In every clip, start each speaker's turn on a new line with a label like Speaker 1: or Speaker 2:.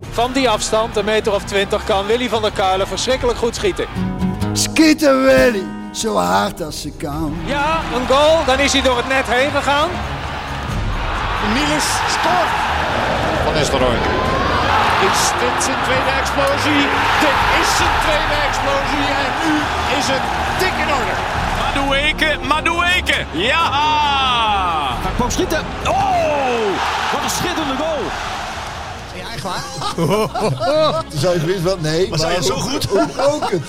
Speaker 1: Van die afstand, een meter of twintig, kan Willy van der Kuilen verschrikkelijk goed schieten.
Speaker 2: Schieten Willy, zo hard als ze kan.
Speaker 1: Ja, een goal. Dan is hij door het net heen gegaan.
Speaker 3: Niels scoort.
Speaker 4: Van Nistelrooy.
Speaker 3: Is dit zijn tweede explosie? Dit is zijn tweede explosie. En nu is het dik in orde.
Speaker 5: Madueke, Madueke. Ja!
Speaker 6: Hij kwam schieten. Oh! Wat een schitterende goal.
Speaker 7: Ja, echt waar?
Speaker 2: Toen zei ik wist wel nee.
Speaker 4: Maar zei je zo goed?
Speaker 2: Ook, ook het.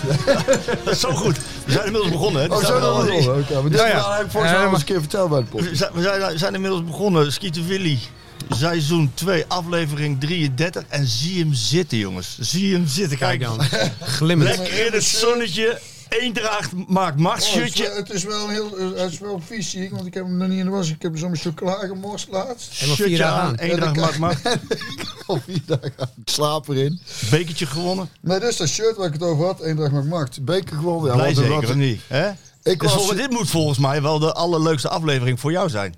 Speaker 4: Dat is zo goed. We zijn inmiddels begonnen. hè.
Speaker 2: Oh,
Speaker 4: Die
Speaker 2: zo
Speaker 4: staan er
Speaker 2: dan
Speaker 4: al
Speaker 2: wel.
Speaker 4: in.
Speaker 2: Oké, maar dit
Speaker 4: Ja,
Speaker 2: ja, Oh,
Speaker 4: ja.
Speaker 2: heb ik volgens
Speaker 4: Eh,
Speaker 2: mij al eens
Speaker 4: maar-
Speaker 2: een keer verteld bij de podcast.
Speaker 4: We zijn, we zijn- we zijn inmiddels begonnen. Skietervilly. Seizoen 2, aflevering 33. En zie hem zitten, jongens. Zie hem zitten. Kijk,
Speaker 5: Kijk dan. Glimmend.
Speaker 4: Lekker in het zonnetje. Eendracht maakt macht.
Speaker 8: Oh, het, is, wel-
Speaker 4: Shirtje.
Speaker 8: het is wel heel, eh, het is wel vies, zie ik, want ik heb hem nog niet in de was. Ik heb hem zo'n chocola gemorst laatst.
Speaker 5: Helemaal vier
Speaker 4: Shirtje
Speaker 5: dagen
Speaker 4: aan.
Speaker 5: aan.
Speaker 4: Eendracht maakt macht.
Speaker 2: Al vier dagen aan. Ik slaap erin.
Speaker 4: Bekertje gewonnen.
Speaker 2: Maar dit is dat shirt waar ik het over had. Eendracht maakt macht. Beker gewonnen. Ja,
Speaker 4: Blij
Speaker 2: wat een-
Speaker 4: zeker,
Speaker 2: wat
Speaker 4: of
Speaker 2: een-
Speaker 4: niet? Hè?
Speaker 2: Ik
Speaker 4: Dus
Speaker 2: was-
Speaker 4: volgens- dit moet volgens mij wel de allerleukste aflevering voor jou zijn.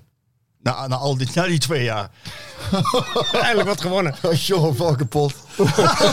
Speaker 4: Na, na, al die, na die twee jaar.
Speaker 5: Eindelijk wat gewonnen.
Speaker 2: Jongen, val kapot.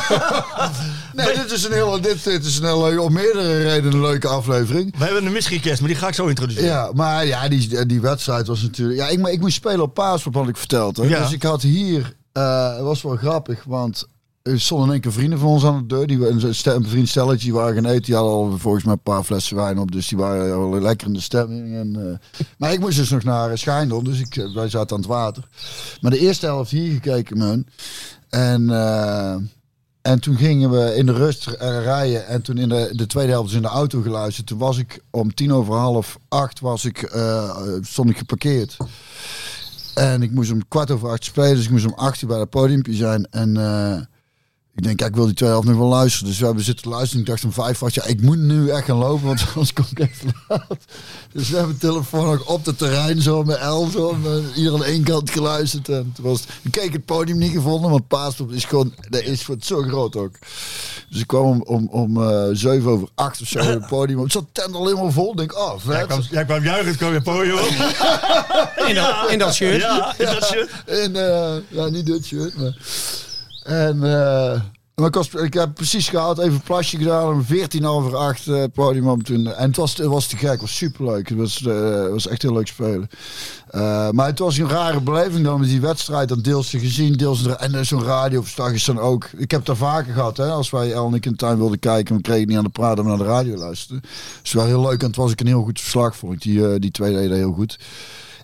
Speaker 2: nee, dit is een hele, dit, dit is een hele, om meerdere redenen een leuke aflevering.
Speaker 4: We hebben een misgekest, maar die ga ik zo introduceren.
Speaker 2: Ja, maar ja, die, die wedstrijd was natuurlijk... Ja, ik, maar ik moest spelen op Paaspop, had ik verteld. Hè?
Speaker 4: Ja.
Speaker 2: Dus ik had hier... eh, Het was wel grappig, want er stonden in één keer vrienden van ons aan de deur. Die, wa- een, stel- een vriend stelletje, die waren gaan eten. Die hadden al volgens mij een paar flessen wijn op. Dus die waren al lekker in de stemming. En, eh, maar ik moest dus nog naar eh, Schijndel. Dus ik, wij zaten aan het water. Maar de eerste helft hier gekeken met hun. En... eh, en toen gingen we in de rust eh, rijden. En toen in de, de tweede helft is in de auto geluisterd. Toen was ik om tien over half acht was ik, eh, stond ik geparkeerd. En ik moest om kwart over acht spelen. Dus ik moest om acht uur bij dat podiumpje zijn. En eh, ik denk, kijk, ik wil die tweede helft nog wel luisteren. Dus we hebben zitten luisteren. Ik dacht om vijf, acht, ja, ik moet nu echt gaan lopen. Want anders kom ik echt te laat. Dus we hebben telefoon nog op het terrein zo met elf. Zo, met ieder aan één kant geluisterd. En toen was het, ik keek het podium niet gevonden. Want Paaspop is gewoon, dat is voor het zo groot ook. Dus ik kwam om, om, om eh, zeven over acht of zo op het podium. Het zat tent al helemaal vol. Ik denk, oh, vet.
Speaker 4: Jij kwam, jij kwam juichend, kwam je podium op.
Speaker 5: In dat, in dat shirt.
Speaker 4: Ja, is dat shit?
Speaker 2: En, eh ja, niet dit shirt, maar... En, eh, maar ik, was, ik heb precies gehaald, even een plasje gedaan. Om 14 over 8 eh, podium om toen. En het was, het was te gek, het was superleuk. Het was, eh, was echt heel leuk spelen. Eh, maar het was een rare beleving dan met die wedstrijd. Dan deels te gezien, deels... er- En er is zo'n radioverslag is dan ook... Ik heb daar vaker gehad, hè. Als wij El en ik in de tuin wilden kijken... we kregen het niet aan de praat, maar naar de radio luisteren. Dus het was heel leuk en het was ook een heel goed verslag, vond ik. Die, eh, die twee deden heel goed.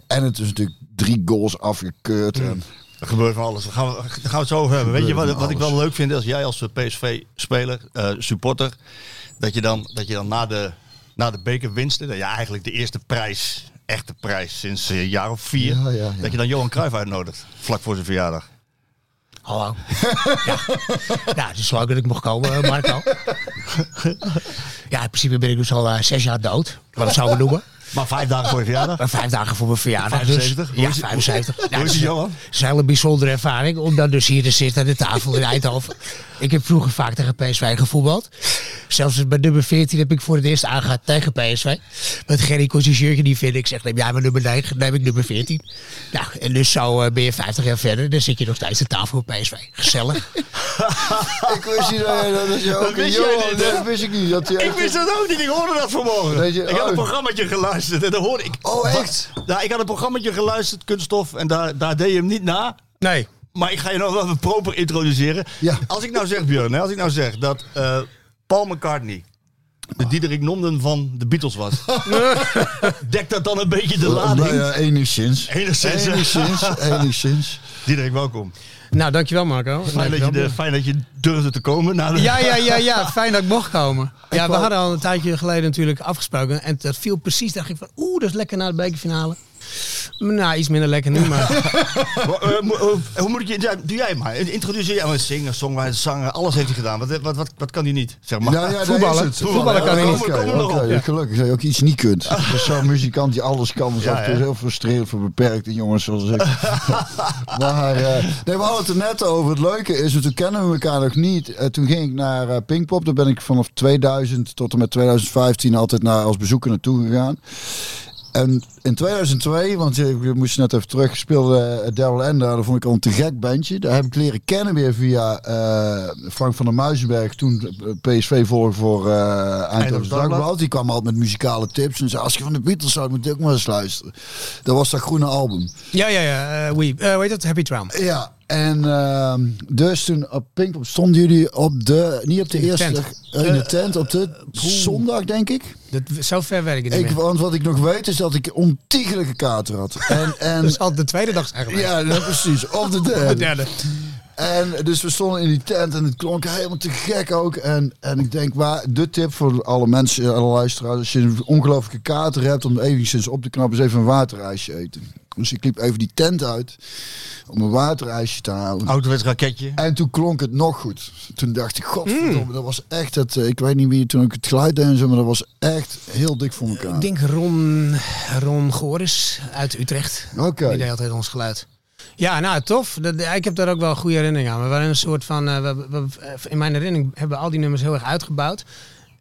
Speaker 2: En het is natuurlijk drie goals afgekeurd. En,
Speaker 4: Er gebeurt van alles. Daar gaan we, daar gaan we het zo over hebben. Weet je wat,
Speaker 2: Gebeurt van
Speaker 4: wat ik wel
Speaker 2: alles.
Speaker 4: leuk vind als jij als eh, PSV-speler, eh, supporter, dat je dan, dat je dan na, de, na de bekerwinsten, dat je eigenlijk de eerste prijs, echte prijs sinds eh, een jaar of vier,
Speaker 2: Ja, ja, ja.
Speaker 4: dat je dan Johan Cruijff uitnodigt, vlak voor zijn verjaardag.
Speaker 6: Hallo. ja. Nou, het is leuk dat ik mocht komen, eh, Marco. ja, in principe ben ik dus al eh, zes jaar dood. Wat ik zou noemen.
Speaker 4: Maar vijf dagen voor je verjaardag?
Speaker 6: Maar vijf dagen voor mijn verjaardag. dus-
Speaker 4: 75? Hoe
Speaker 6: ja,
Speaker 4: is het-
Speaker 6: 75.
Speaker 4: hoe
Speaker 6: Nou,
Speaker 4: is het,
Speaker 6: dat
Speaker 4: Johan?
Speaker 6: Het is een hele bijzondere ervaring om dan dus hier te zitten aan de tafel in Eindhoven. Ik heb vroeger vaak tegen PSV gevoetbald. Zelfs bij nummer 14 heb ik voor het eerst aangehad tegen PSV. Met Gerry Concierge die vind ik. Zeg, neem jij maar nummer 9, neem ik nummer 14. Nou, en dus zo eh, ben je 50 jaar verder. Dan zit je nog steeds aan tafel voor PSV. Gezellig.
Speaker 2: ik wist niet dat, je- dat je ook een
Speaker 4: wist jij
Speaker 2: Johan-
Speaker 4: niet, hè?
Speaker 2: nee, dat wist ik niet. Dat je
Speaker 4: Ik wist dat ook niet, ik hoorde dat vanmorgen.
Speaker 2: Weet je,
Speaker 4: ik had
Speaker 2: oh.
Speaker 4: een programmaatje geluisterd en dan hoorde ik...
Speaker 2: Oh, echt?
Speaker 4: Wat? Ja, ik had een programmaatje geluisterd, Kunststof, en daar, daar deed je hem niet na.
Speaker 5: Nee.
Speaker 4: Maar ik ga je nog wel even proper introduceren.
Speaker 2: Ja.
Speaker 4: Als ik nou zeg, Björn, hè, als ik nou zeg dat eh, Paul McCartney de Diederik Nomden van de Beatles was. dekt dat dan een beetje de lading?
Speaker 2: Nou ja, dus- enigszins.
Speaker 4: Enigszins, hè?
Speaker 2: Enigszins. enigszins.
Speaker 4: Diederik, welkom.
Speaker 9: Nou, dankjewel Marco.
Speaker 4: Fijn dat, je de,
Speaker 9: Dankjewel.
Speaker 4: fijn dat je durfde te komen. Nou, Na de-
Speaker 9: Ja, ja, ja, ja, fijn dat ik mocht komen. Ja, we
Speaker 2: wou-
Speaker 9: hadden al een tijdje geleden natuurlijk afgesproken. En dat viel precies, dacht ik van, oeh, dat is lekker na de bekerfinale. Nou, iets minder lekker nu, maar...
Speaker 4: Ho- eh, mo- hoe- hoe moet ik je... ja, doe jij maar. Introduceer jij maar. Zingen, songwriter, zanger. Alles heeft hij gedaan. Wat, wat, wat, wat kan hij niet? Zeg maar.
Speaker 2: Nou ja, daar
Speaker 9: Voetballen.
Speaker 2: is het.
Speaker 9: Voetballen kan
Speaker 2: Oké,
Speaker 9: hij niet.
Speaker 2: oké,
Speaker 4: Kom erop,
Speaker 2: oké.
Speaker 4: ja.
Speaker 2: Gelukkig dat je ook iets niet kunt. Dus zo'n muzikant die alles kan, is
Speaker 4: Ja,
Speaker 2: altijd
Speaker 4: hè?
Speaker 2: heel frustrerend voor beperkte jongens zoals ik. maar eh, nee, we hadden het er net over. Het leuke is, toen kennen we elkaar nog niet. Eh, toen ging ik naar eh, Pinkpop. Daar ben ik vanaf 2000 tot en met 2015 altijd naar, als bezoeker naartoe gegaan. En in 2002, want ik moest net even terug, speelde uh, Daryl Ender. Dat vond ik al een te gek bandje. Daar heb ik leren kennen weer via uh, Frank van der Muizenberg. Toen PSV volger voor uh, Eindhoven Dagblad. Die kwam altijd met muzikale tips. En zei, als je van de Beatles zou, moet ik ook maar eens luisteren. Dat was dat groene album.
Speaker 9: Ja, ja, ja. Uh, we, uh, weet dat? Happy Tram.
Speaker 2: Ja, en uh, dus toen op Pinkpop stonden jullie op de, niet op de,
Speaker 9: In de
Speaker 2: eerste,
Speaker 9: tent.
Speaker 2: dag, in de tent, op de zondag denk ik.
Speaker 9: Dat, zo ver werk ik niet
Speaker 2: ik.
Speaker 9: meer.
Speaker 2: Want wat ik nog weet is dat ik ontiegelijke kater had. En, en,
Speaker 9: Dus al de tweede dag eigenlijk.
Speaker 2: ja, nou, precies, op de derde.
Speaker 9: De derde.
Speaker 2: En dus we stonden in die tent en het klonk helemaal te gek ook. En, en ik denk, waar, de tip voor alle mensen, eh, alle luisteraars, als je een ongelooflijke kater hebt om enigszins op te knappen, is even een waterijsje eten. Dus ik liep even die tent uit om een waterijsje te halen.
Speaker 4: Ouderwets raketje.
Speaker 2: En toen klonk het nog goed. Toen dacht ik, godverdomme, dat was echt het... eh, Ik weet niet wie toen ik het geluid deed en zo, maar dat was echt heel dik voor elkaar.
Speaker 9: Ik denk Ron, Ron Goris uit Utrecht.
Speaker 2: Oké.
Speaker 9: Die deed altijd ons geluid. Ja, nou tof. Dat, ik heb daar ook wel een goede herinnering aan. We waren een soort van. eh, we- we- we- in mijn herinnering hebben we al die nummers heel erg uitgebouwd.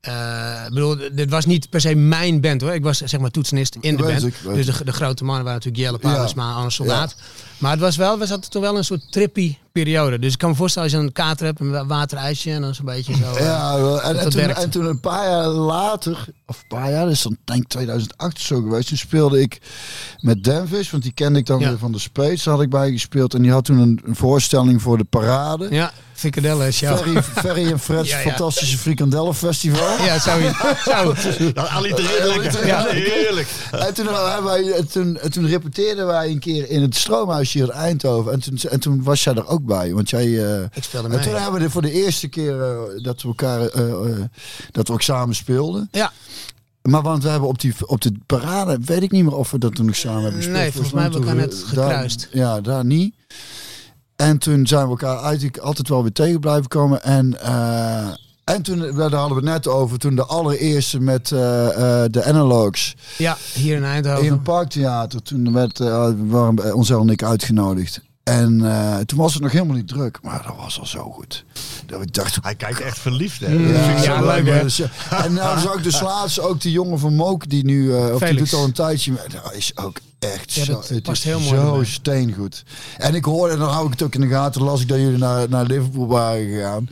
Speaker 9: Eh, ik bedoel, d- dit was niet per se mijn band hoor. Ik was zeg maar toetsenist in de
Speaker 2: Weet
Speaker 9: band.
Speaker 2: ik, weet
Speaker 9: dus de, de grote mannen waren natuurlijk Jelle
Speaker 2: Ja.
Speaker 9: Pauwers, maar Anne Soldaat. Maar het was wel, we zaten toen wel in een soort trippy periode. Dus ik kan me voorstellen als je een kater hebt, een wa- waterijsje en dan zo'n beetje zo. eh,
Speaker 2: Ja, wel, en,
Speaker 9: dat
Speaker 2: en, toen,
Speaker 9: werkte.
Speaker 2: en toen een paar jaar later, of een paar jaar, dat is dan denk ik 2008 of zo geweest, toen speelde ik met Danvis, want die kende ik dan
Speaker 9: Ja.
Speaker 2: weer van de Space, daar had ik bij gespeeld. En die had toen een, een voorstelling voor de parade.
Speaker 9: Ja, Frikadellen is jou.
Speaker 2: Ferry, Ferry en Fred's
Speaker 9: Ja, ja.
Speaker 2: fantastische frikandellenfestival.
Speaker 9: Ja, zoiets. Zo.
Speaker 4: Dat allitereert lekker.
Speaker 9: Ja.
Speaker 4: Nou, Heerlijk.
Speaker 2: En toen, eh, hebben wij, en toen, en toen repeteerden wij een keer in het stroomhuis hier in Eindhoven. En toen, en toen was jij er ook bij. Want jij, eh,
Speaker 9: Ik speelde
Speaker 2: en toen
Speaker 9: mee.
Speaker 2: hebben we de- voor de eerste keer eh, dat, we elkaar, eh, eh, dat we ook samen speelden.
Speaker 9: Ja.
Speaker 2: Maar want we hebben op, die, op de parade, weet ik niet meer of we dat toen nog samen hebben gespeeld.
Speaker 9: Nee, volgens mij hebben we
Speaker 2: toen
Speaker 9: elkaar net
Speaker 2: daar-
Speaker 9: gekruist.
Speaker 2: ja, daar niet. En toen zijn we elkaar eigenlijk altijd wel weer tegen blijven komen. En, eh, en toen, eh, daar hadden we het net over, toen de allereerste met eh, eh, de analogs.
Speaker 9: Ja, hier in
Speaker 2: In
Speaker 9: Eindhoven.
Speaker 2: het parktheater, toen werd, eh waren eh, Onzel en ik uitgenodigd. En eh, toen was het nog helemaal niet druk, maar dat was al zo goed. Dat ik dacht,
Speaker 4: Hij kijkt echt verliefd, hè?
Speaker 9: Ja,
Speaker 2: zo
Speaker 9: leuk, hè?
Speaker 2: Dus, ja. En nou zag ik dus laatst ook die jongen van Mook, die nu, eh, of die
Speaker 9: Felix.
Speaker 2: doet al een tijdje, maar dat is ook echt
Speaker 9: Ja,
Speaker 2: zo,
Speaker 9: dat
Speaker 2: het is
Speaker 9: past heel mooi
Speaker 2: zo
Speaker 9: erbij.
Speaker 2: steengoed. En ik hoorde, en dan hou ik het ook in de gaten, las ik dat jullie naar, naar Liverpool waren gegaan.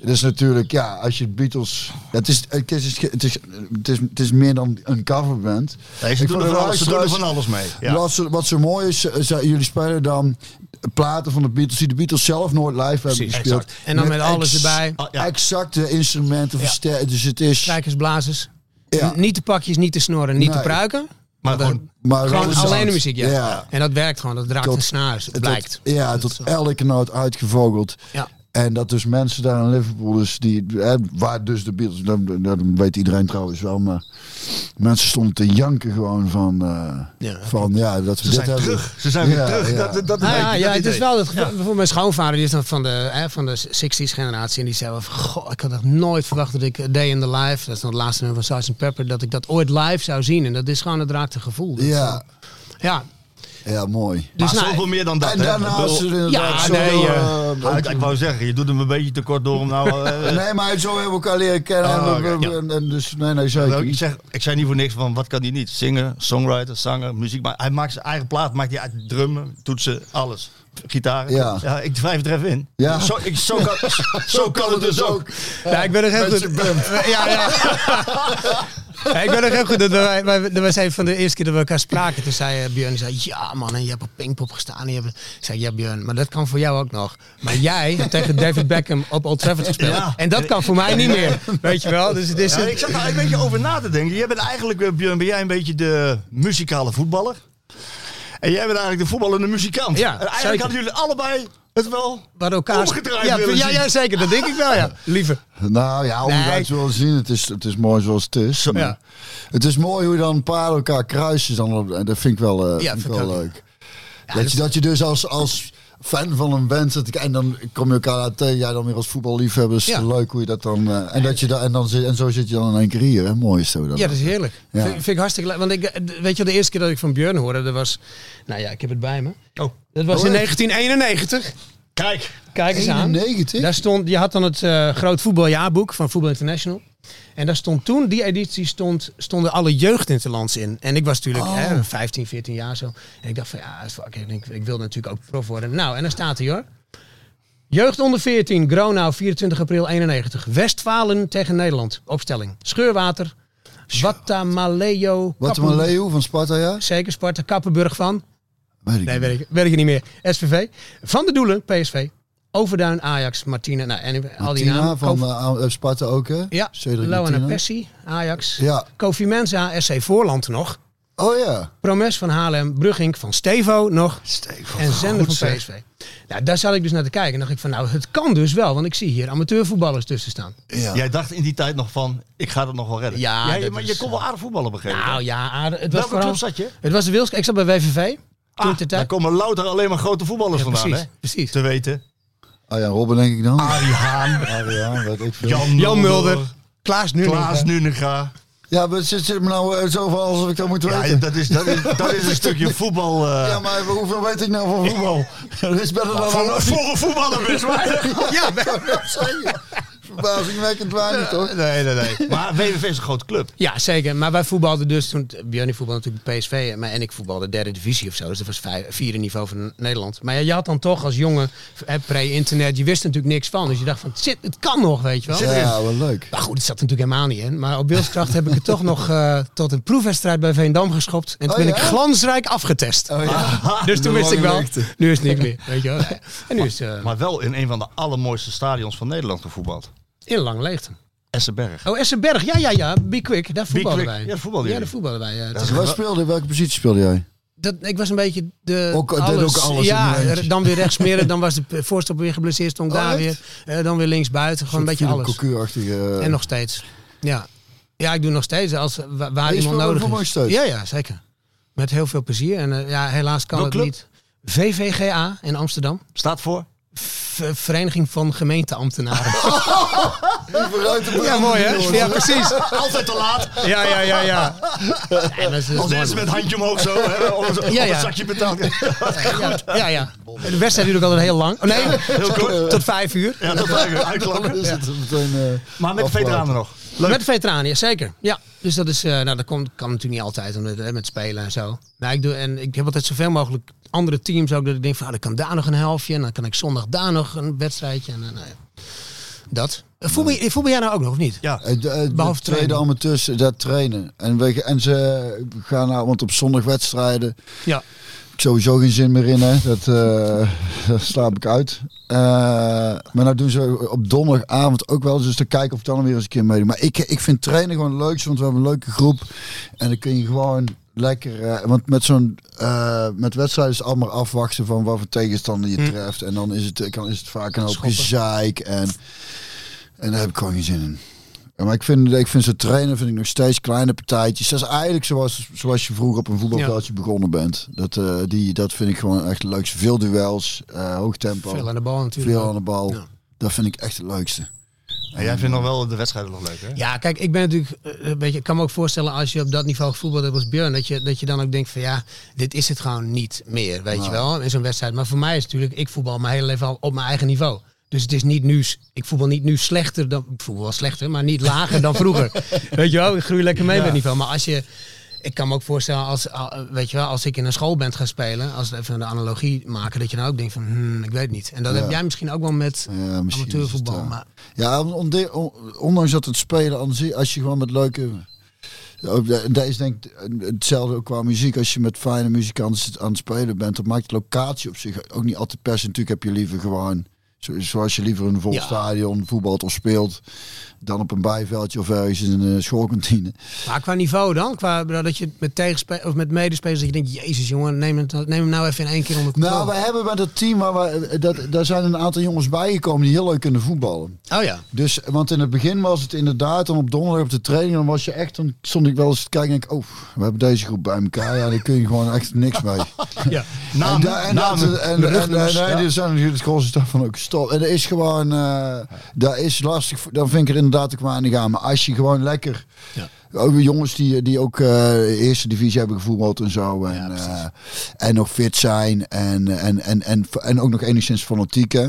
Speaker 2: Het is natuurlijk, ja, als je Beatles, het is, het is, het is, het is, het is meer dan een coverband.
Speaker 4: Nee, ze
Speaker 2: Ik
Speaker 4: doen
Speaker 2: vond
Speaker 4: er
Speaker 2: de
Speaker 4: van alles- ze doen er
Speaker 2: luisteraars-
Speaker 4: van alles mee. Ja.
Speaker 2: Wat, zo, wat zo mooi is, eh, ze- jullie spelen dan platen van de Beatles die de Beatles zelf nooit live hebben gespeeld.
Speaker 4: exact.
Speaker 9: En dan met alles erbij.
Speaker 4: Ah, ja.
Speaker 2: Exacte instrumenten, versterken. Dus het is...
Speaker 9: Strijkers, blazers.
Speaker 2: Ja.
Speaker 9: N- Niet de pakjes, niet de snoren, niet
Speaker 2: Nee.
Speaker 9: de pruiken.
Speaker 4: Maar gewoon
Speaker 2: Maar
Speaker 9: Gewoon
Speaker 2: wel sound.
Speaker 9: alleen de muziek, ja.
Speaker 2: Ja.
Speaker 9: En dat werkt gewoon, dat raakt
Speaker 2: Tot-
Speaker 9: de snaars, het
Speaker 2: Tot-
Speaker 9: blijkt.
Speaker 2: ja, tot elke noot uitgevogeld.
Speaker 9: Ja.
Speaker 2: En dat dus mensen daar in Liverpool, dus die, hè, waar dus de Beatles, dat, dat weet iedereen trouwens wel, maar mensen stonden te janken gewoon van, eh,
Speaker 9: Ja.
Speaker 2: van ja, dat we
Speaker 4: Ze
Speaker 2: dit
Speaker 4: zijn
Speaker 2: hebben.
Speaker 4: terug. Ze zijn weer
Speaker 2: Ja,
Speaker 4: terug.
Speaker 2: ja.
Speaker 4: Dat, dat, dat
Speaker 9: Nou ja,
Speaker 4: dat
Speaker 9: ja, het
Speaker 4: idee.
Speaker 9: is wel het geval. Bijvoorbeeld mijn schoonvader die is dan van de, hè, van de 60s generatie. En die zei wel van, goh, ik had echt nooit verwacht dat ik A Day in the Life, dat is dan het laatste nummer van Sgt. Pepper, dat ik dat ooit live zou zien. En dat is gewoon, het raakt een gevoel. Dat is
Speaker 2: Ja,
Speaker 9: gewoon- ja.
Speaker 2: ja, mooi.
Speaker 9: Dus
Speaker 4: maar
Speaker 9: nou,
Speaker 4: zoveel meer dan dat.
Speaker 2: en
Speaker 4: hè. Ik
Speaker 2: daarnaast
Speaker 4: bedoel-
Speaker 2: inderdaad
Speaker 9: Ja,
Speaker 2: zo,
Speaker 9: nee, eh,
Speaker 2: eh,
Speaker 4: Ah, ik, ik wou zeggen, je doet hem een beetje tekort door om nou... eh,
Speaker 2: Nee, maar zo hebben we elkaar leren kennen.
Speaker 4: Oh,
Speaker 2: en, we-
Speaker 4: oké.
Speaker 2: we- en- en dus, nee, nee,
Speaker 4: Nou,
Speaker 2: zeker.
Speaker 4: ik, zeg, ik zei niet voor niks van wat kan hij niet? Zingen, songwriter, zanger, muziek. Maar hij maakt zijn eigen plaat, maakt hij uit drummen, toetsen, alles. Gitaar.
Speaker 2: Ja.
Speaker 4: ik drijf er even in.
Speaker 2: Ja.
Speaker 4: Zo, ik, zo, kan, zo kan het dus ook.
Speaker 9: Ja, ik ben er heel
Speaker 2: Met
Speaker 9: goed.
Speaker 2: je band.
Speaker 9: Ja, ja. Ja, ik ben er heel goed. Dat wij, wij, dat wij zijn van de eerste keer dat we elkaar spraken. Toen zei eh, Björn, zei, ja man, en je hebt op Pinkpop gestaan. En je hebt... Ik zei, ja Björn, maar dat kan voor jou ook nog. Maar jij hebt tegen David Beckham op Old Trafford gespeeld.
Speaker 4: Ja.
Speaker 9: En dat kan voor mij niet meer. Weet je wel? Dus het is...
Speaker 4: Ja,
Speaker 9: een-
Speaker 4: ik zat daar een beetje over na te denken. Jij bent eigenlijk, eh, Björn, ben jij een beetje de muzikale voetballer? En jij bent eigenlijk de voetballende muzikant.
Speaker 9: Ja,
Speaker 4: en eigenlijk
Speaker 9: zeker.
Speaker 4: hadden jullie allebei het wel.
Speaker 9: waar elkaar...
Speaker 4: Omgedraaid
Speaker 9: ja,
Speaker 4: willen
Speaker 9: ja,
Speaker 4: zien.
Speaker 9: ja, zeker. Dat denk ik wel, ja. Lieve.
Speaker 2: Nou ja, om
Speaker 9: Nee.
Speaker 2: het wel te zien, het is, het is mooi zoals het is. Maar
Speaker 9: Ja.
Speaker 2: Het is mooi hoe dan paarden elkaar kruisen. Dan, op- en dat vind ik wel, eh,
Speaker 9: Ja,
Speaker 2: vind ik
Speaker 9: vind ik
Speaker 2: wel
Speaker 9: ook.
Speaker 2: leuk. dat, je, dat je dus als, als fan van een band zit, en dan kom je elkaar uit tegen. Jij dan weer als voetballiefhebber, is het
Speaker 9: Ja.
Speaker 2: leuk hoe je dat dan... eh, en, dat je da, en, dan zit, en zo zit je dan in één keer hier, hè? Mooi is zo dan.
Speaker 9: Ja, dat is heerlijk.
Speaker 2: Ja.
Speaker 9: Vind, vind ik hartstikke leuk. Want ik, eh, d- weet je, wel, de eerste keer dat ik van Björn hoorde, dat was... Nou ja, ik heb het bij me.
Speaker 4: Oh.
Speaker 9: Dat was in 1991.
Speaker 4: Kijk,
Speaker 9: Kijk eens aan.
Speaker 2: 91?
Speaker 9: Daar stond, je had dan het eh, groot voetbaljaarboek van Voetbal International. En daar stond toen, die editie stond, stonden alle jeugdinterlands in. En ik was natuurlijk
Speaker 2: Oh.
Speaker 9: hè, 15, 14 jaar zo. En ik dacht van ja, fuck, ik, ik, ik wil natuurlijk ook prof worden. Nou, en daar staat hij hoor. Jeugd onder 14, Gronau, 24 april 91. Westfalen tegen Nederland. Opstelling. Scheurwater. Watamaleo.
Speaker 2: Wat een
Speaker 9: Kappen-
Speaker 2: Leo van Sparta, ja?
Speaker 9: Zeker, Sparta. Kappenburg van.
Speaker 2: Weet ik
Speaker 9: Nee,
Speaker 2: niet.
Speaker 9: weet ik, weet ik niet meer. SVV. Van de Doelen, PSV. Overduin, Ajax, Martina. Nou, en al die
Speaker 2: Tina
Speaker 9: namen.
Speaker 2: van
Speaker 9: Kof-
Speaker 2: eh, eh, Sparta ook, hè?
Speaker 9: ja,
Speaker 2: Cedric
Speaker 9: Loana
Speaker 2: Tina.
Speaker 9: Pessi, Ajax.
Speaker 2: Ja.
Speaker 9: Kofi Mensa, SC Voorland nog.
Speaker 2: Oh ja.
Speaker 9: Promes van Haarlem, Brugink van Stevo nog. En Zender van PSV. Nou, daar zat ik dus naar te kijken. En dacht ik van, nou, het kan dus wel. Want ik zie hier amateurvoetballers tussen staan.
Speaker 2: ja.
Speaker 4: Jij dacht in die tijd nog van, ik ga dat nog wel redden.
Speaker 9: Ja,
Speaker 4: je-
Speaker 9: dat
Speaker 4: maar
Speaker 9: is-
Speaker 4: je kon wel aardig voetballen begrepen.
Speaker 9: Nou ja, aardig. het was
Speaker 4: Welke
Speaker 9: vooral...
Speaker 4: club zat je?
Speaker 9: Het was de Wilsk. Ik zat bij WVV. Toen
Speaker 4: Ah,
Speaker 9: ter
Speaker 4: daar
Speaker 9: tijd.
Speaker 4: komen louter alleen maar grote voetballers
Speaker 9: Ja,
Speaker 4: vandaan,
Speaker 9: precies,
Speaker 4: hè?
Speaker 9: precies.
Speaker 4: Te weten.
Speaker 2: Ah ja, Robben denk ik dan.
Speaker 4: Arie Haan,
Speaker 2: Arie Haan, weet ik veel.
Speaker 4: Jan,
Speaker 5: Jan Mulder. Klaas nu.
Speaker 4: Klaas Nunega.
Speaker 2: Ja, maar het zit, zit me nou eh, zoveel alsof ik dat moet
Speaker 4: Ja,
Speaker 2: weten.
Speaker 4: ja, dat is, dat is, dat is een stukje voetbal. eh,
Speaker 2: Ja, maar hoeveel weet ik nou van voetbal? Er is bijna dan
Speaker 4: voor, voor een voetballer best weinig.
Speaker 2: Ja, dat zei je. Verbazingwekkend weinig, toch?
Speaker 4: Nee, nee, nee. Maar WWV is een grote club.
Speaker 9: Ja, zeker. Maar wij voetbalden dus toen. Björn voetbalde natuurlijk PSV. Maar, en ik voetbalde derde divisie of zo. Dus dat was vijf, vierde niveau van Nederland. Maar ja, je had dan toch als jongen hè, pre-internet. Je wist natuurlijk niks van. Dus je dacht van, shit, het kan nog, weet je wel.
Speaker 2: Ja, wel leuk.
Speaker 9: Maar goed, het zat er natuurlijk helemaal niet in. Maar op wilskracht heb ik het toch nog eh, tot een proefwedstrijd bij Veendam geschopt. En toen
Speaker 2: Oh,
Speaker 9: ben ik
Speaker 2: ja?
Speaker 9: glansrijk afgetest.
Speaker 2: Oh, ja.
Speaker 9: Dus toen
Speaker 2: De
Speaker 9: wist ik
Speaker 2: lange
Speaker 9: wel,
Speaker 2: leegte.
Speaker 9: nu is het niks meer. Weet je wel. En nu is het eh,
Speaker 4: Maar wel in een van de allermooiste stadions van Nederland gevoetbald. E
Speaker 9: in lang leegte.
Speaker 4: Essenberg.
Speaker 9: Oh, Essenberg. Ja, ja, ja. Be quick. Daar voetbalden
Speaker 4: Quick.
Speaker 9: wij.
Speaker 4: Ja, daar voetbalden
Speaker 9: Ja,
Speaker 4: jullie.
Speaker 9: daar voetbalden wij. ja.
Speaker 2: Dus Waar speelde, welke positie speelde jij?
Speaker 9: dat, ik was een beetje de
Speaker 2: Ook- deed ook alles
Speaker 9: ja,
Speaker 2: in een eentje.
Speaker 9: er- dan weer rechts midden, dan was de p- voorstopper weer geblesseerd, stond
Speaker 2: Oh,
Speaker 9: daar
Speaker 2: echt?
Speaker 9: weer, eh, dan weer links buiten, gewoon een beetje
Speaker 2: Philip
Speaker 9: alles.
Speaker 2: Cocu-achtige...
Speaker 9: En nog steeds. Ja. ja, ik doe nog steeds als wa- waar,
Speaker 2: je
Speaker 9: iemand
Speaker 2: speelt
Speaker 9: nodig
Speaker 2: voor
Speaker 9: is.
Speaker 2: Mooi steeds?
Speaker 9: Ja, ja, zeker. Met heel veel plezier en eh, ja, helaas kan
Speaker 4: Welke
Speaker 9: het
Speaker 4: club?
Speaker 9: niet. VVGA in Amsterdam,
Speaker 4: Staat voor?
Speaker 9: V- Vereniging van Gemeenteambtenaren.
Speaker 2: eh, Vooruit de
Speaker 5: Ja, mooi hè? Ja, precies.
Speaker 4: Altijd te laat.
Speaker 5: Ja, ja, ja, ja.
Speaker 9: Ja, dat is- dat is
Speaker 4: Als
Speaker 9: mooi,
Speaker 4: eerste met handje omhoog zo. Hè, om een,
Speaker 9: Ja, ja.
Speaker 4: zakje betaald.
Speaker 9: man. ja, ja, ja. De wedstrijd duurt ook altijd heel lang. Oh, nee,
Speaker 4: Heel kort.
Speaker 9: tot vijf uur.
Speaker 4: Ja, dat was eigenlijk
Speaker 2: Dan
Speaker 4: uitklappen.
Speaker 2: is het meteen... eh,
Speaker 4: Maar met de veteranen nog.
Speaker 9: Met de veteranen, ja, zeker. Ja. Dus dat is, eh, nou, dat komt, kan natuurlijk niet altijd omdat, hè, met spelen en zo. Nou, ik doe, en ik heb altijd zoveel mogelijk andere teams ook. Dat ik denk van, ah, dan kan daar nog een helftje. En dan kan ik zondag daar nog een wedstrijdje. En, eh, nou, ja. Dat. Eh, Voetbal, eh, voetbal jij nou ook nog, of niet?
Speaker 4: Ja.
Speaker 2: eh, de- eh, de
Speaker 9: Behalve
Speaker 2: tweede
Speaker 9: trainen.
Speaker 2: amateurs, eh, dat trainen. En, we, en ze gaan nou, want op zondag wedstrijden,
Speaker 9: Ja.
Speaker 2: ik sowieso geen zin meer in, hè. Dat, eh, daar slaap ik uit. Eh, maar nou doen ze op donderdagavond ook wel, dus te kijken of ik dan weer eens een keer meedoen. Maar ik, ik vind trainen gewoon het leukste, want we hebben een leuke groep. En dan kun je gewoon lekker, eh, want met zo'n eh, met wedstrijden is het allemaal afwachten van wat voor tegenstander je treft. En dan is het, eh, kan, is het vaak een hoop
Speaker 9: Schoppen.
Speaker 2: gezeik en, en daar heb ik gewoon geen zin in. Ja, Maar ik vind, ik vind ze trainen vind ik nog steeds kleine partijtjes. Dat is eigenlijk zoals, zoals je vroeger op een voetbalveldje begonnen bent. Dat, eh, die, dat vind ik gewoon echt leuk. Veel duels, eh, hoog tempo,
Speaker 9: Veel
Speaker 2: veel aan,
Speaker 9: aan de bal natuurlijk.
Speaker 2: de bal.
Speaker 9: Ja.
Speaker 2: Dat vind ik echt het leukste.
Speaker 4: En jij vindt nog wel de wedstrijden nog leuk, hè?
Speaker 9: Ja, kijk, ik ben natuurlijk eh, een beetje. Ik kan me ook voorstellen als je op dat niveau gevoetbald hebt als Björn, dat je, dat je dan ook denkt van ja, dit is het gewoon niet meer, weet je
Speaker 2: Nou.
Speaker 9: wel, in zo'n wedstrijd. Maar voor mij is het natuurlijk, ik voetbal mijn hele leven al op mijn eigen niveau. Dus het is niet nu, s- ik voetbal niet nu slechter dan, ik voetbal wel slechter, maar niet lager dan vroeger. Weet je wel, ik groei lekker mee met niveau. Maar als je, ik kan me ook voorstellen als, al- eh, weet je wel, als ik in een schoolband ga spelen, als we even de analogie maken, dat je dan ook denkt van, hmm, ik weet niet. En dat
Speaker 2: Ja.
Speaker 9: heb jij misschien ook wel met
Speaker 2: Ja, misschien is
Speaker 9: amateurvoetbal.
Speaker 2: het, eh,
Speaker 9: maar
Speaker 2: Ja, on- on- on- ondanks dat het spelen aan zich, als je gewoon met leuke... Ook da- Dat is denk ik hetzelfde ook qua muziek. Als je met fijne muzikanten zit- aan het spelen bent, dan maakt de locatie op zich ook niet altijd per se. Natuurlijk heb je liever gewoon, zo- zoals je liever in een vol
Speaker 9: Ja.
Speaker 2: stadion voetbalt of speelt, dan op een bijveldje of ergens in een schoolkantine.
Speaker 9: Maar Nou, qua niveau dan? Qua, dat je met, tegenspe- of met medespelers dat je denkt, jezus jongen, neem, het, neem hem nou even in één keer onder controle.
Speaker 2: Nou, we hebben met het team, waar we, dat, daar zijn een aantal jongens bijgekomen die heel leuk kunnen voetballen.
Speaker 9: oh ja.
Speaker 2: Dus, want in het begin was het inderdaad, dan op donderdag op de training, dan was je echt, dan stond ik wel eens te kijken en denk ik, oh, we hebben deze groep bij elkaar, ja, daar kun je gewoon echt niks mee.
Speaker 9: ja.
Speaker 2: en da- Nou, en, dat- en, en, en,
Speaker 9: rugnummers,
Speaker 2: nee,
Speaker 9: ja.
Speaker 2: er zijn natuurlijk het grootste daarvan ook stop. En dat is gewoon, eh dat is lastig, voor- dan vind ik er inderdaad ook maar aan te gaan. Maar als je gewoon lekker, ook weer jongens die, die ook eh, eerste divisie hebben gevoetbald en zo, en, eh, en nog fit zijn en, en, en, en, en, ook nog enigszins fanatiek, hè.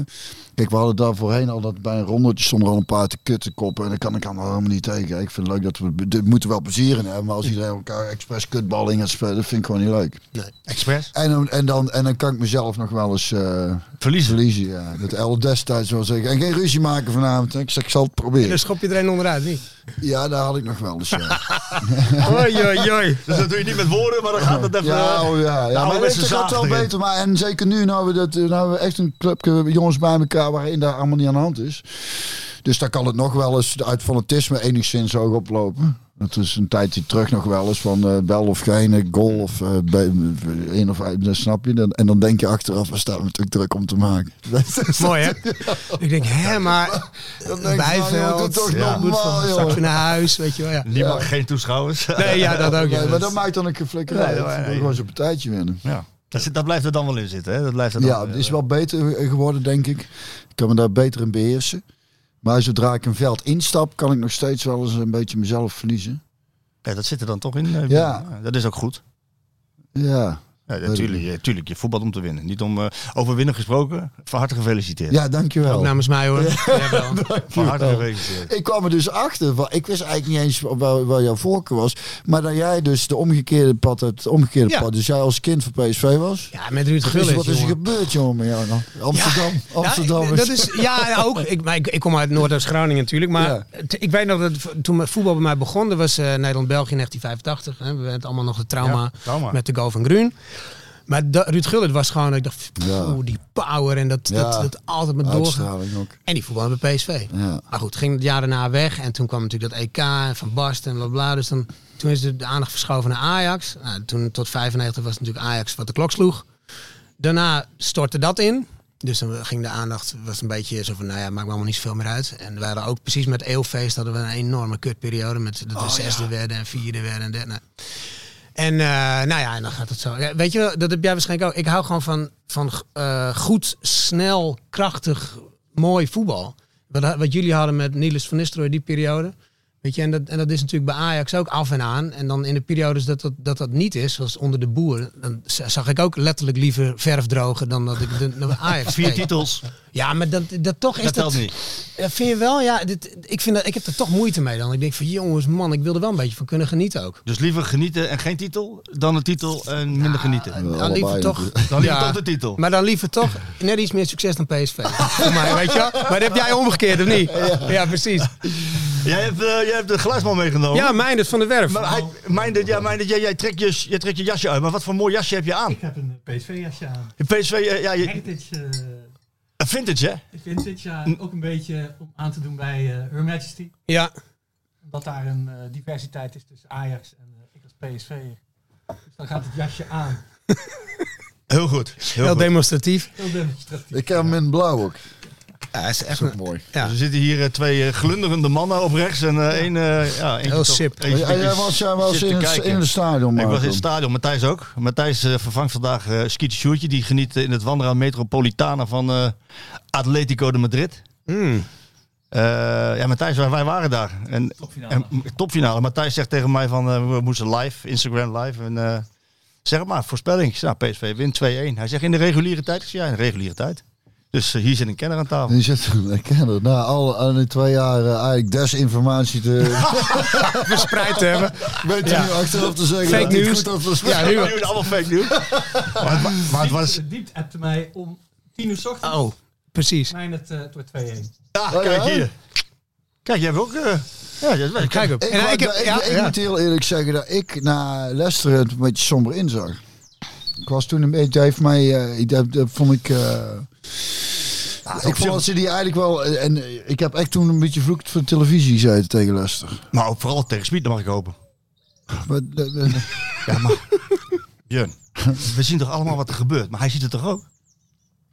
Speaker 2: Kijk, we hadden daar voorheen al dat bij een rondetje stonden er al een paar te kutten koppen. En dat kan ik allemaal helemaal niet tegen. Ik vind het leuk dat we... Dit moeten we wel plezier in hebben. Maar als iedereen elkaar expres kutballing gaat spelen, dat vind ik gewoon niet leuk.
Speaker 4: Express.
Speaker 2: En, dan- en, dan, en dan kan ik mezelf nog wel eens eh,
Speaker 4: Verliezen.
Speaker 2: verliezen. Ja. Dat El destijds wel zeggen. En geen ruzie maken vanavond. Ik, zeg, ik zal het
Speaker 9: Dan
Speaker 2: proberen.
Speaker 9: schop je iedereen onderuit, niet?
Speaker 2: Ja, daar had ik nog wel eens. Ja,
Speaker 5: Oei, oei, oei.
Speaker 4: Dus dat doe je niet met woorden, maar dan gaat het even...
Speaker 2: ja, oh, ja, ja. maar
Speaker 4: ouderwetse
Speaker 2: dat gaat wel
Speaker 4: zaag erin.
Speaker 2: beter. Maar, en zeker nu, nou we, dat, eh, nou we echt een clubje jongens bij elkaar waarin daar allemaal niet aan de hand is. Dus daar kan het nog wel eens uit fanatisme enigszins ook oplopen. Dat is een tijdje terug nog wel eens van eh, bel of geen eh, goal of eh, be- één of uit, dat snap je. Dan, en dan denk je achteraf, we staan natuurlijk druk om te maken.
Speaker 9: Mooi, hè? Ik denk, hè, maar...
Speaker 2: Dan denk je, nou, joh, doe
Speaker 9: Bijveld,
Speaker 2: toch
Speaker 4: Ja.
Speaker 9: goed
Speaker 2: normaal,
Speaker 9: van,
Speaker 2: joh.
Speaker 9: straks weer naar huis, weet je wel, ja.
Speaker 4: Niemand, geen toeschouwers.
Speaker 9: Nee, ja, dat ook,
Speaker 2: Nee,
Speaker 9: ja.
Speaker 2: maar dat
Speaker 9: Dat-
Speaker 2: maakt dan een geflikkerij.
Speaker 4: Nee,
Speaker 2: Nee,
Speaker 4: nee, nee.
Speaker 2: Gewoon zo'n partijtje winnen.
Speaker 4: Ja. Dat, zit- dat blijft er dan wel in zitten, hè? Dat blijft er dan
Speaker 2: Ja, het is wel beter eh, geworden, denk ik. Ik kan me daar beter in beheersen. Maar zodra ik een veld instap, kan ik nog steeds wel eens een beetje mezelf verliezen.
Speaker 4: Ja, dat zit er dan toch in. eh,
Speaker 2: Ja.
Speaker 4: Dat is ook goed.
Speaker 2: Ja,
Speaker 4: Ja,
Speaker 2: ik
Speaker 4: natuurlijk, ja, tuurlijk, je voetbalt om te winnen. Niet om eh overwinnen gesproken. Van harte gefeliciteerd.
Speaker 2: ja dankjewel.
Speaker 9: Ook namens mij, hoor. Jawel.
Speaker 4: Van harte gefeliciteerd.
Speaker 2: Ik kwam er dus achter, want ik wist eigenlijk niet eens waar, waar jouw voorkeur was. Maar dat jij dus de omgekeerde pad hebt, het omgekeerde
Speaker 9: Ja.
Speaker 2: pad. Dus jij als kind van PSV was.
Speaker 9: Ja, met Ruud
Speaker 2: Dus
Speaker 9: Gullit,
Speaker 2: wat is er
Speaker 9: jongen.
Speaker 2: gebeurd, jongen, met jou dan? Amsterdam, Amsterdam.
Speaker 9: Ja, Nou, dat is, ja, ook. Ik, maar ik, ik kom uit Noordoost-Groningen natuurlijk. Maar
Speaker 2: Ja.
Speaker 9: t- ik weet nog dat v- toen mijn voetbal bij mij begon, dat was eh, Nederland-België 1985. Hè. We hebben het allemaal nog het trauma,
Speaker 4: Ja, trauma.
Speaker 9: met de goal van Gruun. Maar da- Ruud Gullit was gewoon, dat ik dacht, pff,
Speaker 2: Ja.
Speaker 9: oeh, die power en dat, dat,
Speaker 2: Ja.
Speaker 9: dat altijd maar doorgaan.
Speaker 2: Uitstraling ook.
Speaker 9: En die voetbal bij PSV.
Speaker 2: Ja.
Speaker 9: Maar goed, ging het jaar daarna weg. En toen kwam natuurlijk dat EK en Van Basten en blablabla. Dus dan, toen is de aandacht verschoven naar Ajax. Nou, toen tot 95 was natuurlijk Ajax wat de klok sloeg. Daarna stortte dat in. Dus dan ging de aandacht, was een beetje zo van, nou ja, maakt me allemaal niet zoveel meer uit. En we hadden ook precies met Eeuwfeest hadden we een enorme kutperiode. Met dat we zesde werden en vierde werden en derde. Nou. En eh, nou ja, en dan gaat het zo. Ja, weet je, wel, dat heb jij waarschijnlijk ook. Ik hou gewoon van, van eh, goed, snel, krachtig, mooi voetbal. Wat, wat jullie hadden met Niels van Nistelrooy die periode. Weet je, en dat, en dat is natuurlijk bij Ajax ook af en aan. En dan in de periodes dat dat, dat, dat niet is, zoals onder de boeren, dan z- zag ik ook letterlijk liever verf drogen dan dat ik de, de Ajax
Speaker 4: Vier
Speaker 9: keek.
Speaker 4: titels,
Speaker 9: Ja, maar dat, dat toch is
Speaker 4: dat telt
Speaker 9: dat...
Speaker 4: niet.
Speaker 9: Ja, vind je wel? Ja, dit, ik, vind dat, ik heb er toch moeite mee dan. Ik denk van, jongens, man, ik wil er wel een beetje van kunnen genieten ook.
Speaker 4: Dus liever genieten en geen titel, dan een titel en minder genieten.
Speaker 9: Dan
Speaker 2: allebei
Speaker 9: liever toch...
Speaker 2: natuurlijk.
Speaker 4: Dan liever
Speaker 9: Ja.
Speaker 4: toch de titel.
Speaker 9: Maar dan liever toch net iets meer succes dan PSV. Voor mij, weet je wel? Maar dat heb jij omgekeerd, of niet? Ja, precies.
Speaker 4: Jij, hebt, eh, jij hebt de geluidsman meegenomen.
Speaker 9: Ja, Meindert van der Werf.
Speaker 4: Maar hij, Meindert, ja, Meindert, jij, jij, trekt je, jij trekt je jasje uit. Maar wat voor mooi jasje heb je aan?
Speaker 10: Ik heb een PSV-jasje aan.
Speaker 4: Je PSV, eh, ja, je,
Speaker 10: Heritage eh,
Speaker 4: een vintage hè?
Speaker 10: vintage, ja. Ook een beetje om aan te doen bij eh, Her Majesty.
Speaker 9: Ja,
Speaker 10: Omdat daar een eh, diversiteit is tussen Ajax en eh, ik als PSV. Dus dan gaat het jasje aan.
Speaker 4: Heel goed. Heel
Speaker 9: heel
Speaker 4: goed.
Speaker 9: demonstratief.
Speaker 10: Heel demonstratief.
Speaker 2: Ik heb hem in blauw ook.
Speaker 9: Ja, is echt
Speaker 2: Dat is ook mooi.
Speaker 9: ja.
Speaker 4: Dus er zitten hier eh, twee eh, glunderende mannen op rechts en eh één... eh, ja, eentje
Speaker 9: Heel
Speaker 4: toch-
Speaker 9: sip.
Speaker 4: eentje
Speaker 2: Ja, jij
Speaker 4: toch-
Speaker 2: was, jij was
Speaker 4: zit te
Speaker 2: in, het,
Speaker 4: kijken.
Speaker 2: in het stadion,
Speaker 4: Ik
Speaker 2: Marco.
Speaker 4: was in het stadion, Matthijs ook. Matthijs eh, vervangt vandaag eh Schietje Sjoertje. Die geniet eh, in het Wanderaar Metropolitana van eh, Atletico de Madrid. Eh, ja, Matthijs, wij, wij waren daar. En,
Speaker 10: Topfinale.
Speaker 4: en m- topfinale. Matthijs zegt tegen mij van, eh, we moesten live, Instagram live. En, eh, zeg het maar, voorspelling. Ik zeg, Nou, PSV wint 2-1. Hij zegt, in de reguliere tijd? Ik zeg, ja, in de reguliere tijd. Dus eh, hier zit een kenner aan tafel.
Speaker 2: Die zit een kenner. Na Nou, al aan die twee jaar eh, eigenlijk desinformatie te
Speaker 9: Verspreid te hebben.
Speaker 2: weten
Speaker 9: Ja.
Speaker 2: nu achteraf te zeggen.
Speaker 9: Fake
Speaker 2: dat het
Speaker 9: news.
Speaker 2: Goed over
Speaker 9: Ja,
Speaker 2: ja.
Speaker 9: nu
Speaker 4: Nieuw, allemaal fake nieuws. maar, het wa- maar het was...
Speaker 10: De diept appte mij om 10 uur 's ochtends.
Speaker 9: Oh, precies.
Speaker 10: Mijn het eh, door 2-1.
Speaker 4: Ja,
Speaker 2: Oh,
Speaker 4: kijk
Speaker 2: ja?
Speaker 4: hier. Kijk, jij hebt ook... eh, ja, jij hebt-
Speaker 9: Kijk op.
Speaker 2: Ik,
Speaker 9: En, eh,
Speaker 2: wou-
Speaker 9: ik heb-
Speaker 2: nou, ik,
Speaker 9: ja,
Speaker 2: ik
Speaker 9: ja.
Speaker 2: moet heel eerlijk zeggen dat ik na Leicester het een beetje somber inzag. Ik was toen een beetje, dat heeft mij, eh, dat, dat vond ik, eh, ik vond dat ze die eigenlijk wel, eh, en eh, ik heb echt toen een beetje vloekt voor de televisie zei tegen Leicester.
Speaker 4: Maar ook vooral tegen Smit, dat mag ik hopen.
Speaker 2: Maar, eh, eh,
Speaker 4: Björn, we zien toch allemaal wat er gebeurt, maar hij ziet het toch ook?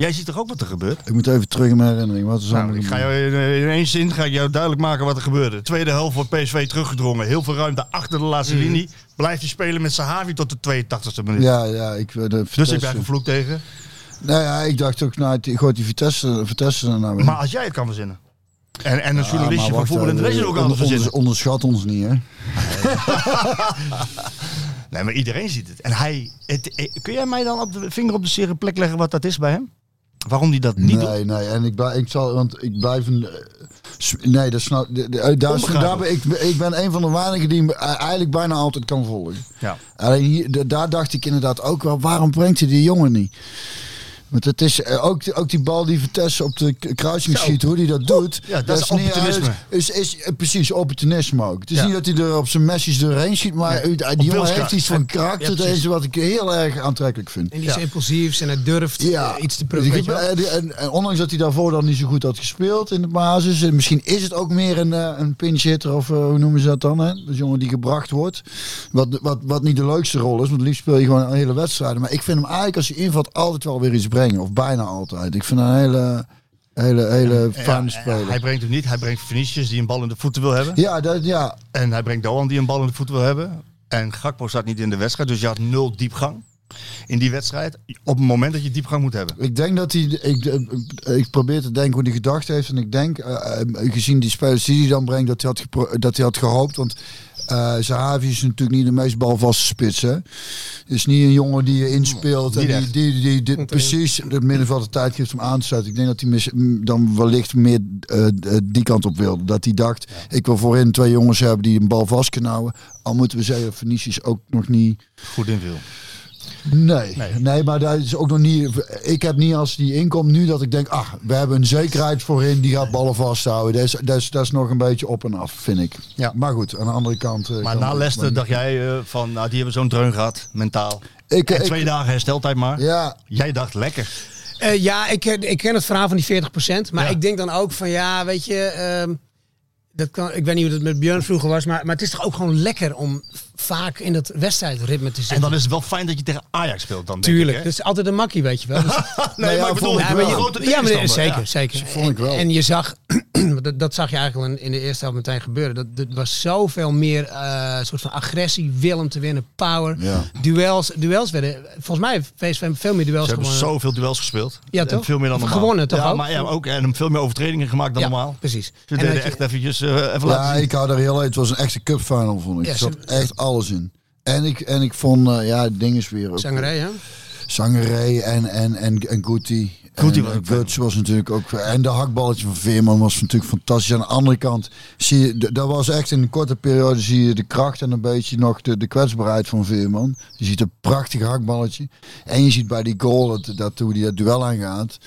Speaker 4: Jij ziet toch ook wat er gebeurt?
Speaker 2: ik moet even terug in mijn herinnering, wat is
Speaker 4: Nou, ik ga jou in, in één zin ga ik jou duidelijk maken wat er gebeurde. Tweede helft wordt PSV teruggedrongen. Heel veel ruimte achter de laatste linie. Blijft hij spelen met Sahavi tot de 82e minuut.
Speaker 2: Ja, ja, ik, eh, de
Speaker 4: Dus ik
Speaker 2: Vitesse.
Speaker 4: ben een vloek tegen.
Speaker 2: Nou ja, ik dacht ook, nou, die, gooit die Vitesse, Vitesse er nou weer.
Speaker 4: Maar als jij het kan verzinnen. En, en een
Speaker 2: Ja, maar
Speaker 4: journalistje van
Speaker 2: wacht,
Speaker 4: voetbal en de
Speaker 2: eh,
Speaker 4: rest ook
Speaker 2: onder-
Speaker 4: anders verzinnen.
Speaker 2: onder- Onderschat ons niet, hè?
Speaker 4: Nee, maar iedereen ziet het. En hij, het- eh, kun jij mij dan op de vinger op de zere plek leggen wat dat is bij hem? Waarom die dat niet doet?
Speaker 2: Nee, nee. En ik, blij- ik zal, want ik blijf een. Nee, dat snap de- de- daar, is-
Speaker 4: Onbegaan.
Speaker 2: daar ben ik. Ik ben een van de weinigen die hem eh, eigenlijk bijna altijd kan volgen.
Speaker 4: Ja.
Speaker 2: Alleen hier, d- daar dacht ik inderdaad ook wel, waarom brengt hij die jongen niet? Want het is eh, ook, die- ook die bal die Vitesse op de k- kruising schiet, hoe hij dat doet.
Speaker 4: Ja, dat is opportunisme.
Speaker 2: uit- is, is, eh, precies, opportunisme ook. Het is niet dat hij er op zijn mesjes doorheen schiet, maar eh, die
Speaker 4: Op
Speaker 2: jongen
Speaker 4: wilskracht.
Speaker 2: heeft iets van
Speaker 4: Ja,
Speaker 2: karakter. dat
Speaker 4: precies.
Speaker 2: is wat ik heel erg aantrekkelijk vind.
Speaker 9: En die is impulsief en hij durft
Speaker 2: Ja.
Speaker 9: eh, iets te
Speaker 2: Dus ik
Speaker 9: proberen. weet
Speaker 2: heb-
Speaker 9: je wel.
Speaker 2: eh, die- en, en ondanks dat hij daarvoor dan niet zo goed had gespeeld in de basis. En misschien is het ook meer een, eh, een pinch hitter of eh, hoe noemen ze dat dan? Hè? De jongen die gebracht wordt. Wat, wat, wat niet de leukste rol is, want het liefst speel je gewoon een hele wedstrijd. Maar ik vind hem eigenlijk als hij invalt altijd wel weer iets brengen. Of bijna altijd. Ik vind hem een hele, hele, hele fijne
Speaker 4: Ja,
Speaker 2: speler.
Speaker 4: Eh, Hij brengt hem niet. Hij brengt Vinicius die een bal in de voeten wil hebben.
Speaker 2: ja, dat, ja,
Speaker 4: En hij brengt Doan die een bal in de voet wil hebben. En Gakpo staat niet in de wedstrijd. Dus je had nul diepgang in die wedstrijd. Op het moment dat je diepgang moet hebben.
Speaker 2: Ik denk dat hij. Ik, ik probeer te denken hoe hij gedacht heeft. En ik denk, eh, eh, gezien die spelers die hij dan brengt, dat hij had, gepro- dat hij had gehoopt. Want eh Zahavi is natuurlijk niet de meest balvaste spits. Hè? Is niet een jongen die je inspeelt. En
Speaker 4: Niet
Speaker 2: die,
Speaker 4: echt.
Speaker 2: die, die, die- precies het middenveld de tijd geeft om aan te sluiten. Ik denk dat hij mis- m, dan wellicht meer eh, eh, die kant op wilde. Dat hij dacht, ik wil voorin twee jongens hebben die een bal vast kunnen houden. Al moeten we zeggen, Venetius ook nog niet.
Speaker 4: Goed in wil.
Speaker 2: Nee, nee. maar daar is ook nog niet. Ik heb niet als die inkomt nu dat ik denk, ah, we hebben een zekerheid voorin, die gaat ballen vasthouden. Dat is, dat is, dat is nog een beetje op en af, vind ik.
Speaker 4: Ja.
Speaker 2: Maar goed, aan de andere kant. eh,
Speaker 4: Maar
Speaker 2: kan
Speaker 4: na
Speaker 2: het-
Speaker 4: Leicester dacht jij eh, van, nou die hebben zo'n dreun gehad, mentaal.
Speaker 2: Ik,
Speaker 4: en
Speaker 2: ik-
Speaker 4: twee dagen hersteltijd maar.
Speaker 2: Ja,
Speaker 4: Jij dacht lekker.
Speaker 9: Eh, ja, ik, ken- ik ken het verhaal van die 40%. Maar
Speaker 4: Ja.
Speaker 9: ik denk dan ook van ja, weet je. ehm, dat kan, ik weet niet hoe dat met Björn vroeger was. Maar, maar het is toch ook gewoon lekker om vaak in dat wedstrijdritme te zitten.
Speaker 4: En dan is het wel fijn dat je tegen Ajax speelt dan, denk
Speaker 9: Tuurlijk, Dus
Speaker 4: ik.
Speaker 9: dat
Speaker 4: hè?
Speaker 9: is altijd een makkie, weet je wel. Dus-
Speaker 4: Nee,
Speaker 2: ja,
Speaker 4: maar ik bedoel,
Speaker 2: vond ik
Speaker 9: ja,
Speaker 2: wel.
Speaker 9: maar je-
Speaker 4: grote
Speaker 9: ja, maar,
Speaker 4: tegenstander,
Speaker 9: zeker,
Speaker 4: ja.
Speaker 9: zeker.
Speaker 2: vond ik wel.
Speaker 9: En je zag, dat, dat zag je eigenlijk al in, in de eerste helft meteen gebeuren. Dat, er was zoveel meer eh soort van agressie, wil om te winnen, power.
Speaker 2: Ja.
Speaker 9: Duels, duels werden, volgens mij heeft PSV veel meer duels
Speaker 4: Ze hebben
Speaker 9: gewonnen.
Speaker 4: zoveel duels gespeeld.
Speaker 9: eh, Ja,
Speaker 4: En
Speaker 9: toch?
Speaker 4: Veel meer dan
Speaker 9: Of
Speaker 4: normaal.
Speaker 9: gewonnen, toch
Speaker 4: ja,
Speaker 9: ook?
Speaker 4: Maar, ja, maar ook. En veel meer overtredingen gemaakt dan
Speaker 9: Ja,
Speaker 4: normaal.
Speaker 9: precies.
Speaker 4: Ze
Speaker 9: En
Speaker 4: deden
Speaker 9: dat je-
Speaker 4: echt eventjes eh, even laten
Speaker 2: ja,
Speaker 4: zien.
Speaker 2: ik hou er heel uit. Het was een echte cupfinal, vond ik.
Speaker 9: Ja,
Speaker 2: er
Speaker 9: ze-
Speaker 2: zat echt alles in. En ik, en ik vond, eh, ja, het ding is weer. ook-
Speaker 9: Zangerij, hè?
Speaker 2: Zangerij en, en, en, en Guti.
Speaker 4: Guti
Speaker 2: En
Speaker 4: was ook
Speaker 2: Guts was natuurlijk ook. En de hakballetje van Veerman was natuurlijk fantastisch. Aan de andere kant zie je, d- dat was echt in een korte periode zie je de kracht en een beetje nog de, de kwetsbaarheid van Veerman. Je ziet een prachtig hakballetje. En je ziet bij die goal dat, dat hoe die dat duel aangaat.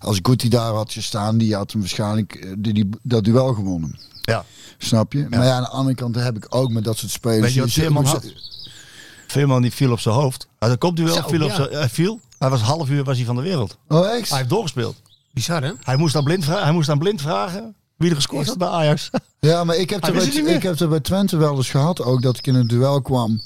Speaker 2: Als Guti daar had gestaan, die had hem waarschijnlijk eh, die, die, dat duel gewonnen.
Speaker 4: Ja.
Speaker 2: Snap je? Maar ja, aan de andere kant daar heb ik ook met dat soort spelers.
Speaker 4: Weet je wat
Speaker 2: Die-
Speaker 4: Veerman had? Veerman die viel op zijn hoofd. Ah, Hij had een kopduel,
Speaker 9: Zo,
Speaker 4: viel op
Speaker 9: ja.
Speaker 4: zijn, hij viel. Hij was half uur was hij van de wereld.
Speaker 2: Oh, echt?
Speaker 4: Hij heeft doorgespeeld.
Speaker 9: Bizar, hè?
Speaker 4: Hij moest aan blind, vra- hij moest aan blind vragen wie er gescoord had bij Ajax.
Speaker 2: Ja, maar ik heb,
Speaker 4: Hij
Speaker 2: er bij,
Speaker 4: wist het niet
Speaker 2: ik
Speaker 4: meer.
Speaker 2: heb er bij Twente wel eens gehad ook dat ik in een duel kwam.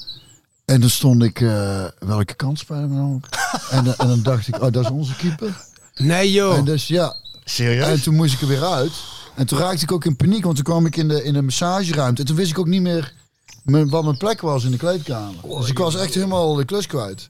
Speaker 2: En dan stond ik, eh, welke kant spelen we nou op? en, dan- en dan dacht ik, oh, dat is onze keeper.
Speaker 9: Nee, joh.
Speaker 4: Oh.
Speaker 2: En dus ja, en
Speaker 4: Serieus?
Speaker 2: toen moest ik er weer uit. En toen raakte ik ook in paniek, want toen kwam ik in de, in de massageruimte. En toen wist ik ook niet meer mijn- wat mijn plek was in de kleedkamer. dus ik was echt helemaal de klus kwijt.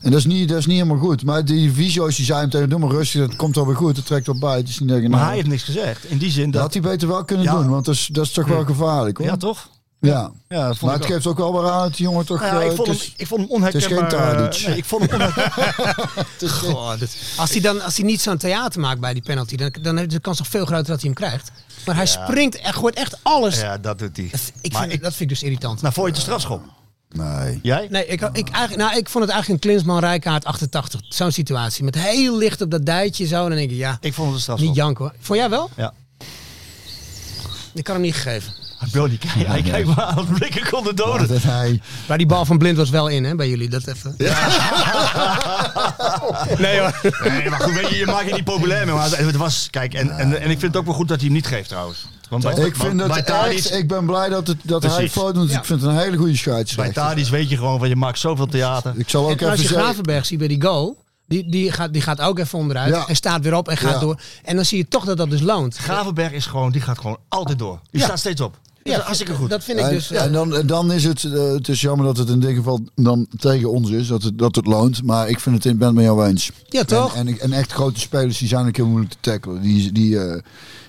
Speaker 2: En dat is niet, dat is niet helemaal goed. Maar die visio's die zeiden tegen doe maar rustig, dat komt alweer goed. Dat trekt wel bij. Het is niet dat je-
Speaker 4: Maar
Speaker 2: nou,
Speaker 4: hij heeft niks gezegd. In die zin
Speaker 2: dat
Speaker 4: dat...
Speaker 2: had hij beter wel kunnen
Speaker 4: Ja.
Speaker 2: doen, want dat is, dat is toch wel gevaarlijk hoor.
Speaker 4: Ja, toch?
Speaker 2: Ja,
Speaker 4: Ja, dat
Speaker 2: maar
Speaker 4: vond ik
Speaker 2: het
Speaker 4: ook.
Speaker 2: geeft ook wel weer aan dat die jongen toch...
Speaker 4: Nou ja,
Speaker 2: eh,
Speaker 4: ik, vond
Speaker 2: het
Speaker 4: hem,
Speaker 2: is-
Speaker 4: ik vond hem
Speaker 2: is geen
Speaker 4: onherkenbaar.
Speaker 2: Tadic.
Speaker 4: eh, nee, ik vond hem onherkenbaar.
Speaker 2: het is geen-
Speaker 9: Goh, dat- als hij dan als hij niet zo'n theater maakt bij die penalty, dan, dan is de kans nog veel groter dat hij hem krijgt. Maar hij springt en gooit echt alles.
Speaker 4: ja, dat doet hij.
Speaker 9: Ik
Speaker 4: maar
Speaker 9: vind,
Speaker 4: ik,
Speaker 9: dat vind ik dus irritant.
Speaker 4: nou, vond je het een strafschop?
Speaker 2: Nee.
Speaker 4: Jij?
Speaker 9: Nee, ik, ik, eigenlijk, nou, ik vond het eigenlijk een Klinsman Rijkaard 88. Zo'n situatie. Met heel licht op dat dijtje zo. En dan denk ik, ja,
Speaker 4: Ik vond het een strafschop.
Speaker 9: niet janken hoor. Vond jij wel?
Speaker 4: Ja.
Speaker 9: Ik kan hem niet gegeven.
Speaker 4: Bro, die kijkt, hij kijkt maar aan Oh, dat blikken konden doden.
Speaker 2: Dat hij...
Speaker 9: Maar die bal van Blind was wel in, hè, bij jullie. Dat even. nee hoor.
Speaker 4: Nee, maar goed, weet je, je maakt het niet populair meer. Maar het was, kijk, en, en, en ik vind het ook wel goed dat hij hem niet geeft trouwens. Want bij,
Speaker 2: Ik vind
Speaker 4: want
Speaker 2: dat
Speaker 4: bij Tadic,
Speaker 2: echt... Ik ben blij dat, het, dat hij
Speaker 4: Precies.
Speaker 2: fout doet. Ik vind het een hele goede
Speaker 4: bij
Speaker 2: scheidsrechter.
Speaker 4: Tadic weet je gewoon van je maakt zoveel theater.
Speaker 2: Ik zal ook
Speaker 9: En als
Speaker 2: even
Speaker 9: je
Speaker 2: zeggen...
Speaker 9: Gravenberg ziet bij die goal, die, die, gaat, die gaat ook even onderuit.
Speaker 2: Ja.
Speaker 9: En staat weer op en gaat
Speaker 2: Ja.
Speaker 9: door. En dan zie je toch dat dat dus loont.
Speaker 4: Gravenberg is gewoon, die gaat gewoon altijd door. Die staat steeds op. Dat is hartstikke goed.
Speaker 9: Dat vind ik
Speaker 2: En,
Speaker 9: dus.
Speaker 2: en dan, en dan is het, eh, het is jammer dat het in dit geval dan tegen ons is, dat het, dat het loont. Maar ik vind het, ik ben het met jou eens.
Speaker 9: ja, toch?
Speaker 2: En, en, ik- en echt grote spelers, die zijn ook heel moeilijk te tackelen. Die, die, eh,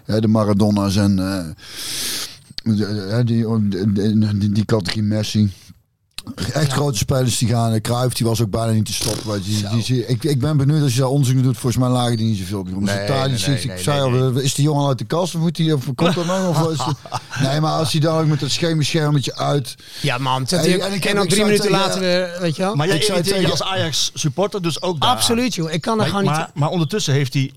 Speaker 2: ja, de Maradona's en eh, de- de- die, die, die categorie Messi. Echt grote spelers die gaan. Kruif, die was ook bijna niet te stoppen. weet je. Die, die, die- ik, ik ben benieuwd als je daar onzin doet. Volgens mij lagen die niet zoveel op. Nee,
Speaker 4: Nee, nee,
Speaker 2: nee,
Speaker 4: nee,
Speaker 2: ik
Speaker 4: nee,
Speaker 2: zei
Speaker 4: nee,
Speaker 2: al, eh, is die jongen uit de kast? Of, moet die, of komt dat nou? Of, is die- nee, maar als hij dan ook met dat schemerschermetje uit...
Speaker 9: Ja man, zet
Speaker 2: En-
Speaker 9: die-
Speaker 2: en
Speaker 9: en,
Speaker 2: ik heb-
Speaker 9: dan
Speaker 2: ik
Speaker 9: drie
Speaker 2: zou
Speaker 9: minuten
Speaker 2: tegen-
Speaker 9: later weer, weet je wel.
Speaker 4: Maar jij
Speaker 2: Ik zou
Speaker 4: irriteert je als
Speaker 2: zeggen-
Speaker 4: Ajax supporter dus ook daar.
Speaker 9: Absoluut joh, ik kan er
Speaker 4: Maar,
Speaker 9: gewoon
Speaker 4: maar,
Speaker 9: niet...
Speaker 4: maar ondertussen heeft hij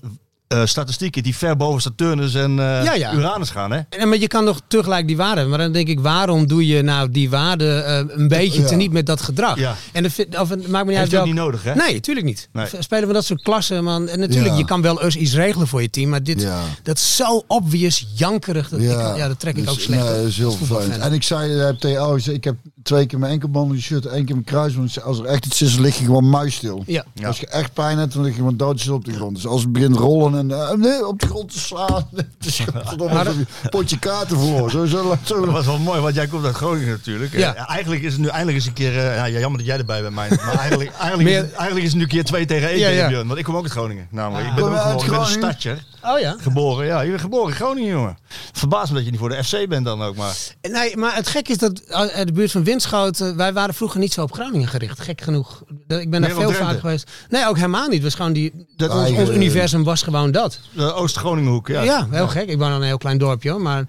Speaker 4: eh, statistieken die ver boven Saturnus en eh,
Speaker 9: Ja, ja.
Speaker 4: Uranus gaan. Hè?
Speaker 9: En, maar je kan nog tegelijk die waarde hebben. Maar dan denk ik, waarom doe je nou die waarde eh, een beetje
Speaker 2: Ja.
Speaker 9: teniet met dat gedrag?
Speaker 4: Ja.
Speaker 9: En dat vind- of, het maakt me niet
Speaker 4: Heeft
Speaker 9: uit
Speaker 4: hij ook
Speaker 9: welk...
Speaker 4: niet nodig, hè?
Speaker 9: Nee, tuurlijk niet.
Speaker 4: Nee.
Speaker 9: V- Spelen we dat soort klassen, man. En natuurlijk,
Speaker 2: Ja.
Speaker 9: je kan wel eens iets regelen voor je team. Maar dit,
Speaker 2: Ja.
Speaker 9: dat is zo obvious, jankerig. Dat, ja. Ik, ja, dat trek ik
Speaker 2: Dus,
Speaker 9: ook slecht.
Speaker 2: Nee,
Speaker 9: op
Speaker 2: dat is heel
Speaker 9: als voetbalfan.
Speaker 2: vervelend. En ik zei, eh, heb tegen jou gezegd, ik heb twee keer mijn enkelband in de shirt, één keer mijn kruisband. Ik zei, Als er echt iets is, dan lig je gewoon muisstil.
Speaker 9: Ja.
Speaker 4: Ja.
Speaker 2: Als je echt pijn hebt, dan lig je gewoon doodstil op de grond. Dus als het begint rollen en eh, nee, op de grond te slaan, het is verdomme alsof je een potje kaarten voor. Zo, zo, zo.
Speaker 4: Dat was wel mooi, want jij komt uit Groningen natuurlijk.
Speaker 9: Ja.
Speaker 4: Eh, eigenlijk is het nu eindelijk eens een keer... eh, ja, jammer dat jij erbij bent, Mijn. Maar eigenlijk, eigenlijk, is
Speaker 9: Meer-
Speaker 4: het, eigenlijk is het nu keer twee tegen één
Speaker 9: Ja,
Speaker 4: tegen
Speaker 9: ja. Ah.
Speaker 4: Björn. Want ik kom ook uit Groningen. Namelijk. Ik
Speaker 2: Kom
Speaker 4: ben
Speaker 2: je
Speaker 4: ook
Speaker 2: uit
Speaker 4: geboren, ik ben een
Speaker 2: Groningen?
Speaker 4: stadjer.
Speaker 9: Oh ja.
Speaker 4: Geboren, ja. Je bent geboren in Groningen, jongen. Verbaas me dat je niet voor de FC bent dan ook, maar...
Speaker 9: Nee, maar het gek is dat eh, de buurt van Winschoten, eh, wij waren vroeger niet zo op Groningen gericht. Gek genoeg. Dat- Ik ben daar
Speaker 4: op
Speaker 9: veel
Speaker 4: Drenthe.
Speaker 9: vaak geweest. Nee, ook helemaal niet. Het was gewoon die, dat ons,
Speaker 2: Eigen-
Speaker 9: ons universum was gewoon dat.
Speaker 4: De eh, Oost-Groningenhoek, ja.
Speaker 9: Ja, heel gek. Ik woon in een heel klein dorpje hoor, maar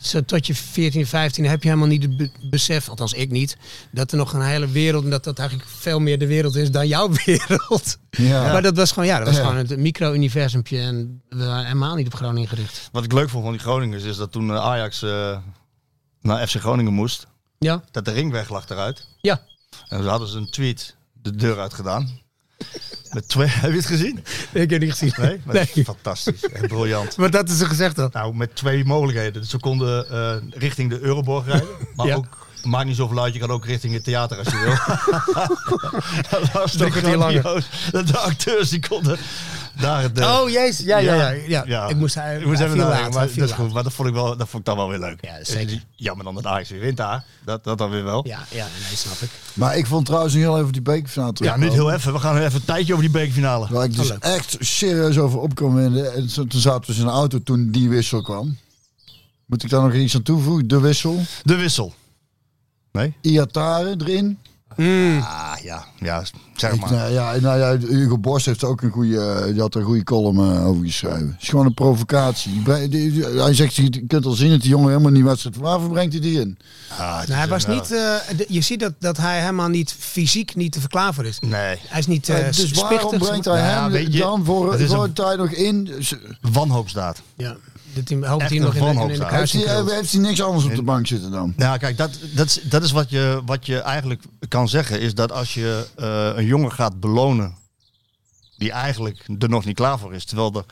Speaker 9: zo tot je 14, 15 heb je helemaal niet het be- besef, althans ik niet, dat er nog een hele wereld en dat dat eigenlijk veel meer de wereld is dan jouw wereld.
Speaker 2: Ja.
Speaker 9: Maar dat was gewoon, ja, dat was
Speaker 2: Ja.
Speaker 9: gewoon het micro-universumpje en we waren helemaal niet op Groningen gericht.
Speaker 4: Wat ik leuk vond van die Groningers is dat toen eh, Ajax eh, naar FC Groningen moest,
Speaker 9: Ja,
Speaker 4: dat de ringweg lag eruit.
Speaker 9: ja.
Speaker 4: En ze hadden ze een tweet de deur uit gedaan. Met twee, heb je het gezien?
Speaker 9: Ik heb niet gezien.
Speaker 4: Nee? Maar dat is
Speaker 9: Nee.
Speaker 4: Fantastisch, echt briljant.
Speaker 9: Maar dat is een gezegde.
Speaker 4: Nou, met twee mogelijkheden. Ze konden eh, richting de Euroborg rijden, maar
Speaker 9: Ja.
Speaker 4: ook... Maakt niet zoveel uit, je kan ook richting het theater als je wil. dat was toch
Speaker 9: kwartier langer.
Speaker 4: grandioos. Dat de acteurs die konden daar het, eh,
Speaker 9: Oh jezus, ja, ja, ja, ja. Ik moest eh, hij.
Speaker 4: ik moest even
Speaker 9: laten.
Speaker 4: nadenken, maar dat is goed. Maar dat vond ik wel, dat vond ik dan wel weer leuk. Eh,
Speaker 9: Ja, zeker.
Speaker 4: Jammer dan dat Ajax weer wint daar. Dat, dat dan weer wel. Ja,
Speaker 9: Ja, ja, nee, snap ik.
Speaker 4: Ah,
Speaker 2: Maar ik vond trouwens nog heel even die bekerfinale terug.
Speaker 4: niet heel even. We gaan even een tijdje over die bekerfinale.
Speaker 2: Waar ik
Speaker 9: Oh,
Speaker 2: dus echt serieus over op kon winden. En zo- toen zaten we dus in een auto toen die wissel kwam. Moet ik daar nog iets aan toevoegen? De wissel.
Speaker 4: De wissel. Nee?
Speaker 2: Iatare erin.
Speaker 4: Ah, ja. Ja, zeg
Speaker 2: Ik-
Speaker 4: maar.
Speaker 2: nou, ja, nou ja, Hugo Borst heeft ook een goede, eh, die had er een goede column eh, over geschreven. Het is gewoon een provocatie. Die bre- die- die- Hij zegt, je kunt al zien dat die jongen helemaal niet wedstrijd. Waarvoor brengt hij die in?
Speaker 4: Ah, het
Speaker 9: Nou,
Speaker 4: is
Speaker 9: hij was
Speaker 4: een,
Speaker 9: niet, eh, de- je ziet dat, dat hij helemaal niet fysiek niet te verklaren voor is.
Speaker 4: eh, Nee.
Speaker 9: Hij is niet eh
Speaker 2: Eh, dus
Speaker 9: spichtig,
Speaker 2: waarom
Speaker 9: zeg maar.
Speaker 2: brengt hij
Speaker 4: Ja,
Speaker 2: hem
Speaker 4: weet je,
Speaker 2: dan voor,
Speaker 4: het is
Speaker 2: voor
Speaker 4: een-
Speaker 2: een tijd nog in? Z-
Speaker 4: Wanhoopsdaad.
Speaker 9: Ja, dit team hoopt
Speaker 4: Echt
Speaker 9: hier
Speaker 4: een
Speaker 9: nog in, de- in, de
Speaker 4: wanhoopsdaad.
Speaker 9: kruis.
Speaker 2: Heeft hij, eh, heeft hij niks anders op de bank zitten dan?
Speaker 4: Nou, kijk, dat, dat, is, dat is wat je, wat je eigenlijk kan zeggen. Is dat als je eh, een jongen gaat belonen. die eigenlijk er nog niet klaar voor is. Terwijl er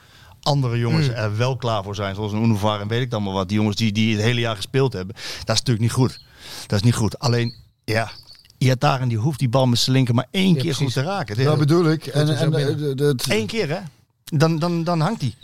Speaker 4: andere jongens er wel klaar voor zijn. Zoals een Unovar en weet ik dan maar wat. Die jongens die, die het hele jaar gespeeld hebben. Dat is natuurlijk niet goed. Dat is niet goed. Alleen, ja. Iataren die hoeft die bal met zijn linker maar één keer
Speaker 9: precies.
Speaker 4: goed te raken. Het is-
Speaker 2: Dat bedoel ik. En,
Speaker 9: is
Speaker 2: en,
Speaker 9: ook binnen.
Speaker 2: eh, dat- dat-
Speaker 4: Eén keer, hè? Dan, dan, dan hangt hij.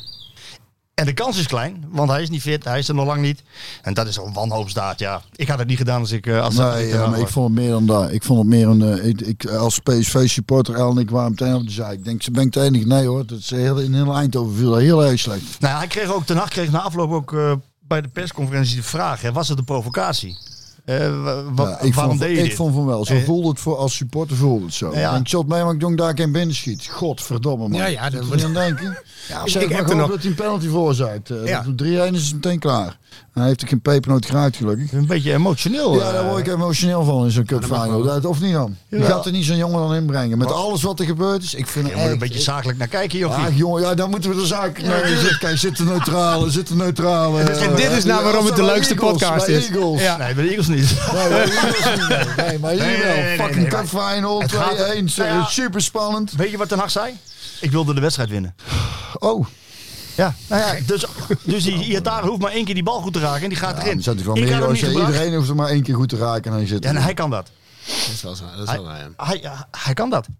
Speaker 4: En de kans is klein, want hij is niet fit, hij is er nog lang niet. En dat is een wanhoopsdaad, ja. Ik had het niet gedaan als ik... eh, Als als
Speaker 2: Nee,
Speaker 4: ik
Speaker 2: ja,
Speaker 4: eraan
Speaker 2: maar ik
Speaker 4: was.
Speaker 2: vond het meer dan dat. Ik vond het meer een. eh, ik, ik- als PSV-supporter, El en ik waren meteen op de zaak. Ik denk, ze ben ik de enige. Nee hoor, dat is heel, in heel Eindhoven viel dat heel erg slecht.
Speaker 4: Nou, ja, hij kreeg ook, ten nacht kreeg na afloop ook eh, bij de persconferentie de vraag, hè, was het een provocatie? Eh, wa- wa-
Speaker 2: Ja, ik
Speaker 4: waarom
Speaker 2: vond,
Speaker 4: deed je
Speaker 2: ik
Speaker 4: dit?
Speaker 2: vond van wel. Zo
Speaker 4: Eh,
Speaker 2: voelde het voor als supporter voelde het zo.
Speaker 4: Ja.
Speaker 2: En shot mij, maar ik doe daar geen binnenschiet. Godverdomme man.
Speaker 9: Ja, ja, dat
Speaker 2: Moet je
Speaker 9: wordt-
Speaker 2: aan denken. Ja, zeg
Speaker 9: ik
Speaker 2: maar
Speaker 9: heb er
Speaker 2: gewoon
Speaker 9: nog-
Speaker 2: dat hij een penalty veroorzaakt. Eh,
Speaker 9: Ja.
Speaker 2: dat- 3-1 is het meteen klaar. Hij heeft er geen pepernoot geraakt gelukkig.
Speaker 4: Een beetje
Speaker 9: Oh,
Speaker 4: emotioneel.
Speaker 2: Ja, daar
Speaker 4: eh.
Speaker 2: word ik emotioneel van in zo'n cupfinal. Dat- Of niet dan? Je
Speaker 4: Ja.
Speaker 2: gaat er niet zo'n jongen dan inbrengen. Met alles wat er gebeurd is. Ik vind
Speaker 4: Je
Speaker 2: het
Speaker 4: moet
Speaker 2: echt...
Speaker 4: een beetje zakelijk naar kijken, joh.
Speaker 2: Ach jongen, ja, dan moeten we de zaak. Nee, zit, kijk, zit de neutrale, zit de neutrale. En
Speaker 9: Dus dit is nou waarom het de leukste podcast is.
Speaker 2: Eagles.
Speaker 9: Ja.
Speaker 4: Nee, bij de Eagles niet.
Speaker 2: Nee, Nou, maar Eagles niet. Nee, maar hier
Speaker 4: Nee, nee,
Speaker 2: wel.
Speaker 4: nee, nee,
Speaker 2: Fucking
Speaker 4: nee,
Speaker 2: cup final, 2-1.
Speaker 4: Het gaat- Nou ja.
Speaker 2: Super spannend.
Speaker 4: Weet je wat Ten Hag zei? Ik wilde de wedstrijd winnen.
Speaker 2: Oh,
Speaker 4: Ja, nou ja, dus, dus die Iataren hoeft maar één keer die bal goed te raken en die gaat
Speaker 2: er
Speaker 4: erin.
Speaker 2: zat hij van
Speaker 4: ik had
Speaker 2: meer.
Speaker 4: hem
Speaker 2: als
Speaker 4: niet
Speaker 2: je-
Speaker 4: gebracht.
Speaker 2: Iedereen hoeft er maar één keer goed te raken en hij zit.
Speaker 4: Ja, en
Speaker 2: erin.
Speaker 4: hij kan dat.
Speaker 9: Dat is wel zo. Dat is wel waar, ja.
Speaker 4: Hij, ja, hij kan dat.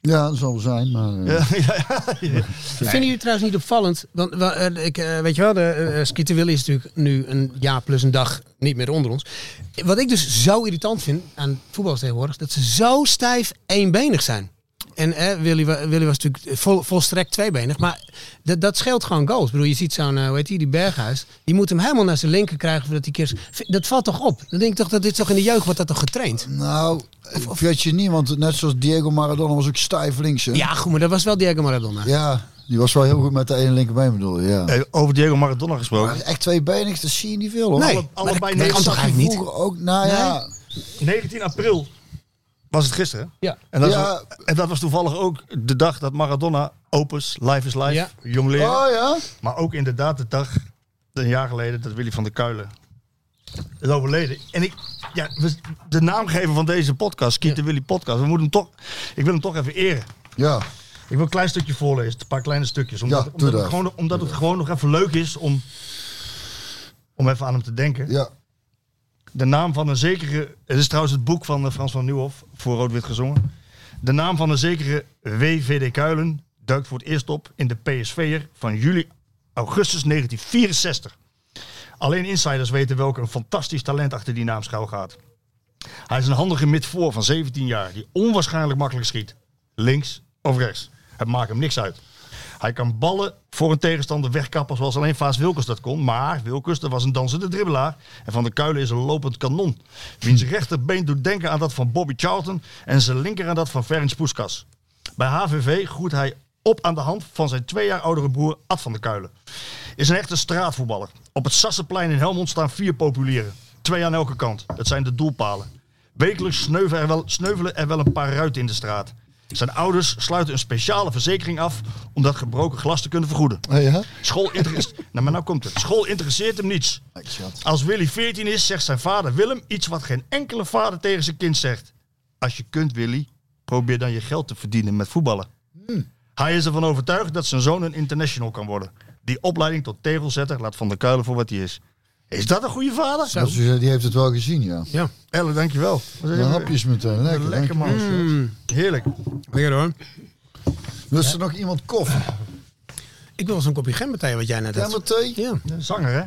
Speaker 2: Ja, dat zal wel zijn. Maar, eh,
Speaker 4: Ja, ja, ja.
Speaker 9: Vinden jullie trouwens niet opvallend? Want wel, eh, ik, eh, weet je wel, de eh, Skeeter Willy is natuurlijk nu een jaar plus een dag niet meer onder ons. Wat ik dus zo irritant vind aan voetbal tegenwoordig, dat ze zo stijf eenbenig zijn. En eh, Willy, wa- Willy was natuurlijk vol, volstrekt tweebenig. Maar dat, dat scheelt gewoon goals. Ik bedoel, je ziet zo'n, eh, hoe heet die, die Berghuis. Die moet hem helemaal naar zijn linker krijgen voordat hij keer... Dat valt toch op? Dan denk ik toch dat dit toch in de jeugd wordt dat toch getraind?
Speaker 2: Nou, ik weet je niet, want net zoals Diego Maradona was ook stijf links. Hè?
Speaker 9: Ja, goed, maar dat was wel Diego Maradona.
Speaker 2: Ja, die was wel heel goed met de ene linkerbeen bedoel je. Ja.
Speaker 4: Hey, over Diego Maradona
Speaker 2: Maar
Speaker 4: gesproken.
Speaker 2: echt tweebenig, dat zie je niet veel hoor.
Speaker 9: Nee,
Speaker 2: Alle-
Speaker 9: maar
Speaker 2: allebei
Speaker 9: dat-
Speaker 2: nee,
Speaker 9: dat kan
Speaker 2: zag
Speaker 9: toch
Speaker 2: je
Speaker 9: eigenlijk
Speaker 2: vroeger Ook, nou ja,
Speaker 4: 19 april was het gisteren.
Speaker 9: Ja.
Speaker 4: En dat,
Speaker 2: Ja.
Speaker 4: was, en dat was toevallig ook de dag dat Maradona Opus, Life is Life,
Speaker 9: Ja.
Speaker 4: jong leren.
Speaker 2: Oh ja?
Speaker 4: Maar ook inderdaad de dag, een jaar geleden, dat Willy van der Kuilen is overleden. En ik, ja, we- de naamgever van deze podcast, Kiet de Willy Podcast, we moeten hem toch, ik wil hem toch even eren.
Speaker 2: Ja,
Speaker 4: Ik wil een klein stukje voorlezen, een paar kleine stukjes.
Speaker 2: Ja,
Speaker 4: Omdat,
Speaker 2: doe
Speaker 4: omdat,
Speaker 2: dat.
Speaker 4: het, gewoon, omdat het gewoon nog even leuk is om, om even aan hem te denken.
Speaker 2: ja.
Speaker 4: De naam van een zekere. Het is trouwens het boek van eh, Frans van Nieuwhof, voor Rood-Wit gezongen. De naam van een zekere WVD Kuilen duikt voor het eerst op in de PSV'er van juli, augustus 1964. Alleen insiders weten welk een fantastisch talent achter die naam schuil gaat. Hij is een handige midvoor van 17 jaar die onwaarschijnlijk makkelijk schiet. Links of rechts. Het maakt hem niks uit. Hij kan ballen voor een tegenstander wegkappen zoals alleen Vaas Wilkes dat kon. Maar Wilkes dat was een dansende dribbelaar. En Van der Kuilen is een lopend kanon. Wiens rechterbeen doet denken aan dat van Bobby Charlton. En zijn linker aan dat van Ferenc Puskas. Bij HVV groeit hij op aan de hand van zijn twee jaar oudere broer Ad van der Kuilen. Is een echte straatvoetballer. Op het Sassenplein in Helmond staan vier populieren. Twee aan elke kant. Dat zijn de doelpalen. Wekelijks sneuvelen er, wel, sneuvelen er wel een paar ruiten in de straat. Zijn ouders sluiten een speciale verzekering af om dat gebroken glas te kunnen vergoeden.
Speaker 2: Hey, hè?
Speaker 4: School interesseert, nou, maar nou komt het. School interesseert hem niets. Als Willy 14 is, zegt zijn vader Willem iets wat geen enkele vader tegen zijn kind zegt. Als je kunt, Willy, probeer dan je geld te verdienen met voetballen. Hij is ervan overtuigd dat zijn zoon een international kan worden. Die opleiding tot tegelzetter laat Van der Kuilen voor wat hij is. Is dat een goede vader?
Speaker 2: Dat is- die heeft het wel gezien, ja.
Speaker 4: Elle, dankjewel.
Speaker 2: De hapjes meteen, lekker.
Speaker 4: Lekker man.
Speaker 2: dankjewel.
Speaker 4: Heerlijk.
Speaker 9: Lekker hoor.
Speaker 2: Lust er nog iemand koffie?
Speaker 9: Ik wil eens een kopje gemberthee, wat jij net had.
Speaker 2: Gember thee?
Speaker 9: Ja.
Speaker 4: Zanger, hè?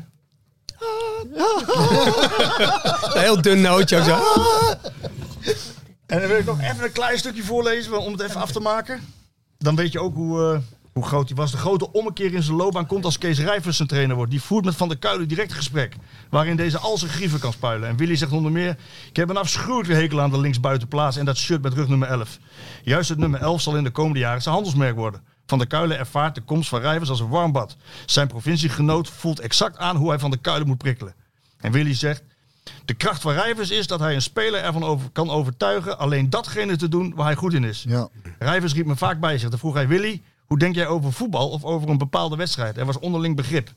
Speaker 9: Een heel dun nootje ook zo.
Speaker 2: Ah!
Speaker 4: En dan wil ik nog even een klein stukje voorlezen om het even af te maken. Dan weet je ook hoe, eh, hoe groot hij was. De grote ommekeer in zijn loopbaan komt als Kees Rijvers zijn trainer wordt. Die voert met Van der Kuilen direct een gesprek. Waarin deze al zijn grieven kan spuilen. En Willy zegt onder meer... Ik heb een afschuwelijke hekel aan de linksbuitenplaats en dat shirt met rug nummer 11. Juist het nummer 11 zal in de komende jaren zijn handelsmerk worden. Van der Kuilen ervaart de komst van Rijvers als een warm bad. Zijn provinciegenoot voelt exact aan hoe hij Van der Kuilen moet prikkelen. En Willy zegt... De kracht van Rijvers is dat hij een speler ervan over, kan overtuigen alleen datgene te doen waar hij goed in is.
Speaker 2: Ja.
Speaker 4: Rijvers riep me vaak bij zich. Dan vroeg hij Willy, hoe denk jij over voetbal of over een bepaalde wedstrijd? Er was onderling begrip.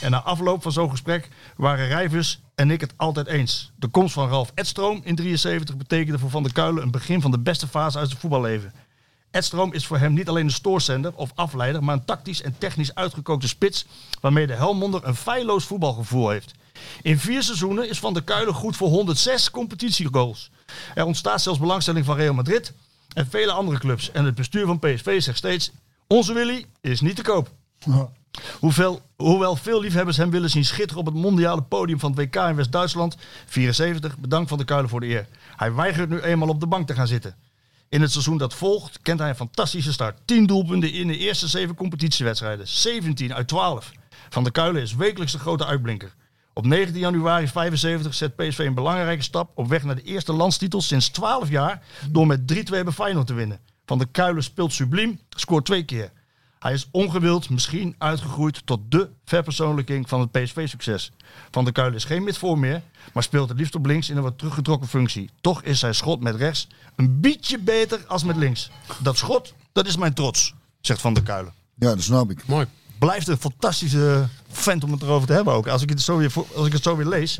Speaker 4: En na afloop van zo'n gesprek waren Rijvers en ik het altijd eens. De komst van Ralf Edström in 73 betekende voor Van der Kuilen een begin van de beste fase uit zijn voetballeven. Edstrom is voor hem niet alleen een stoorzender of afleider, maar een tactisch en technisch uitgekookte spits waarmee de Helmonder een feilloos voetbalgevoel heeft. In vier seizoenen is Van der Kuilen goed voor 106 competitiegoals. Er ontstaat zelfs belangstelling van Real Madrid en vele andere clubs. En het bestuur van PSV zegt steeds, onze Willy is niet te koop. Hoeveel, hoewel veel liefhebbers hem willen zien schitteren op het mondiale podium van het WK in West-Duitsland, 74, bedankt Van der Kuilen voor de eer. Hij weigert nu eenmaal op de bank te gaan zitten. In het seizoen dat volgt kent hij een fantastische start. 10 doelpunten in de eerste 7 competitiewedstrijden. 17 uit 12. Van der Kuilen is wekelijks de grote uitblinker. Op 19 januari 75 zet PSV een belangrijke stap op weg naar de eerste landstitel sinds 12 jaar door met 3-2 bij Feyenoord te winnen. Van der Kuilen speelt subliem, scoort twee keer. Hij is ongewild misschien uitgegroeid tot de verpersoonlijking van het PSV-succes. Van der Kuilen is geen midvoor meer, maar speelt het liefst op links in een wat teruggetrokken functie. Toch is zijn schot met rechts een beetje beter als met links. Dat schot, dat is mijn trots, zegt Van der Kuilen.
Speaker 2: Ja, dat snap ik.
Speaker 9: Mooi.
Speaker 4: Blijft een fantastische vent om het erover te hebben ook. Als ik het zo weer, voor- als ik het zo weer lees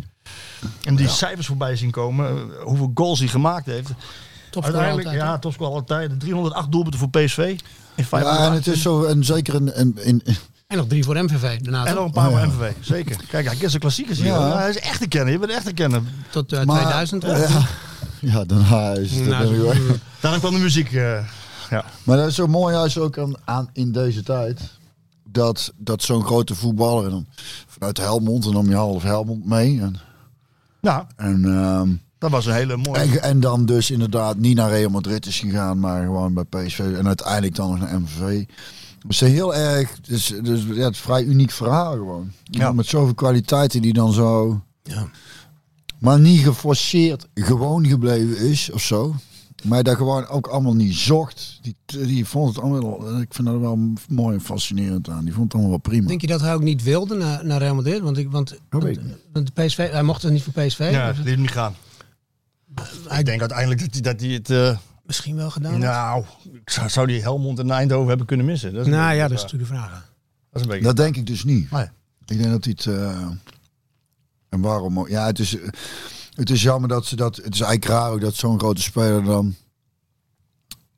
Speaker 4: en die cijfers voorbij zien komen, eh, hoeveel goals hij gemaakt heeft.
Speaker 9: Topscorer
Speaker 4: Uiteindelijk,
Speaker 9: altijd.
Speaker 4: ja, topscorer altijd. 308 doelpunten voor PSV. In
Speaker 2: Ja, en
Speaker 4: 508
Speaker 2: het is zo, en zeker in, in, in-
Speaker 9: En nog drie voor MVV daarna.
Speaker 4: En
Speaker 9: toch?
Speaker 4: nog een paar
Speaker 2: Oh, ja.
Speaker 4: voor MVV, zeker. Kijk, hij is een klassieker hier.
Speaker 2: Ja.
Speaker 4: hoor. Hij is echt een kenner, je bent echt een kenner.
Speaker 9: Tot eh,
Speaker 2: maar-
Speaker 9: 2000. toch?
Speaker 2: Ja, ja daarna is het
Speaker 9: Nou,
Speaker 2: ben ik weg.
Speaker 4: Daarom kwam de muziek. eh, ja.
Speaker 2: Maar dat is zo mooi juist ook aan, aan in deze tijd. Dat, dat zo'n grote voetballer, en dan vanuit Helmond, en dan nam je half Helmond mee. En,
Speaker 4: Nou,
Speaker 2: en ehm,
Speaker 4: Dat was een hele mooie.
Speaker 2: En, en dan dus inderdaad niet naar Real Madrid is gegaan, maar gewoon bij PSV. En uiteindelijk dan nog naar MVV. Dus heel erg, dus, dus ja, het is vrij uniek verhaal gewoon. Ja. Met zoveel kwaliteiten die dan zo... Ja. Maar niet geforceerd gewoon gebleven is of zo. Maar dat gewoon ook allemaal niet zocht. Die, die vond het allemaal, ik vind dat wel mooi en fascinerend aan. Die vond het allemaal wel prima.
Speaker 9: Denk je dat hij ook niet wilde naar, naar Real Madrid? Want, ik, want, want, want de PSV, hij mocht het niet voor PSV.
Speaker 4: Ja, die is niet gaan. Ik denk uiteindelijk dat hij, dat hij het... Uh,
Speaker 9: Misschien wel gedaan.
Speaker 4: Nou, zou, zou die Helmond en Eindhoven hebben kunnen missen?
Speaker 9: Dat is nou ja, dat is natuurlijk de vraag. Hè.
Speaker 4: Dat, is een beetje...
Speaker 2: dat denk ik dus niet. Nee. Ik denk dat hij het... Uh, en waarom? Ja, het is... Uh, het is jammer dat ze dat. Het is eigenlijk raar ook dat zo'n grote speler dan.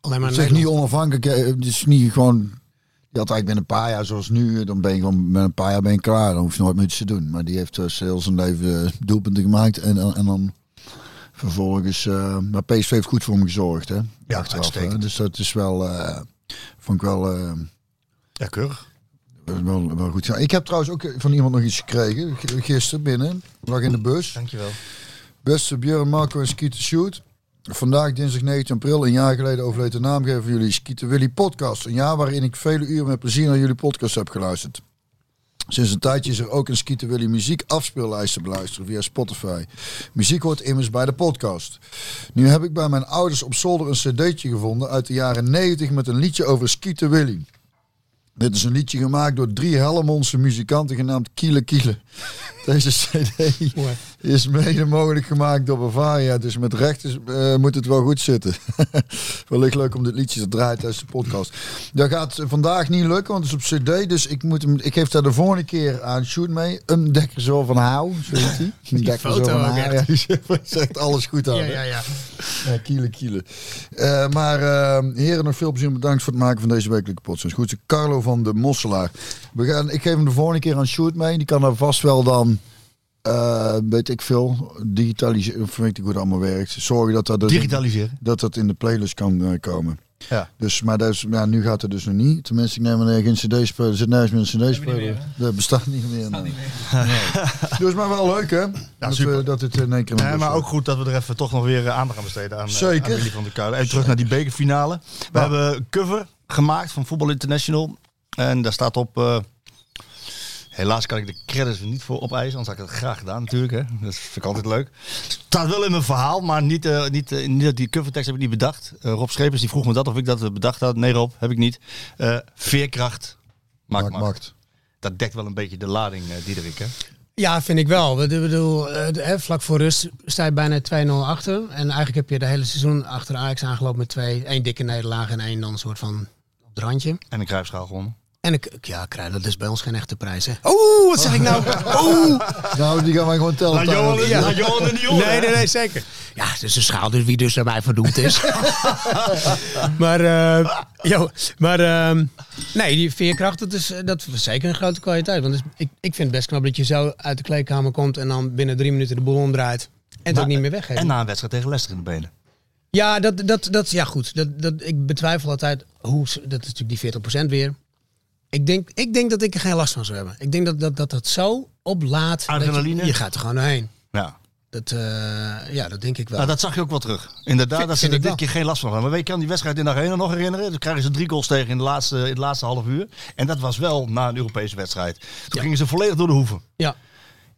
Speaker 2: Alleen maar zich niet onafhankelijk. Het is niet gewoon. Je had eigenlijk binnen een paar jaar zoals nu. Dan ben je gewoon met een paar jaar ben je klaar. Dan hoef je nooit meer iets te doen. Maar die heeft dus heel zijn leven doelpunten gemaakt. En, en dan vervolgens. Uh, maar PSV heeft goed voor hem gezorgd. Hè?
Speaker 4: Ja, Achteraf, hè?
Speaker 2: Dus dat is wel. Uh, vond ik wel. Uh,
Speaker 4: ja, keurig.
Speaker 2: Wel, wel goed. Ja, ik heb trouwens ook van iemand nog iets gekregen. Gisteren binnen. Lag in de bus.
Speaker 4: Dankjewel.
Speaker 2: Beste Björn, Marco en Skeeter Shoot. Vandaag dinsdag 19 april, een jaar geleden overleed de naamgever van jullie Skeeter Willy Podcast. Een jaar waarin ik vele uren met plezier naar jullie podcast heb geluisterd. Sinds een tijdje is er ook een Skeeter Willy muziek afspeellijst te beluisteren via Spotify. Muziek hoort immers bij de podcast. Nu heb ik bij mijn ouders op zolder een cd'tje gevonden uit de jaren 90 met een liedje over Skeeter Willy. Dit is een liedje gemaakt door drie Helmondse muzikanten genaamd Kiele Kiele. Deze cd is mede mogelijk gemaakt door Bavaria. Dus met rechten uh, moet het wel goed zitten. Wellicht leuk om dit liedje te draaien tijdens de podcast. Dat gaat vandaag niet lukken, want het is op cd. Dus ik, moet hem, ik geef daar de volgende keer aan Shoot mee. Een dekker zo van hou, zo heet die.
Speaker 9: die dekker zo van hou.
Speaker 2: Ja, die zegt alles goed aan.
Speaker 9: Ja, ja, ja.
Speaker 2: ja kiele kiele. Uh, maar uh, heren, nog veel plezier. Bedankt voor het maken van deze wekelijke podcast. Goed, Carlo van de Mosselaar. We gaan, ik geef hem de volgende keer aan Shoot mee. Die kan er vast wel dan... Uh, weet ik veel, digitaliseren, of weet ik hoe het allemaal werkt. Zorgen dat dat,
Speaker 4: Digitaliseren.
Speaker 2: In, dat, dat in de playlist kan uh, komen.
Speaker 4: Ja.
Speaker 2: Dus, maar dat is, ja, nu gaat het dus nog niet. Tenminste, ik neem er geen cd-speler. Er zit nergens meer een cd-speler. Dat bestaat niet meer.
Speaker 10: Staat
Speaker 2: nee.
Speaker 10: niet meer.
Speaker 2: Nee. dus maar wel leuk, hè? Ja, dat,
Speaker 4: super.
Speaker 2: We, dat het in één keer...
Speaker 9: Dus,
Speaker 4: Nee,
Speaker 9: eh,
Speaker 4: maar ook goed dat we er even toch nog weer uh, aandacht aan besteden. Aan,
Speaker 2: Zeker.
Speaker 4: Aan van de Kuilen. Even terug naar die bekerfinale. We ja. hebben een cover gemaakt van Voetbal International. En daar staat op... eh, Helaas kan ik de credits er niet voor opeisen, anders had ik het graag gedaan natuurlijk. Hè. Dat vind ik altijd leuk. Het staat wel in mijn verhaal, maar niet, uh, niet, uh, niet die covertekst heb ik niet bedacht. Uh, Rob Schepers die vroeg me dat of ik dat bedacht had. Nee Rob, heb ik niet. Eh, veerkracht maakt macht. macht. Dat dekt wel een beetje de lading, eh, Diederik. Hè?
Speaker 9: Ja, vind ik wel. Ik bedoel, eh, vlak voor rust sta je bijna 2-0 achter. En eigenlijk heb je de hele seizoen achter Ajax aangelopen met twee. één dikke nederlaag en één dan een soort van op het randje.
Speaker 4: En een kruisschaal gewonnen.
Speaker 9: En ik, ja, krijg dat is bij ons geen echte prijs, hè? Oh, wat zeg ik nou? Oh!
Speaker 2: nou, die gaan wij gewoon tellen.
Speaker 4: Laat Johan, oh, ja. Laat Johan er niet onder,
Speaker 9: Nee, nee, nee, zeker. Ja, het is een schaal, dus wie dus aan mij verdoemd is. maar, uh, yo, maar um, nee, die veerkracht, dat is, eh, dat is zeker een grote kwaliteit. Want is, ik, ik vind het best knap dat je zo uit de kleedkamer komt en dan binnen drie minuten de boel omdraait. En het
Speaker 4: Na,
Speaker 9: ook niet meer weggeeft.
Speaker 4: En na een wedstrijd tegen Leicester in de benen.
Speaker 9: Ja, dat, dat, dat, ja goed. Dat, dat, ik betwijfel altijd hoe... Dat is natuurlijk die 40% weer. Ik denk, ik denk dat ik er geen last van zou hebben. Ik denk dat dat, dat, dat zo oplaat.
Speaker 4: Adrenaline?
Speaker 9: Je, je, gaat er gewoon heen.
Speaker 4: Ja.
Speaker 9: Dat, uh, ja, dat denk ik wel.
Speaker 4: Nou, dat zag je ook wel terug. Inderdaad,
Speaker 9: Vind-
Speaker 4: daar
Speaker 9: vind
Speaker 4: zit ik
Speaker 9: ik
Speaker 4: dit
Speaker 9: wel.
Speaker 4: keer geen last van. Maar weet je, aan die wedstrijd in de Arena nog herinneren? Toen krijgen ze drie goals tegen in, de laatste, in het laatste half uur. En dat was wel na een Europese wedstrijd. Toen
Speaker 9: Ja.
Speaker 4: gingen ze volledig door de hoeven.
Speaker 9: ja.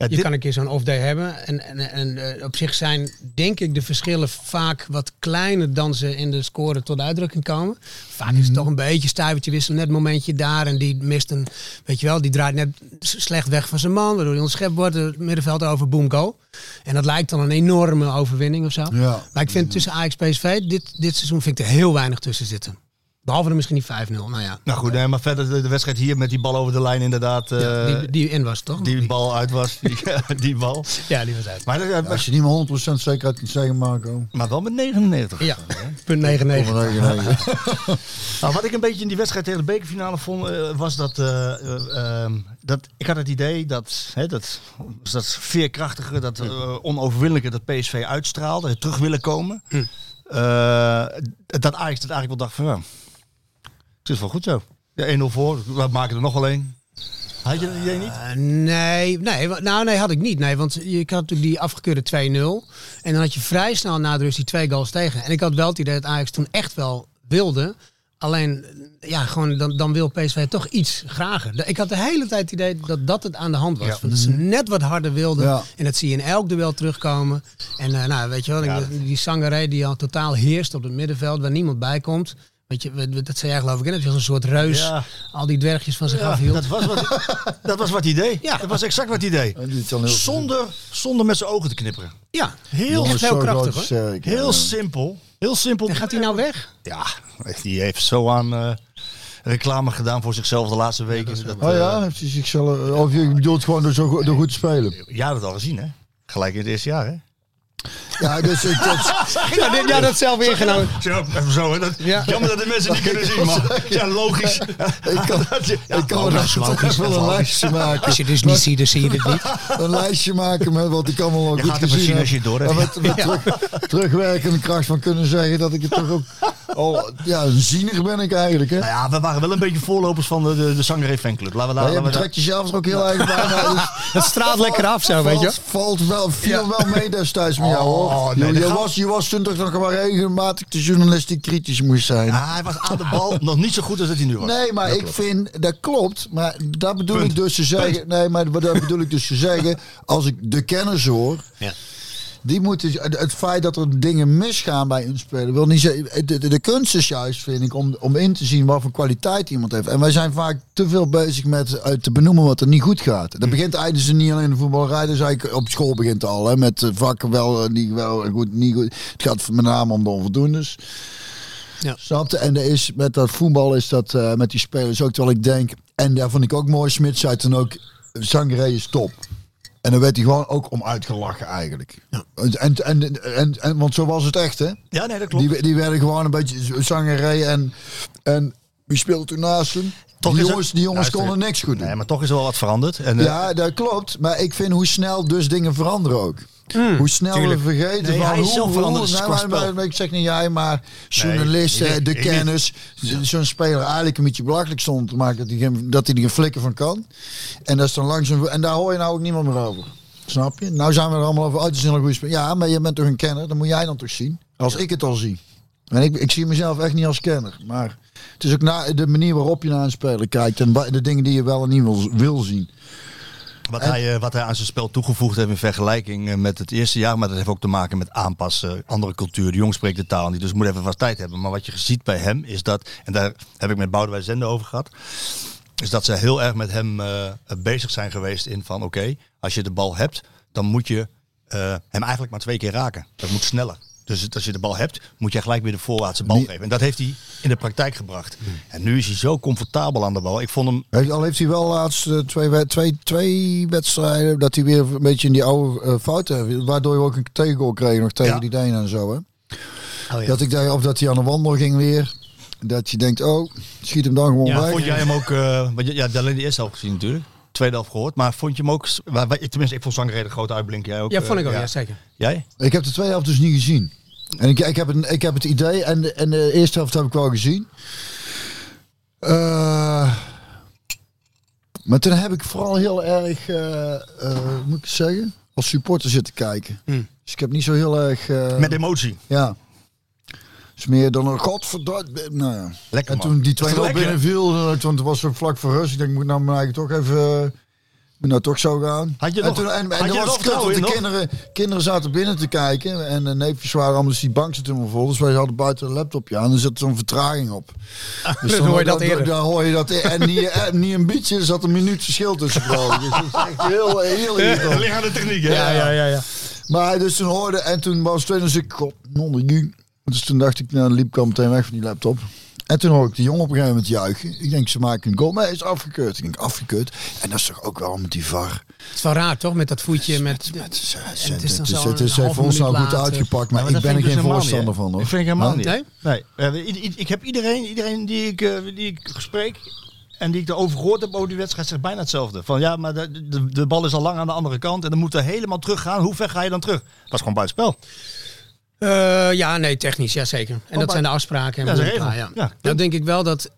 Speaker 4: Ja,
Speaker 9: Je
Speaker 4: dit-
Speaker 9: kan een keer zo'n off-day hebben. En, en, en eh, op zich zijn, denk ik, de verschillen vaak wat kleiner dan ze in de score tot uitdrukking komen. Vaak
Speaker 4: Mhm.
Speaker 9: is het toch een beetje stuivertje wisselen. Net een momentje daar. En die mist een, weet je wel, die draait net s- slecht weg van zijn man. Waardoor hij ontschept wordt. Het middenveld over, boom, goal. En dat lijkt dan een enorme overwinning of zo.
Speaker 2: Ja.
Speaker 9: Maar ik
Speaker 4: Mhm.
Speaker 9: vind tussen Ajax PSV, dit, dit seizoen vind ik er heel weinig tussen zitten. Behalve er misschien die 5-0. Nou ja,
Speaker 4: Nou goed, nee, maar verder de, de wedstrijd hier met die bal over de lijn inderdaad. eh,
Speaker 9: die, die in was toch?
Speaker 4: die, bal uit was. Die, die bal.
Speaker 9: Ja, die was uit.
Speaker 4: Maar, dat-
Speaker 2: Als je niet meer 100% zeker uit kunt zeggen, Marco.
Speaker 4: maar wel met 99.
Speaker 9: Ja, punt 99.
Speaker 2: Kom maar even naar je.
Speaker 4: Nou, wat ik een beetje in die wedstrijd tegen de bekerfinale vond, eh, was dat, eh, eh, ehm, dat ik had het idee dat, hè, dat, dat veerkrachtige, dat eh, onoverwinnelijke dat PSV uitstraalde, het terug willen komen. eh, dat Ajax dat eigenlijk wel dacht van, ja, het is wel goed zo. Ja, 1-0 voor, we maken er nog wel één. Had je dat idee niet?
Speaker 6: Eh, nee, nee, wa- nou nee, had ik niet. Nee, want je ik had natuurlijk die afgekeurde 2-0. En dan had je vrij snel na de rust die twee goals tegen. En ik had wel het idee dat Ajax toen echt wel wilde. Alleen, ja, gewoon dan, dan wil PSV toch iets grager. De- Ik had de hele tijd het idee dat dat het aan de hand was.
Speaker 9: Ja.
Speaker 6: Want dat ze net wat harder wilden.
Speaker 9: Ja.
Speaker 6: En dat zie je in elk duel terugkomen. En eh, nou, weet je wel, ik- die Sangaré die al totaal heerst op het middenveld, waar niemand bij komt. Weet je, we- we- dat zei jij geloof ik, hè? dat je als een soort reus
Speaker 4: Ja.
Speaker 6: al die dwergjes van zich
Speaker 4: Ja,
Speaker 6: afhield.
Speaker 4: dat was wat, dat was wat idee. Dat was exact wat idee. Zonder, zonder met zijn ogen te knipperen.
Speaker 6: Ja,
Speaker 4: Heel,
Speaker 2: Jongens,
Speaker 4: heel
Speaker 2: zo groot
Speaker 4: krachtig hoor.
Speaker 2: is eh, Serk,
Speaker 4: heel
Speaker 2: ja.
Speaker 4: simpel. Heel simpel.
Speaker 6: En gaat hij nou weg?
Speaker 4: Ja, die heeft zo aan eh, reclame gedaan voor zichzelf de laatste weken. dat, eh,
Speaker 2: Oh ja, dan heeft hij zichzelf. eh, Of je bedoelt gewoon door, zo, goed- door goed te spelen.
Speaker 4: eh, je had het al gezien hè. Gelijk in het eerste jaar hè.
Speaker 2: Ja, dus ik, dat,
Speaker 6: Ja, dit, ja, dat zelf ingenomen.
Speaker 4: Zo, even zo, hè. Dat, Jammer dat de mensen niet kunnen zien, maar ja, logisch.
Speaker 2: ik kan, ik
Speaker 9: nou-
Speaker 2: kan
Speaker 9: Oh,
Speaker 2: me daar
Speaker 4: logisch,
Speaker 2: straks wel een
Speaker 4: logisch.
Speaker 2: lijstje maken.
Speaker 6: Als je dus niet ziet, dan zie je het niet.
Speaker 2: een lijstje maken met wat ik allemaal
Speaker 4: Je
Speaker 2: goed
Speaker 4: gaat het
Speaker 2: gezien
Speaker 4: zien
Speaker 2: heb.
Speaker 4: als je het door hebt.
Speaker 2: En met, met terug, terugwerkende kracht van kunnen zeggen dat ik het toch ook... Al, ja, een ziener ben ik eigenlijk, hè?
Speaker 4: Nou ja, we waren wel een beetje voorlopers van de, de, de Sangaré fanclub. Laten we,
Speaker 2: Maar
Speaker 4: laten
Speaker 2: je
Speaker 4: we
Speaker 2: betrekt jezelf er ook heel erg bij. maar dus
Speaker 6: Het straalt lekker af zo, weet je. Oh,
Speaker 2: valt, valt wel, viel wel mee destijds met jou, hoor.
Speaker 4: nee,
Speaker 2: je,
Speaker 4: dat
Speaker 2: je
Speaker 4: gaat-
Speaker 2: was, je was toen toch nog maar regelmatig de journalist die kritisch moest zijn.
Speaker 4: Ja, Ah, hij was aan de bal nog niet zo goed als dat hij nu was.
Speaker 2: Nee, maar
Speaker 4: Dat
Speaker 2: ik
Speaker 4: klopt.
Speaker 2: vind, dat klopt. Maar dat bedoel
Speaker 4: Punt.
Speaker 2: ik dus te zeggen. Nee, maar dat bedoel ik dus te zeggen. Als ik de kenners hoor.
Speaker 4: Ja.
Speaker 2: Die moeten, het het feit dat er dingen misgaan bij een speler, wil niet zeggen. De, de, de kunst is juist, vind ik, om, om in te zien wat voor kwaliteit iemand heeft. En wij zijn vaak te veel bezig met uit te benoemen wat er niet goed gaat.
Speaker 4: Hm.
Speaker 2: Dat begint eigenlijk dus niet alleen in de voetballerij, dat is eigenlijk op school begint het al. Hè, met eh, vakken wel, eh, niet wel, goed, niet goed. Het gaat met name om de onvoldoendes. Snapte? En er is, met dat voetbal is dat eh, met die spelers ook. Terwijl ik denk, en daar vond ik ook mooi, Smit zei toen ook, Sangaré is top. En dan werd hij gewoon ook om uitgelachen eigenlijk. En, en, en, en, en- want zo was het echt, hè?
Speaker 4: Ja, nee, dat klopt.
Speaker 2: Die, die werden gewoon een beetje Sangaré en, en wie speelde toen naast hem?
Speaker 4: Toch
Speaker 2: die
Speaker 4: is er-
Speaker 2: jongens, die jongens
Speaker 4: Luister,
Speaker 2: konden niks goed doen.
Speaker 4: Nee, maar toch is er wel wat veranderd. En, eh,
Speaker 2: ja, dat klopt. Maar ik vind hoe snel dus dingen veranderen ook. hoe snel
Speaker 4: Hmm, tuurlijk.
Speaker 2: we vergeten
Speaker 4: Nee,
Speaker 2: van
Speaker 4: hij is
Speaker 2: hoe,
Speaker 4: zelf
Speaker 2: hoe-
Speaker 4: veranderd
Speaker 2: nou,
Speaker 4: qua
Speaker 2: maar-
Speaker 4: spel.
Speaker 2: maar Ik zeg niet jij, maar journalisten,
Speaker 4: ik-
Speaker 2: de
Speaker 4: ik-
Speaker 2: kennis. z- Zo'n speler eigenlijk een beetje belachelijk stond te maken dat hij, geen- dat hij er geen flikker van kan. En, dat is dan langzaam, en daar hoor je nou ook niemand meer over. Snap je? Nou zijn we er allemaal over. Oh, het is een hele goede speler. Ja, maar je bent toch een kenner? Dan moet jij dan toch zien. Als ik het al zie. En ik, ik zie mezelf echt niet als kenner. Maar het is ook na, de manier waarop je naar een speler kijkt. En wa- de dingen die je wel en niet wil, wil zien.
Speaker 4: Wat, hij, eh, wat hij aan zijn spel toegevoegd heeft in vergelijking eh, met het eerste jaar. Maar dat heeft ook te maken met aanpassen. Andere cultuur. De jong spreekt de taal niet. Dus moet even wat tijd hebben. Maar wat je ziet bij hem is dat. En daar heb ik met Boudewijn Zende over gehad. Is dat ze heel erg met hem eh, bezig zijn geweest. In van oké. als je de bal hebt. Dan moet je eh, hem eigenlijk maar twee keer raken. Dat moet sneller. Dus het- als je de bal hebt, moet je gelijk weer de voorwaartse bal geven. En dat heeft hij in de praktijk gebracht. En nu is hij zo comfortabel aan de bal. Ik vond hem
Speaker 2: Heeft- Al heeft hij wel laatst eh, twee, wed- twee, twee wedstrijden dat hij weer een beetje in die oude eh, fouten heeft. Waardoor je ook een tegengoal kreeg nog tegen
Speaker 4: Ja.
Speaker 2: die Denen en zo. Hè? Dat ik dacht, of dat hij aan de wandel ging weer. Dat je denkt, oh, schiet hem dan gewoon
Speaker 4: Ja,
Speaker 2: weg.
Speaker 4: vond jij hem ook, eh, want je- ja, alleen de eerste helft gezien natuurlijk. Tweede helft gehoord, maar vond je hem ook, s- waar- waar- tenminste ik vond Zangeré de grote uitblink, jij ook?
Speaker 6: Ja,
Speaker 4: eh,
Speaker 6: vond ik ook, ja, zeker.
Speaker 4: Jij?
Speaker 2: Ik heb de tweede helft dus niet gezien. En ik, ik, heb, het, ik heb het idee, en de, en de eerste helft heb ik wel gezien. Eh, maar toen heb ik vooral heel erg, eh, eh, hoe moet ik het zeggen, als supporter zitten kijken. Dus ik heb niet zo heel erg... eh,
Speaker 4: Hmm. Met emotie.
Speaker 2: Ja. Is meer dan een godverdomme. Nou ja.
Speaker 4: Lekker
Speaker 2: En
Speaker 4: man.
Speaker 2: toen die 2-0
Speaker 4: Lekker.
Speaker 2: binnenviel, eh, want het was zo vlak voor rust. Ik denk, ik moet nou eigenlijk toch even... eh, moet nou toch zo gaan.
Speaker 4: Had je
Speaker 2: en
Speaker 4: nog-
Speaker 2: toen, en,
Speaker 4: had
Speaker 2: en
Speaker 4: je
Speaker 2: er
Speaker 4: nog
Speaker 2: was het kut, want de
Speaker 4: vertrouwen in,
Speaker 2: kinderen, kinderen zaten binnen te kijken. En de neefjes waren allemaal, dus die bank zat helemaal vol. Dus wij hadden buiten een laptopje aan. En er zat zo'n vertraging op. Dus
Speaker 9: dan hoor je dat eerder.
Speaker 2: Dan hoor je dat eerder. En niet, en niet een beetje, er zat een minuut verschil tussen. geloof ik. Dus dat is echt heel, heel irritant.
Speaker 4: Dat ligt aan de techniek, hè?
Speaker 9: Ja, ja, ja. ja.
Speaker 2: Maar dus toen hoorde en toen was het weer dus ik god, non, nu. Dus toen dacht ik, nou, dan liep ik al meteen weg van die laptop. En toen hoor ik de jongen op een gegeven moment juichen. Ik denk, ze maken een goal, maar hij is afgekeurd. Ik denk, afgekeurd. En dat is toch ook wel met die var.
Speaker 6: Het is wel raar toch, met dat voetje. Met,
Speaker 2: Het is, eh,
Speaker 6: dan
Speaker 2: het is,
Speaker 6: zo'n
Speaker 2: het is
Speaker 6: halve
Speaker 2: voor ons nou
Speaker 6: minuut
Speaker 2: goed
Speaker 6: later.
Speaker 2: uitgepakt, maar,
Speaker 4: Ja, dat
Speaker 2: ik ben er
Speaker 4: vind
Speaker 2: geen
Speaker 4: dus helemaal
Speaker 2: voorstander
Speaker 4: niet, hè?
Speaker 2: van hoor.
Speaker 4: Ik vind ik helemaal niet.
Speaker 6: Nee?
Speaker 4: Nee. Eh, i- i- Ik heb iedereen, iedereen die ik, eh, die ik spreek en die ik erover gehoord heb over die wedstrijd zegt bijna hetzelfde. Van ja, maar de, de, de bal is al lang aan de andere kant en dan moet er helemaal terug gaan. Hoe ver ga je dan terug? Was gewoon buitenspel.
Speaker 6: Eh, ja, nee, technisch, ja zeker. En dat zijn de afspraken. En
Speaker 4: Ja, dat is een
Speaker 9: ah,
Speaker 6: bla, bla,
Speaker 4: regel.
Speaker 6: ja.
Speaker 4: Ja,
Speaker 6: Nou denk ik wel dat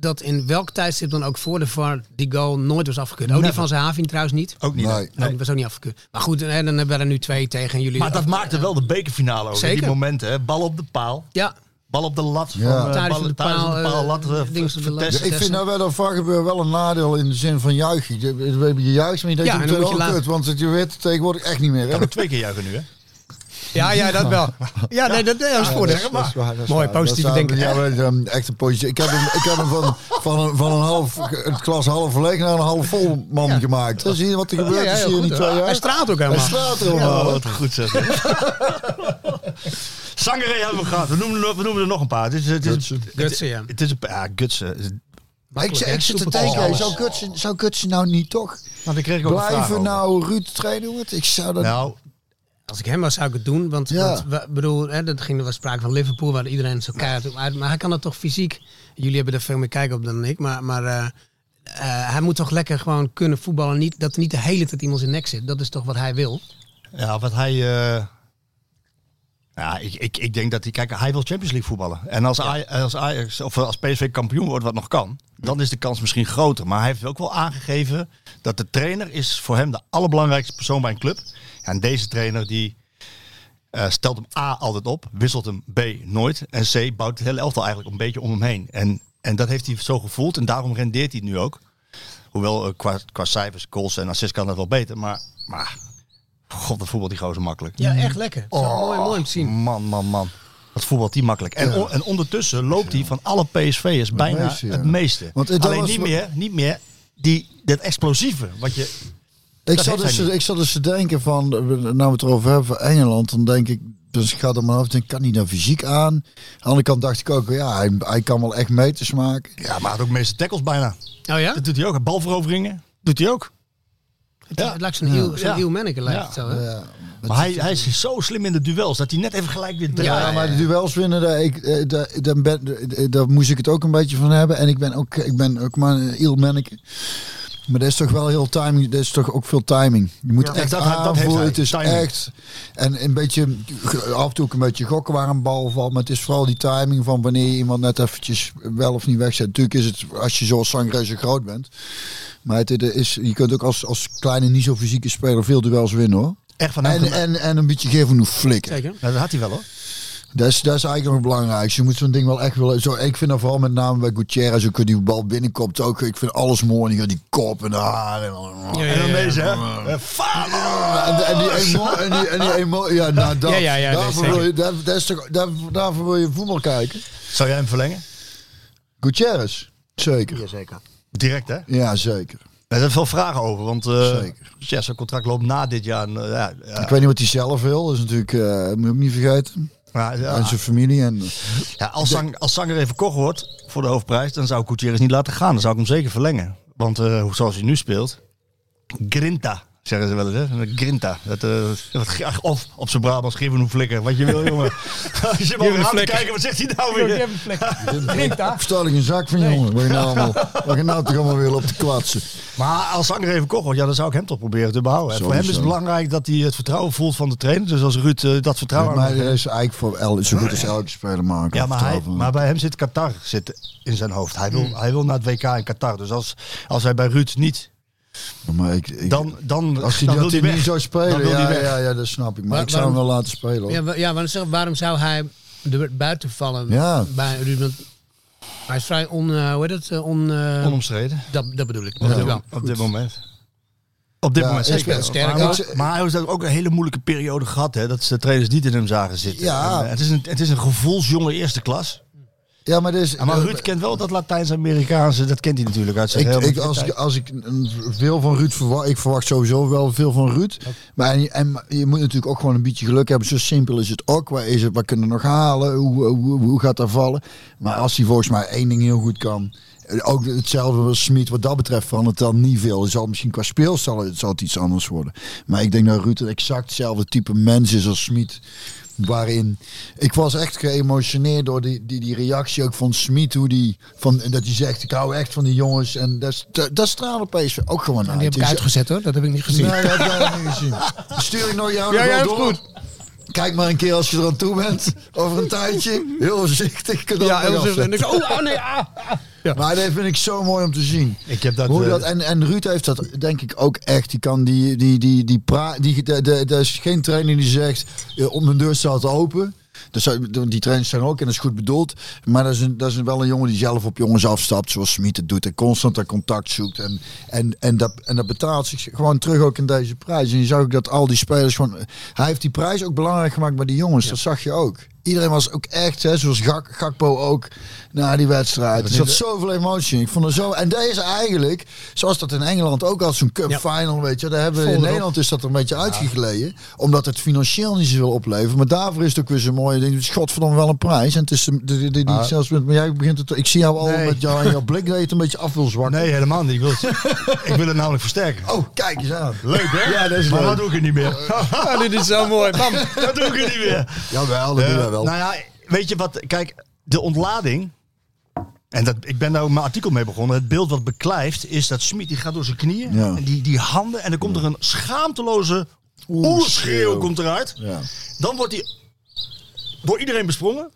Speaker 9: dat in welk tijdstip dan ook voor de VAR die goal nooit was afgekeurd. Ook die
Speaker 4: Never.
Speaker 9: van Zahavi trouwens niet.
Speaker 4: Ook niet.
Speaker 9: Nee, Die was ook niet afgekeurd. Maar goed, hè, dan hebben we er nu twee tegen en jullie.
Speaker 4: Maar dat maakte wel de bekerfinale ook.
Speaker 9: Zeker.
Speaker 4: Die momenten, hè? bal op de paal.
Speaker 9: Ja.
Speaker 4: Bal op de lat. Van,
Speaker 2: Ja.
Speaker 4: eh,
Speaker 2: Thuis
Speaker 4: bal-
Speaker 2: op de
Speaker 4: thuis op de
Speaker 2: paal,
Speaker 4: paal,
Speaker 2: eh,
Speaker 4: lat. eh,
Speaker 9: ding op de lat.
Speaker 4: vertessen.
Speaker 2: ik vind nou wel dat vakgebied wel een nadeel in de zin van juichen. Je, je, je juicht, maar je denkt
Speaker 9: Ja, en
Speaker 2: het
Speaker 9: dan
Speaker 2: wel
Speaker 9: moet je later-
Speaker 2: kut, want het- je weet het tegenwoordig echt niet meer. Hè?
Speaker 4: Kan ook twee keer juichen nu, hè?
Speaker 9: Ja, ja, dat wel. Ja, nee, dat, dat is voor
Speaker 2: Ja,
Speaker 9: de.
Speaker 2: dat is waar, dat is
Speaker 9: Mooi,
Speaker 2: waar. Dat
Speaker 9: positief
Speaker 2: zou-
Speaker 9: denken.
Speaker 2: Ja, maar, ehm, echt een positief. Ik heb hem, ik heb hem van, van, een, van een half het glas half leeg naar een half vol man gemaakt. Dan zie je wat er gebeurt
Speaker 9: Ja, ja,
Speaker 2: is
Speaker 9: heel
Speaker 2: hier in
Speaker 9: goed,
Speaker 2: die twee
Speaker 9: hoor.
Speaker 2: jaar.
Speaker 9: Hij straalt ook
Speaker 2: eh, Hij
Speaker 9: helemaal.
Speaker 2: straalt helemaal.
Speaker 4: Oh, wat goed zeg. Sangaré hebben we gehad. We noemen, er- we noemen er nog een paar. Het is, het is,
Speaker 2: Gutsen.
Speaker 4: het-
Speaker 9: Gutsen, ja.
Speaker 4: Het is een, ja, Gutsen.
Speaker 2: Maar ik,
Speaker 9: hè?
Speaker 2: ik zit te
Speaker 9: Soepel is
Speaker 2: denken,
Speaker 9: alles.
Speaker 2: zou Kutsen, zou Kutsen nou niet toch
Speaker 4: Want ik kreeg ook een vraag
Speaker 2: blijven
Speaker 4: over.
Speaker 2: nou Ruud trainen? Ik zou dat...
Speaker 4: Nou,
Speaker 9: Als ik hem was, zou ik het doen. Want,
Speaker 2: Ja.
Speaker 9: want we- bedoel, hè, dat ging, er was sprake van Liverpool, waar iedereen zo keihard op uit. Maar hij kan dat toch fysiek. Jullie hebben er veel meer kijk op dan ik. Maar, maar eh, eh, hij moet toch lekker gewoon kunnen voetballen. Niet, dat er niet de hele tijd iemand in zijn nek zit. Dat is toch wat hij wil.
Speaker 4: Ja, wat hij. eh, ja, ik, ik, ik denk dat hij. Kijk, hij wil Champions League voetballen. En als, Aj- als Ajax of eh, als PSV kampioen wordt, wat nog kan, dan is de kans misschien groter. Maar hij heeft ook wel aangegeven dat de trainer is voor hem de allerbelangrijkste persoon bij een club. Ja, en deze trainer die. eh, stelt hem A altijd op, wisselt hem B nooit. En C bouwt het hele elftal eigenlijk een beetje om hem heen. En, en dat heeft hij zo gevoeld en daarom rendeert hij het nu ook. Hoewel eh, qua, qua cijfers, goals en assists kan dat wel beter. Maar, maar god, dat voetbal die gozer makkelijk.
Speaker 9: Ja, echt lekker. mooi, mooi om te zien.
Speaker 4: Man, man, man. Wat voetbalt die makkelijk. En, on- en ondertussen loopt hij van alle PSV'ers bijna
Speaker 2: meeste, ja.
Speaker 4: het meeste.
Speaker 2: Want het- dat
Speaker 4: Alleen
Speaker 2: was-
Speaker 4: niet meer, niet meer die, dat explosieve. Wat je,
Speaker 2: Ik
Speaker 4: Dat
Speaker 2: zat,
Speaker 4: heeft
Speaker 2: dus,
Speaker 4: hij niet.
Speaker 2: ik zat dus te denken van, eh, nou we het erover hebben van Engeland, dan denk ik, dus ik ga er maar af, denk, kan hij nou fysiek aan? Aan de andere kant dacht ik ook, ja, hij, hij kan wel echt meters maken.
Speaker 4: ja, maar hij had ook de meeste tackles bijna.
Speaker 9: Oh ja?
Speaker 4: Dat doet hij ook. Balveroveringen doet hij ook.
Speaker 9: Het, het lijkt zo'n heel, zo'n
Speaker 4: Ja.
Speaker 9: heel manneke lijkt
Speaker 4: Ja.
Speaker 9: het zo. Hè?
Speaker 2: Ja.
Speaker 4: Maar hij, hij is zo slim in de duels dat hij net even gelijk weer draait.
Speaker 2: Ja, maar de duels winnen, daar, ik, eh, daar, daar, ben, eh, daar moest ik het ook een beetje van hebben. En ik ben ook, ik ben ook maar een heel manneke. Maar dat is toch wel heel timing. Dat is toch ook veel timing. Je moet echt
Speaker 4: dat- dat heeft
Speaker 2: aanvoelen.
Speaker 4: hij,
Speaker 2: Het is
Speaker 4: timing.
Speaker 2: echt... En een beetje, af en toe ook een beetje gokken waar een bal valt. Maar het is vooral die timing van wanneer je iemand net eventjes wel of niet wegzet. Natuurlijk is het, als je zoals Sangre zo groot bent. Maar het, eh, is, je kunt ook als, als kleine, niet zo fysieke speler veel duels winnen hoor.
Speaker 4: Echt van hem.
Speaker 2: En,
Speaker 4: gemaakt.
Speaker 2: en, en een beetje geven hoe flikken.
Speaker 9: Zeker.
Speaker 4: Ja, dat had hij wel hoor.
Speaker 2: Dat is, dat is eigenlijk nog het belangrijkste. Je moet zo'n ding wel echt willen. Zo, ik vind dat vooral met name bij Gutierrez. Ook hoe die bal binnenkomt. Ook, ik vind alles mooi. Die, die kop en de haar. En,
Speaker 9: Ja,
Speaker 4: En
Speaker 9: ja,
Speaker 4: dan
Speaker 9: ja.
Speaker 4: deze hè. Eh, Fano!
Speaker 2: en, en die emo- en die- en die emo- Ja, nou, dat,
Speaker 9: Ja, ja, ja, nee,
Speaker 2: daarvoor,
Speaker 9: zeker.
Speaker 2: wil je, dat, dat is toch, daar- daarvoor wil je voetbal kijken.
Speaker 4: Zou jij hem verlengen?
Speaker 2: Gutierrez. Zeker.
Speaker 9: Jazeker.
Speaker 4: Direct hè?
Speaker 2: Ja, zeker.
Speaker 4: Er zijn veel vragen over, want eh
Speaker 2: Zeker.
Speaker 4: ja, zijn contract loopt na dit jaar. En, eh, ja, ja,
Speaker 2: Ik weet niet wat hij zelf wil. Dat is natuurlijk, eh moet je ook niet vergeten.
Speaker 4: maar, ja,
Speaker 2: En zijn familie. En,
Speaker 4: ja, als, Sang, als Sanger even verkocht wordt voor de hoofdprijs, dan zou ik Gutierrez niet laten gaan. Dan zou ik hem zeker verlengen. Want eh, zoals hij nu speelt, grinta, zeggen ze wel eens. Hè? Grinta. Dat, eh, wat ge- ach, of op zijn Brabants, geef hem een flikker. Wat je wil, jongen. als je
Speaker 5: hem
Speaker 4: maar
Speaker 5: een
Speaker 4: gaat
Speaker 5: flikker.
Speaker 4: kijken, wat zegt hij nou
Speaker 5: Yo, die
Speaker 4: weer?
Speaker 5: hebben vlek. Klinkt daar.
Speaker 2: Vertel ik een zak van jongen. Wat je nou allemaal, wat je nou toch allemaal weer op te kwatsen.
Speaker 4: Maar als Sanger even verkocht wordt, ja, dan zou ik hem toch proberen te behouden. En
Speaker 2: Zo,
Speaker 4: voor hem
Speaker 2: zo.
Speaker 4: is het belangrijk dat hij het vertrouwen voelt van de trainer. Dus als Ruud eh, dat vertrouwen aan
Speaker 2: maar
Speaker 4: hem
Speaker 2: dat
Speaker 4: geeft-
Speaker 2: is eigenlijk voor el, zo goed als elke speler maken.
Speaker 4: Ja, maar, hij,
Speaker 2: Vertrouwen.
Speaker 4: maar bij hem zit Qatar zit in zijn hoofd. Hij wil, hij wil naar het WK in Qatar. Dus als, als hij bij Ruud niet,
Speaker 2: Maar ik, ik-
Speaker 4: dan, dan,
Speaker 2: als hij
Speaker 4: dan wil
Speaker 2: dat hij
Speaker 4: weg.
Speaker 2: niet zou
Speaker 4: Dan
Speaker 2: spelen,
Speaker 4: wil
Speaker 2: ja,
Speaker 4: hij weg.
Speaker 2: ja, ja, dat snap ik. Maar,
Speaker 9: Waar-
Speaker 2: ik zou hem wel
Speaker 9: waarom-
Speaker 2: laten spelen. hoor.
Speaker 9: Ja, wa- ja, maar zeg, waarom zou hij er buiten vallen
Speaker 2: Ja.
Speaker 9: bij Ruud? Want Hij is vrij on... eh, hoe heet het? Eh, on, eh,
Speaker 4: Onomstreden.
Speaker 9: dat, dat bedoel ik.
Speaker 4: Op,
Speaker 9: Dat
Speaker 4: dit,
Speaker 9: wel.
Speaker 4: op dit moment. Op dit
Speaker 2: Ja,
Speaker 4: moment
Speaker 2: hij
Speaker 4: zeker.
Speaker 2: speelt sterk.
Speaker 4: maar,
Speaker 2: Ik-
Speaker 4: maar hij heeft ook een hele moeilijke periode gehad. Hè, dat ze de trainers niet in hem zagen zitten.
Speaker 2: Ja.
Speaker 4: En, eh, het, is een, het is een gevoelsjonge eerste klas.
Speaker 2: Ja, maar, dus,
Speaker 4: Maar Ruud kent wel dat Latijns-Amerikaanse. Dat kent hij natuurlijk uit zijn
Speaker 2: ik,
Speaker 4: hele
Speaker 2: ik, als, ik, als ik een- veel van Ruud verwacht, ik verwacht sowieso wel veel van Ruud. Maar en, en je moet natuurlijk ook gewoon een beetje geluk hebben. Zo simpel is het ook. Waar is het? Wat kunnen we nog halen? Hoe, hoe, hoe gaat dat vallen? Maar als hij volgens mij één ding heel goed kan. eh, Ook hetzelfde als Smit wat dat betreft van het dan niet veel. Het zal misschien qua speelstijl het zal het iets anders worden. Maar ik denk dat Ruud het exact hetzelfde type mens is als Smit. waarin ik was echt geëmotioneerd door die, die, die reactie ook van Smit. Hoe die, van, dat hij zegt, ik hou echt van die jongens. En dat, is- dat, dat straalde PSV ook gewoon uit.
Speaker 9: Die heb ik
Speaker 2: Dus-
Speaker 9: uitgezet hoor, dat heb ik niet gezien.
Speaker 2: Nee, dat heb jij niet gezien. Stuur ik nog jou nog wel door. Kijk maar een keer als je er aan toe bent. Over een tijdje. Heel voorzichtig.
Speaker 9: Ja, heel zo- en ik zo, oh, oh nee, ah.
Speaker 2: Ja. Maar dat vind ik zo mooi om te zien.
Speaker 4: Ik heb dat,
Speaker 2: Hoe
Speaker 4: eh,
Speaker 2: dat en, en Ruud heeft dat denk ik ook echt. Die kan die, die, die, die praat. Die, de, de, er is geen trainer die zegt. eh, Om mijn deur staat open. Dus die trainers zijn ook en dat is goed bedoeld. Maar dat is, een, dat is wel een jongen die zelf op jongens afstapt. Zoals Smit het doet. En constant dat contact zoekt. En, en, en, dat, en dat betaalt zich gewoon terug ook in deze prijs. En je zag ook dat al die spelers gewoon. Hij heeft die prijs ook belangrijk gemaakt bij die jongens. Dat zag je ook. Iedereen was ook echt, hè, zoals Gak, Gakpo ook, na die wedstrijd. Er zat zoveel emotie in. Ik vond er zo... En deze eigenlijk, zoals dat in Engeland ook had, zo'n cup final, weet je. Daar hebben we, in
Speaker 9: Volderop.
Speaker 2: Nederland is dat er een beetje uitgegleden. Omdat het financieel niet zoveel oplevert. Maar daarvoor is het ook weer zo'n mooie ding. Het is godverdomme wel een prijs. En het is de, de, de- die
Speaker 4: Ah.
Speaker 2: zelfs met... Maar jij begint het... Ik zie jou al
Speaker 4: Nee.
Speaker 2: met jou en jouw blik dat je het een beetje af wil zwakken.
Speaker 4: Nee, helemaal niet. Ik wil, het, ik wil het namelijk versterken.
Speaker 2: Oh, kijk eens aan.
Speaker 4: Leuk hè?
Speaker 2: Ja, dat is
Speaker 4: maar
Speaker 2: leuk.
Speaker 4: dat doe ik er niet meer.
Speaker 9: Ah, dit is zo mooi. Bam.
Speaker 4: dat doe ik er niet meer.
Speaker 2: Jawel, dat doen
Speaker 4: Eh,
Speaker 2: wij wel.
Speaker 4: Nou ja, weet je wat? Kijk, de ontlading. En dat, ik ben daar ook mijn artikel mee begonnen. Het beeld wat beklijft is dat Smit die gaat door zijn knieën.
Speaker 2: Ja.
Speaker 4: En die, die handen. En dan komt er een schaamteloze oerschreeuw komt eruit.
Speaker 2: Ja.
Speaker 4: Dan wordt hij door iedereen besprongen.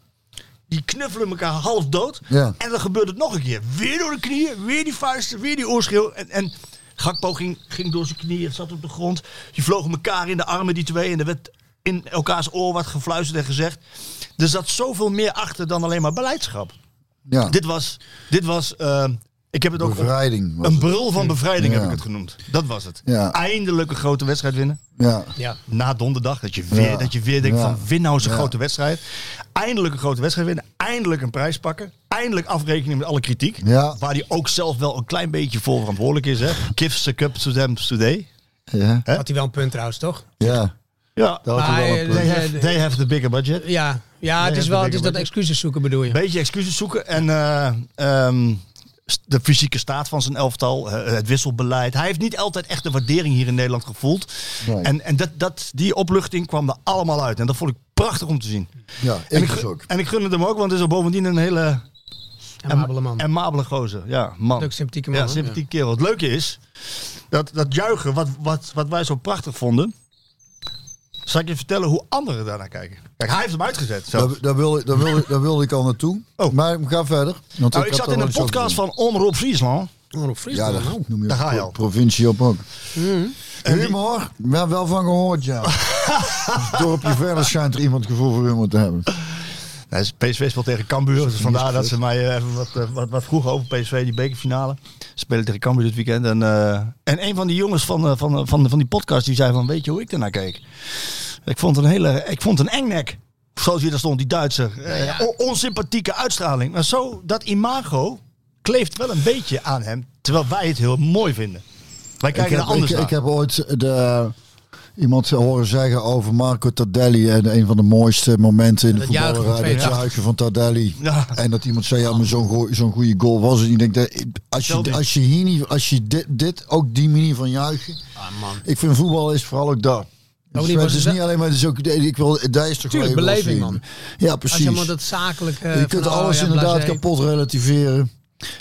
Speaker 4: Die knuffelen elkaar half dood.
Speaker 2: Ja.
Speaker 4: En dan gebeurt het nog een keer. Weer door de knieën, weer die vuisten, weer die oorschreeuw. En, en Gakpo ging, ging door zijn knieën, zat op de grond. Die vlogen elkaar in de armen, die twee. En er werd in elkaars oor wat gefluisterd en gezegd. Er zat zoveel meer achter dan alleen maar beleidschap.
Speaker 2: ja.
Speaker 4: Dit was, dit was eh, ik heb het ook...
Speaker 2: Bevrijding. was
Speaker 4: Een
Speaker 2: het.
Speaker 4: brul van bevrijding heb
Speaker 2: Ja.
Speaker 4: ik het genoemd. Dat was het.
Speaker 2: Ja.
Speaker 4: Eindelijk een grote wedstrijd winnen
Speaker 2: Ja.
Speaker 9: Ja.
Speaker 4: na donderdag. Dat je weer,
Speaker 2: Ja.
Speaker 4: dat je weer denkt
Speaker 2: Ja.
Speaker 4: van win nou eens een
Speaker 2: Ja.
Speaker 4: grote wedstrijd. Eindelijk een grote wedstrijd winnen. Eindelijk een prijs pakken. Eindelijk afrekening met alle kritiek.
Speaker 2: Ja.
Speaker 4: Waar hij ook zelf wel een klein beetje voor verantwoordelijk is. Hè. Gives the cup to them today.
Speaker 2: Ja.
Speaker 4: Hè?
Speaker 9: Had hij wel een punt trouwens, toch?
Speaker 2: Ja.
Speaker 4: Ja.
Speaker 2: Dat had hij wel een
Speaker 9: Maar, eh,
Speaker 2: punt.
Speaker 4: They
Speaker 9: Ja,
Speaker 4: have,
Speaker 9: de-
Speaker 4: they have the bigger budget.
Speaker 9: Ja, ja het
Speaker 4: Nee,
Speaker 9: is
Speaker 4: dat
Speaker 9: wel
Speaker 4: denk
Speaker 9: het is
Speaker 4: ik
Speaker 9: dat
Speaker 4: wel.
Speaker 9: excuses zoeken bedoel je.
Speaker 4: Beetje excuses zoeken. En eh, ehm, st- de fysieke staat van zijn elftal. eh, het wisselbeleid. Hij heeft niet altijd echt de waardering hier in Nederland gevoeld.
Speaker 2: Nee.
Speaker 4: En, en dat, dat, die opluchting kwam er allemaal uit. En dat vond ik prachtig om te zien.
Speaker 2: Ja,
Speaker 4: En
Speaker 2: ik
Speaker 4: ik,
Speaker 2: dus
Speaker 4: gun-
Speaker 2: ook.
Speaker 4: en ik gun het hem ook, want het is al bovendien een hele
Speaker 9: En Mabele man.
Speaker 4: En mabele gozer, ja, man.
Speaker 9: Leuk sympathieke man.
Speaker 4: ja,
Speaker 9: hè?
Speaker 4: sympathiek kerel. Het leuke is, dat, dat juichen, wat, wat, wat wij zo prachtig vonden, zal ik je vertellen hoe anderen daarnaar kijken. Kijk, hij heeft hem uitgezet. Zo.
Speaker 2: Daar, daar, wilde, daar, wilde, daar wilde ik al naartoe.
Speaker 4: Oh.
Speaker 2: Maar ga verder. Want
Speaker 4: nou, ik
Speaker 2: had
Speaker 4: zat
Speaker 2: daar wel
Speaker 4: in een
Speaker 2: iets over
Speaker 4: podcast
Speaker 2: te
Speaker 4: van Omroep Friesland.
Speaker 9: Ja. Oh, op Fries
Speaker 2: Ja,
Speaker 9: dan,
Speaker 2: daar
Speaker 9: nou.
Speaker 2: noem je
Speaker 4: Daar ga je
Speaker 2: pro-
Speaker 4: al.
Speaker 2: provincie op ook.
Speaker 4: En die-
Speaker 2: Humor? Ja, wel van gehoord, ja. Het Dorpje verder schijnt er iemand gevoel voor humor te hebben.
Speaker 4: Nou, het is PSV speelt tegen Cambuur, dus vandaar dat ze mij eh, even wat, eh, wat, wat vroegen over PSV, die bekerfinale. Ze spelen tegen Cambuur dit weekend. En, eh, en een van die jongens van, eh, van, van, van die podcast, die zei van, weet je hoe ik ernaar keek? Ik vond een hele, ik vond een engnek. Zoals hij daar stond, die Duitser. Eh, on- onsympathieke uitstraling. Maar zo, dat imago kleeft wel een beetje aan hem, terwijl wij het heel mooi vinden. Wij kijken
Speaker 2: ik,
Speaker 4: er
Speaker 2: heb,
Speaker 4: anders
Speaker 2: ik,
Speaker 4: naar.
Speaker 2: ik heb ooit de, eh, iemand horen zeggen over Marco Tardelli. En een van de mooiste momenten in de
Speaker 9: dat juichen van
Speaker 2: voetballerij. Dat
Speaker 9: 82.
Speaker 2: juichen van Tardelli.
Speaker 4: Ja.
Speaker 2: En dat iemand zei, ja, maar zo'n goe- zo'n goede goal was het. niet. Ik denk, dat, als, je,
Speaker 4: Zelfde.
Speaker 2: als je hier niet, als je dit, dit ook die manier van juichen.
Speaker 9: Ah,
Speaker 2: Ik vind voetbal is vooral ook dat.
Speaker 9: die
Speaker 2: Dus
Speaker 9: was
Speaker 2: het is
Speaker 9: het wel-
Speaker 2: niet alleen maar, het is ook, ik wil, daar is toch
Speaker 9: Tuurlijk,
Speaker 2: wel even
Speaker 9: beleving,
Speaker 2: zien.
Speaker 9: man.
Speaker 2: Ja,
Speaker 9: Als je
Speaker 2: precies.
Speaker 9: maar dat zakelijk... eh,
Speaker 2: je
Speaker 9: van,
Speaker 2: kunt
Speaker 9: oh,
Speaker 2: alles
Speaker 9: ja,
Speaker 2: inderdaad
Speaker 9: blasé.
Speaker 2: kapot relativeren.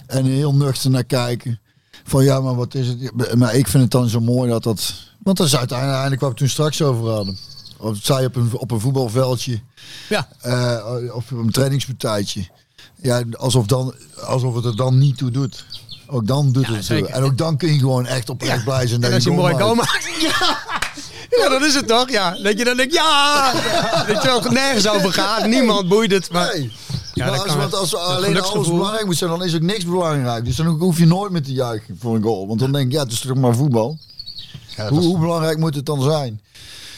Speaker 2: En heel nuchter naar kijken. Van ja, maar wat is het? Ja, Maar ik vind het dan zo mooi dat dat... Want dat is uiteindelijk waar we het toen straks over hadden. Of het zij op een, op een voetbalveldje.
Speaker 9: Ja.
Speaker 2: eh, of op een trainingspartijtje. Ja, alsof, dan, alsof het er dan niet toe doet. Ook dan doet
Speaker 9: Ja,
Speaker 2: het er toe.
Speaker 9: zeker.
Speaker 2: En ook dan kun je gewoon echt oprecht blij zijn. dat
Speaker 9: En als je
Speaker 2: je
Speaker 9: een mooie
Speaker 2: maakt.
Speaker 9: goal maakt. Ja. ja, dat is het toch? Ja. Dat je dan denkt, ja! Dat je wel nergens over gaat. Niemand boeit het. Maar...
Speaker 2: Nee.
Speaker 9: Ja,
Speaker 2: maar
Speaker 9: dat
Speaker 2: als,
Speaker 9: kan
Speaker 2: want
Speaker 9: het.
Speaker 2: als
Speaker 9: Dat
Speaker 2: alleen
Speaker 9: geluksgevoel.
Speaker 2: alles belangrijk moet zijn, dan is ook niks belangrijk. Dus dan hoef je nooit met te juichen voor een goal. Want dan denk ik, ja, het is toch maar voetbal. hoe, hoe belangrijk moet het dan zijn?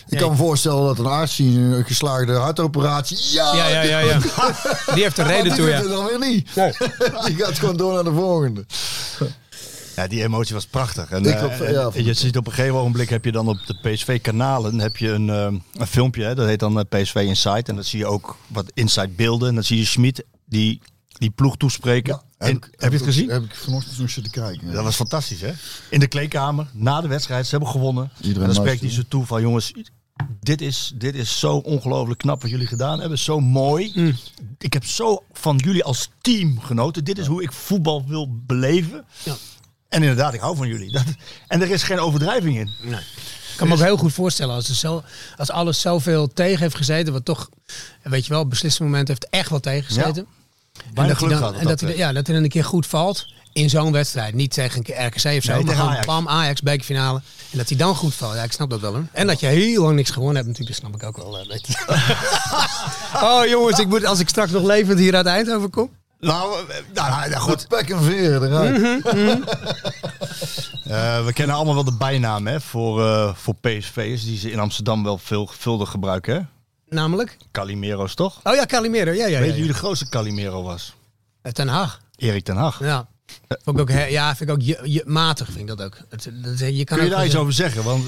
Speaker 2: Ik kan me voorstellen dat een arts die een geslaagde hartoperatie... Ja,
Speaker 9: Ja, ja, ja, ja. Die heeft een reden
Speaker 2: die
Speaker 9: toe,
Speaker 2: doet
Speaker 9: ja.
Speaker 2: het dan weer niet. die gaat gewoon door naar de volgende.
Speaker 4: Ja, die emotie was prachtig. En,
Speaker 2: Ik
Speaker 4: eh,
Speaker 2: hoop-
Speaker 4: en-
Speaker 2: ja,
Speaker 4: en
Speaker 2: vond ik
Speaker 4: je
Speaker 2: ook.
Speaker 4: ziet op een gegeven ogenblik heb je dan op de PSV-kanalen heb je een, ehm, een filmpje. Hè, dat heet dan eh, PSV Insight. En dan zie je ook wat inside beelden. En dan zie je Schmid die, die ploeg toespreken. En- heb, je het
Speaker 2: ik-
Speaker 4: gezien?
Speaker 2: Heb ik vanochtend nog zitten kijken. ja.
Speaker 4: Dat was fantastisch, hè? In de kleedkamer, na de wedstrijd, ze hebben gewonnen.
Speaker 2: Iedereen
Speaker 4: en dan spreekt hij
Speaker 2: luisterde.
Speaker 4: ze toe van, jongens, dit is, dit is zo ongelooflijk knap wat jullie gedaan hebben. Zo mooi. Ik heb zo van jullie als team genoten. Dit is hoe ik voetbal wil beleven. En inderdaad, ik hou van jullie. Dat, en er is geen overdrijving in.
Speaker 9: Ik kan me ook
Speaker 4: Dus-
Speaker 9: heel goed voorstellen als, er zo, als alles zoveel tegen heeft gezeten. Wat toch, weet je wel, op beslissend moment heeft echt wel tegengezeten. En dat, hij
Speaker 4: geluk
Speaker 9: dan-
Speaker 4: gehad op
Speaker 9: en dat,
Speaker 4: dat, eh,
Speaker 9: hij- ja, dat hij dan een keer goed valt in zo'n wedstrijd. Niet tegen een RKC of zo, maar
Speaker 4: tegen
Speaker 9: gewoon
Speaker 4: Ajax.
Speaker 9: Pam, Ajax, bekerfinale. En dat hij dan goed valt. Ja, ik snap dat wel. Hoor. En dat je heel lang niks gewonnen hebt natuurlijk, snap ik ook wel. eh, dat je- oh jongens, ik moet, als ik straks nog levend hier uit Eindhoven kom.
Speaker 4: Nou, eh, nou, nou, nou, goed.
Speaker 2: Pek en veer eruit.
Speaker 4: Eh, we kennen allemaal wel de bijnaam hè, voor, eh, voor PSV'ers, die ze in Amsterdam wel veelvuldig gebruiken. Hè?
Speaker 9: Namelijk?
Speaker 4: Calimero's, toch?
Speaker 9: Oh ja, Calimero. Ja, ja,
Speaker 4: Weet
Speaker 9: ja,
Speaker 4: je wie
Speaker 9: ja.
Speaker 4: de grootste Calimero was?
Speaker 9: Eh, Ten Haag.
Speaker 4: Erik ten Hag.
Speaker 9: Ja. Vond ik ook, he- ja, vind ik ook je, je- matig, vind ik dat ook. Het- dat- je kan
Speaker 4: Kun je
Speaker 9: ook
Speaker 4: daar iets
Speaker 9: wel
Speaker 4: over zeggen? Want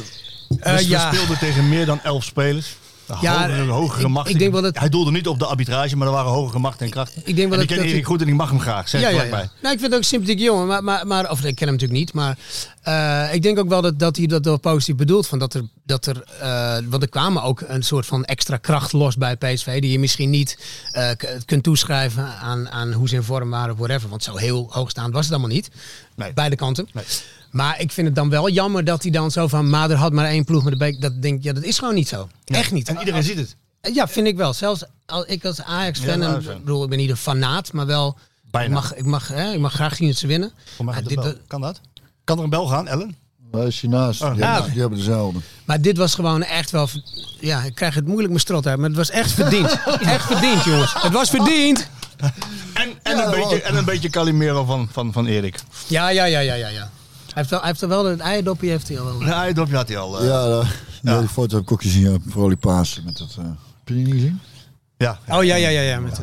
Speaker 9: Eh,
Speaker 4: we
Speaker 9: ja.
Speaker 4: speelden tegen meer dan elf spelers.
Speaker 9: Ja,
Speaker 4: Ja, hogere,
Speaker 9: eh,
Speaker 4: hogere
Speaker 9: ik-
Speaker 4: macht.
Speaker 9: ik denk wel dat-
Speaker 4: Hij doelde niet op de arbitrage, maar er waren hogere machten en krachten.
Speaker 9: ik denk wel
Speaker 4: en
Speaker 9: dat-
Speaker 4: ik ken
Speaker 9: dat
Speaker 4: Erik
Speaker 9: ik-
Speaker 4: goed en ik mag hem graag. Zeg
Speaker 9: Ja, ja,
Speaker 4: gelijk
Speaker 9: ja.
Speaker 4: bij.
Speaker 9: Nou, ik vind het ook een sympathiek jongen. Maar, maar, maar, of ik ken hem natuurlijk niet. Maar eh, ik denk ook wel dat, dat hij dat wel positief bedoelt. Van dat er, dat er, eh, want er kwamen ook een soort van extra kracht los bij PSV. Die je misschien niet eh, k- kunt toeschrijven aan, aan hoe ze in vorm waren of whatever. Want zo heel hoogstaand was het allemaal niet.
Speaker 4: Nee.
Speaker 9: Beide kanten.
Speaker 4: Nee.
Speaker 9: Maar ik vind het dan wel jammer dat hij dan zo van... Mader had maar één ploeg met de beek. Dat denk ik, ja, dat is gewoon niet zo. Echt niet.
Speaker 4: En iedereen ziet het.
Speaker 9: Eh, Ja, vind ik wel. Zelfs al, ik als Ajax-fan,
Speaker 4: Ja,
Speaker 9: en
Speaker 4: Ajax-fan.
Speaker 9: ik bedoel, ik ben niet een fanaat, maar wel...
Speaker 4: Bijna.
Speaker 9: Ik mag, ik, mag, hè, ik mag graag zien dat ze winnen.
Speaker 4: Voor mij
Speaker 9: Maar
Speaker 4: gaat
Speaker 9: Ah, dit,
Speaker 4: de bel. Kan dat? Kan er een bel gaan, Ellen?
Speaker 2: Wij Chinees, die,
Speaker 4: ja.
Speaker 2: hebben- die hebben dezelfde.
Speaker 9: maar dit was gewoon echt wel... ver- Ja, ik krijg het moeilijk mijn strot uit, maar het was echt verdiend. echt verdiend, jongens. Het was verdiend.
Speaker 4: En, en,
Speaker 2: Ja,
Speaker 4: een,
Speaker 2: dat
Speaker 4: beetje,
Speaker 9: oh.
Speaker 2: wel.
Speaker 4: en een beetje Calimero van, van, van Erik.
Speaker 9: Ja, ja, ja, ja, ja. ja. Hij heeft, wel, hij heeft er wel het eierdopje, heeft hij al wel.
Speaker 4: Een eierdopje had hij al. eh.
Speaker 2: Ja, daar- ja, die foto heb ik ook gezien. Ja, Vrolijk Pasen met dat... eh, heb je die niet gezien?
Speaker 4: ja.
Speaker 9: Oh ja, ja, ja, ja. Met,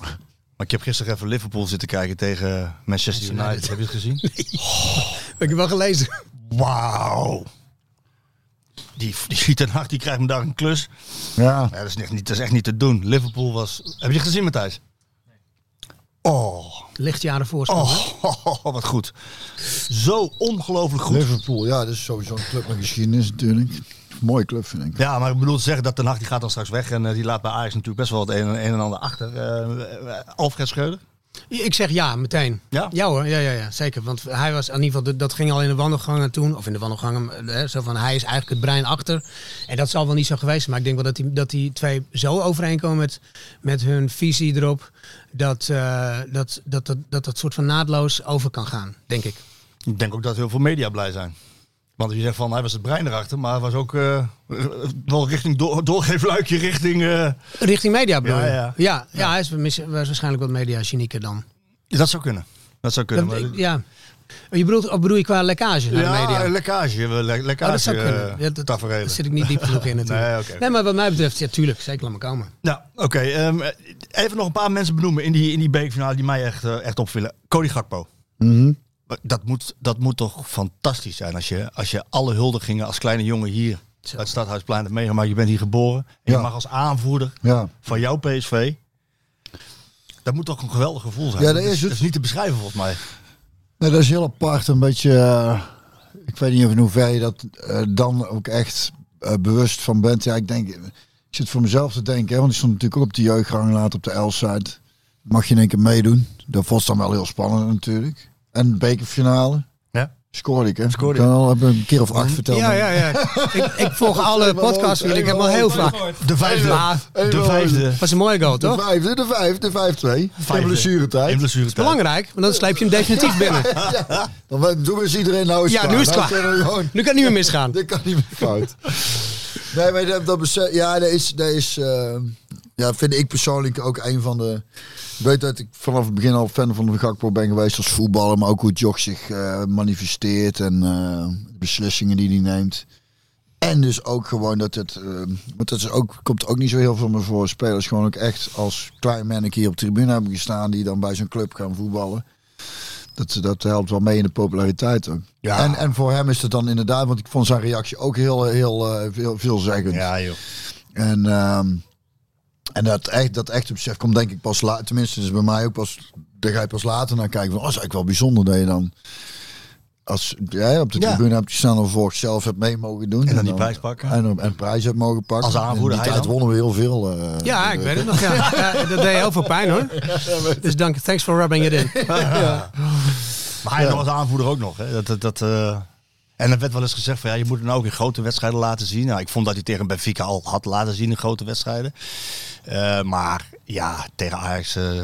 Speaker 4: Maar ik heb gisteren even Liverpool zitten kijken tegen Manchester United. Heb je het gezien?
Speaker 9: ik heb wel gelezen.
Speaker 4: Wauw. Die, die Giet Den Hag, die krijgt me daar een klus.
Speaker 2: Ja.
Speaker 4: Ja, dat, is echt niet, dat is echt niet te doen. Liverpool was... Heb je het gezien, Matthijs? Oh,
Speaker 9: Lichtjaren voorsprong. hè?
Speaker 4: oh, wat goed. Zo ongelooflijk goed.
Speaker 2: Liverpool, ja, dat is sowieso een club met geschiedenis natuurlijk. Mooie club, vind ik.
Speaker 4: Ja, maar ik bedoel te zeggen dat Den Hag die gaat dan straks weg. En eh, die laat bij Ajax natuurlijk best wel het een, en- een en ander achter. Eh, eh, Alfred Scheuder.
Speaker 9: Ik zeg ja, meteen.
Speaker 4: Ja?
Speaker 9: hoor, ja, ja, ja, zeker. Want hij was in ieder geval, dat- dat ging al in de wandelgangen toen, of in de wandelgangen, eh, zo van hij is eigenlijk het brein achter. En dat zal wel niet zo geweest zijn, maar ik denk wel dat die, dat die twee zo overeenkomen met, met hun visie erop, dat, eh, dat, dat, dat, dat dat soort van naadloos over kan gaan, denk ik.
Speaker 4: Ik denk ook dat heel veel media blij zijn. Want je zegt van, hij was het brein erachter. Maar hij was ook eh, wel richting door, doorgeefluikje richting... eh,
Speaker 9: Richting media bedoel
Speaker 4: Ja,
Speaker 9: je?
Speaker 4: ja.
Speaker 9: ja, ja, hij is mis- was waarschijnlijk wat media genieker dan.
Speaker 4: dat zou kunnen. Dat zou kunnen.
Speaker 9: Dat-
Speaker 4: maar-
Speaker 9: ik- ja. Je bedoelt, of bedoel je qua lekkage naar de
Speaker 4: ja,
Speaker 9: media?
Speaker 4: lekkage. we- le- lekkage
Speaker 9: Oh, dat zou kunnen.
Speaker 4: eh,
Speaker 9: Ja, dat,
Speaker 4: taferelen.
Speaker 9: daar zit ik niet diep genoeg in natuurlijk.
Speaker 4: Nee, oké, oké.
Speaker 9: maar wat mij betreft, ja, tuurlijk, zeker laat me komen.
Speaker 4: Nou, oké. ehm, even nog een paar mensen benoemen in die, in die bekerfinale die mij echt, eh, echt opvielen. Cody Gakpo.
Speaker 2: Mhm.
Speaker 4: Dat moet, dat moet toch fantastisch zijn als je, als je alle huldigingen als kleine jongen hier uit het Stadhuisplein hebt meegemaakt. Je bent hier geboren. En
Speaker 2: Ja.
Speaker 4: je mag als aanvoerder
Speaker 2: Ja.
Speaker 4: van jouw PSV. Dat moet toch een geweldig gevoel zijn.
Speaker 2: Ja, dat is
Speaker 4: is,
Speaker 2: het.
Speaker 4: dat is niet te beschrijven volgens mij.
Speaker 2: Nee, dat is heel apart. Een beetje, eh, ik weet niet of in hoeverre je dat eh, dan ook echt eh, bewust van bent. Ja, ik denk, ik zit voor mezelf te denken, hè, want ik stond natuurlijk ook op de jeugdgang laat op de L-site. Mag je in één keer meedoen? Dat was dan wel heel spannend natuurlijk. En de bekerfinale.
Speaker 4: Ja.
Speaker 2: Scoorde ik, hè?
Speaker 4: Scoorde
Speaker 2: ik kan al heb ik een keer of acht verteld.
Speaker 9: Ja, ja, ja. ik, ik volg alle podcasts jullie. Ik heb al heel vaak.
Speaker 4: De vijfde.
Speaker 9: Ja,
Speaker 4: De
Speaker 2: Even
Speaker 4: vijfde.
Speaker 9: was een mooie goal,
Speaker 2: De
Speaker 9: toch?
Speaker 2: vijfde, de vijfde, de vijf, twee. In
Speaker 4: Vijfde. In
Speaker 2: blessuretijd.
Speaker 4: blessuretijd.
Speaker 9: Belangrijk, want dan sleep je hem definitief binnen.
Speaker 2: Dan we- doen we eens iedereen nou eens
Speaker 9: Ja, nu is
Speaker 2: Dan
Speaker 9: het klaar.
Speaker 2: kunnen we gewoon-
Speaker 9: Nu kan het niet meer misgaan.
Speaker 2: Dit kan niet meer fout. nee, maar dat, dat besef- ja, dat is, dat is eh, ja, vind ik persoonlijk ook een van de. Ik weet dat ik vanaf het begin al fan van de Gakpo ben geweest als voetballer, maar ook hoe Jock zich eh, manifesteert en eh, de beslissingen die hij neemt. En dus ook gewoon dat het, eh, want dat is ook, komt ook niet zo heel veel meer voor spelers, gewoon ook echt als klein manneke hier op de tribune hebben gestaan, die dan bij zo'n club gaan voetballen. Dat, dat helpt wel mee in de populariteit ook.
Speaker 4: Ja.
Speaker 2: En, en voor hem is het dan inderdaad, want ik vond zijn reactie ook heel, heel eh, veel, veelzeggend.
Speaker 4: Ja, joh.
Speaker 2: En, ehm, en dat, echt, dat echte besef komt denk ik pas later, tenminste is het bij mij ook pas, daar ga je pas later naar kijken. Van, oh, dat is eigenlijk wel bijzonder dat je dan, als jij op de
Speaker 4: Ja.
Speaker 2: tribune hebt gestaan of voor zelf hebt mee mogen doen.
Speaker 4: En dan die prijs pakken.
Speaker 2: En, en prijs hebt mogen pakken.
Speaker 4: Als aanvoerder,
Speaker 2: In die
Speaker 4: hij
Speaker 2: tijd
Speaker 4: dan?
Speaker 2: wonnen we heel veel. eh,
Speaker 9: Ja, ik weet het nog. Ja. Ja, dat deed heel veel pijn hoor. Dus dank, thanks for rubbing it in.
Speaker 4: Maar hij was aanvoerder ook nog. Hè. Dat, dat, dat, eh, En er werd wel eens gezegd van ja, je moet het nou ook in grote wedstrijden laten zien. Nou, ik vond dat hij tegen Benfica al had laten zien in grote wedstrijden. Eh, maar ja, tegen Ajax eh,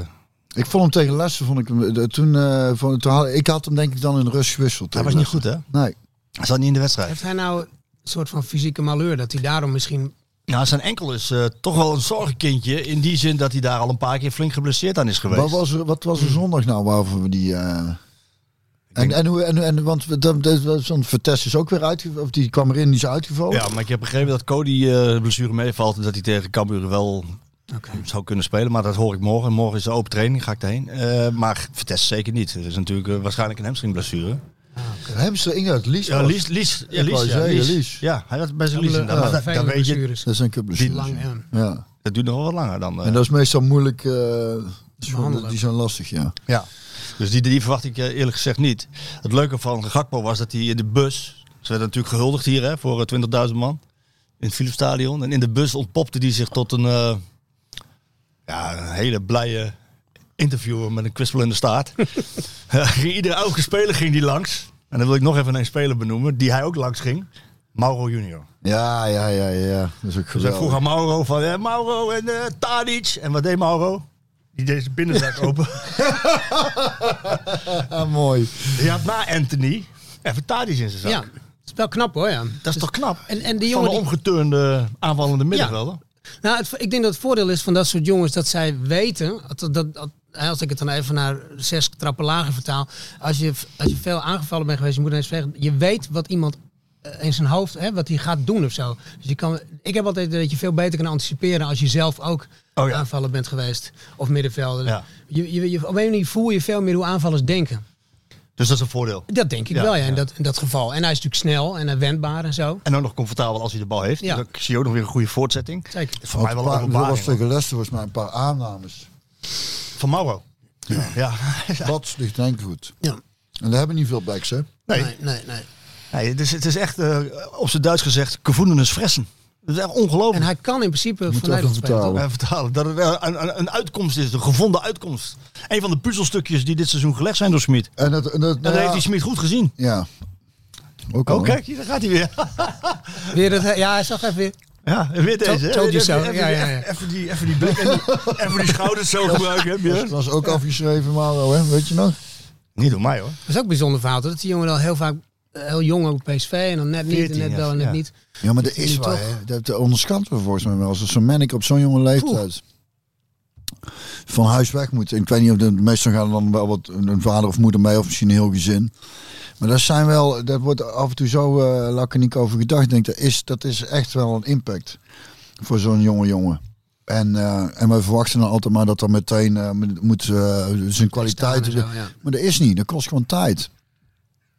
Speaker 2: Ik vond hem tegen Lessen, vond ik hem, de- toen, eh, vond- toen had, ik had hem denk ik dan in rust gewisseld.
Speaker 4: Hij
Speaker 2: tegen
Speaker 4: was niet goed,
Speaker 2: Lessen.
Speaker 4: hè?
Speaker 2: Nee.
Speaker 4: Hij zat niet in de wedstrijd.
Speaker 9: Heeft hij nou een soort van fysieke malheur dat hij daarom misschien...
Speaker 4: Nou, zijn enkel is eh, toch wel een zorgenkindje. In die zin dat hij daar al een paar keer flink geblesseerd aan is geweest.
Speaker 2: Wat was, er, wat was er zondag nou waarvoor we die... eh, en, en, hoe, en, en, want we- dat- dat- dat- zo'n Vertes is ook weer uitgevallen. Of die kwam erin, die is uitgevallen.
Speaker 4: Ja, maar ik heb begrepen dat Cody eh, de blessure meevalt en dat hij tegen Cambuur wel eh, zou kunnen spelen. Maar dat hoor ik morgen. Morgen is de open training, ga ik daarheen. Eh, maar Vitesse zeker niet. Het is natuurlijk eh, waarschijnlijk een hamstringblessure.
Speaker 2: Hamster Inge, het Lies.
Speaker 4: Ja,
Speaker 2: was.
Speaker 4: Lies, Lies, ja,
Speaker 2: Ik wou
Speaker 4: Lies, ja,
Speaker 2: zeggen,
Speaker 4: Lies.
Speaker 2: Lies.
Speaker 4: Ja, hij had bij zijn Lies
Speaker 2: Ja,
Speaker 4: inderdaad. Maar dat- dat
Speaker 9: vervelende
Speaker 4: weet je-
Speaker 9: blessures.
Speaker 2: Dat is een kutblessure.
Speaker 9: Lang en-
Speaker 2: Ja.
Speaker 4: dat duurt nog wel wat langer dan. eh.
Speaker 2: En dat is meestal moeilijk. eh, soorten
Speaker 9: Behandelen.
Speaker 2: die zijn lastig, ja.
Speaker 4: Ja. Dus die, die verwacht ik eh, eerlijk gezegd niet. Het leuke van Gakpo was dat hij in de bus... Ze werden natuurlijk gehuldigd hier hè, voor eh, 20.000 man. In het Philipsstadion. En in de bus ontpopte hij zich tot een, eh, ja, een hele blije interviewer met een kwispel in de staart. Ja, ging Iedere elke speler ging die langs. En dan wil ik nog even een speler benoemen die hij ook langs ging. Mauro junior.
Speaker 2: Ja, ja, ja, ja. Dat is ook
Speaker 4: Dus hij
Speaker 2: geweldig.
Speaker 4: vroeg aan Mauro van, eh, Mauro en eh Tadic. En wat deed Mauro? Die deed zijn binnenzak open.
Speaker 2: Ah, mooi.
Speaker 4: Die had na Anthony even Tadic in zijn zak.
Speaker 9: Ja, het is wel knap hoor, ja. Dus
Speaker 4: Dat is toch knap?
Speaker 9: En, en die
Speaker 4: van
Speaker 9: jongen...
Speaker 4: een
Speaker 9: die-
Speaker 4: omgeturnde aanvallende middenvelder.
Speaker 9: Nou, het- ik denk dat het voordeel is van dat soort jongens dat zij weten. Dat, dat, dat- hè, als ik het dan even naar zes trappen lager vertaal. Als je, als je veel aangevallen bent geweest, je moet eens zeggen. Je weet wat iemand eh, in zijn hoofd, hè, wat hij gaat doen of zo. Dus je kan, ik heb altijd dat je veel beter kan anticiperen als je zelf ook
Speaker 4: Oh ja.
Speaker 9: aanvaller bent geweest. Of middenvelder.
Speaker 4: Ja.
Speaker 9: Je, je, je, op een manier voel je veel meer hoe aanvallers denken.
Speaker 4: Dus dat is een voordeel.
Speaker 9: Dat denk ik
Speaker 4: Ja,
Speaker 9: wel, ja, in,
Speaker 4: ja.
Speaker 9: Dat, in dat geval. En hij is natuurlijk snel en hij wendbaar en zo.
Speaker 4: En ook nog comfortabel als hij de bal heeft.
Speaker 9: Ja.
Speaker 4: Dus ik zie ook nog weer een goede voortzetting.
Speaker 9: Zeker.
Speaker 4: Voor mij wel
Speaker 2: Een paar-
Speaker 4: een
Speaker 2: dat was
Speaker 4: openbaring. hoor.
Speaker 2: tegen Leicester volgens mij een paar aannames.
Speaker 4: Van Mauro. Ja.
Speaker 2: Dat ligt denk ik goed.
Speaker 9: Ja.
Speaker 2: En daar hebben niet veel backs, hè?
Speaker 4: Nee.
Speaker 9: Nee, nee, nee.
Speaker 4: Nee, het, is, het is echt, eh, op zijn Duits gezegd, gevoelens fressen. Dat is echt ongelooflijk.
Speaker 9: En hij kan in principe
Speaker 2: Moet
Speaker 9: vanuit
Speaker 2: even
Speaker 9: het spelen. toch?
Speaker 2: vertalen.
Speaker 4: Eh, vertalen. Dat het eh, een, een- een uitkomst is, een gevonden uitkomst. Een van de puzzelstukjes die dit seizoen gelegd zijn door Smit.
Speaker 2: En dat, en dat,
Speaker 4: En dat
Speaker 2: nou ja,
Speaker 4: heeft die Smit goed gezien.
Speaker 2: Ja. Ook al,
Speaker 4: Oh,
Speaker 2: hè?
Speaker 4: kijk, hier, daar gaat hij weer.
Speaker 9: Weer dat, ja, hij zag even weer.
Speaker 4: Ja, en weer deze. hè?
Speaker 9: told you so.
Speaker 4: Even-
Speaker 9: Ja, ja, ja.
Speaker 4: Even, even die, even die blik en die- even die schouders zo gebruiken. Hè,
Speaker 2: Dat
Speaker 4: Björn?
Speaker 2: was ook afgeschreven, Mauro, hè? Weet je nog?
Speaker 4: Niet door mij hoor.
Speaker 9: Dat is ook bijzonder verhaal, dat die jongen al heel vaak eh, heel jong op PSV en dan net niet,
Speaker 4: 14
Speaker 9: en net wel en
Speaker 4: is,
Speaker 9: net
Speaker 4: ja.
Speaker 9: niet.
Speaker 2: Ja, maar dat is
Speaker 9: Die
Speaker 2: waar,
Speaker 9: toch?
Speaker 2: hè? Dat dat onderschatten we volgens mij wel. Als zo'n manic op zo'n jonge leeftijd van huis weg moet. En ik weet niet of de meestal gaan dan wel wat een vader of moeder mee, of misschien een heel gezin. Maar dat zijn wel, dat wordt af en toe zo eh laconiek over gedacht. Ik denk, dat is, dat is echt wel een impact voor zo'n jonge jongen. En, eh, en we verwachten dan altijd maar dat er meteen eh, moet eh, zijn kwaliteit.
Speaker 9: Staan en zo, ja.
Speaker 2: Maar dat is niet, dat kost gewoon tijd.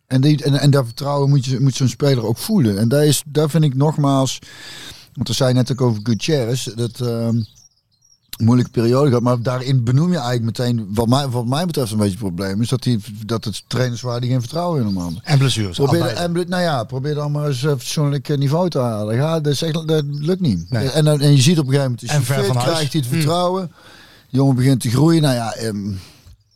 Speaker 2: En, die, en, en dat vertrouwen moet, je, moet zo'n speler ook voelen. En daar, is, daar vind ik nogmaals, want er zei net ook over Gutierrez, dat ehm, een moeilijke periode gehad. Maar daarin benoem je eigenlijk meteen, wat mij, wat mij betreft een beetje het probleem, is dat, die, dat het trainers waren die geen vertrouwen in hem hadden.
Speaker 4: En blessures.
Speaker 2: Probeer,
Speaker 4: allebei.
Speaker 2: en, nou ja, probeer dan maar eens eh, fatsoenlijk eh, niveau te halen. Ja, dat, is echt, dat lukt niet. En, dan- en je ziet op een gegeven moment, is
Speaker 4: En
Speaker 2: hij
Speaker 4: ver
Speaker 2: fit,
Speaker 4: van huis. Mm.
Speaker 2: krijgt hij het vertrouwen. De jongen begint te groeien. Nou ja, ehm,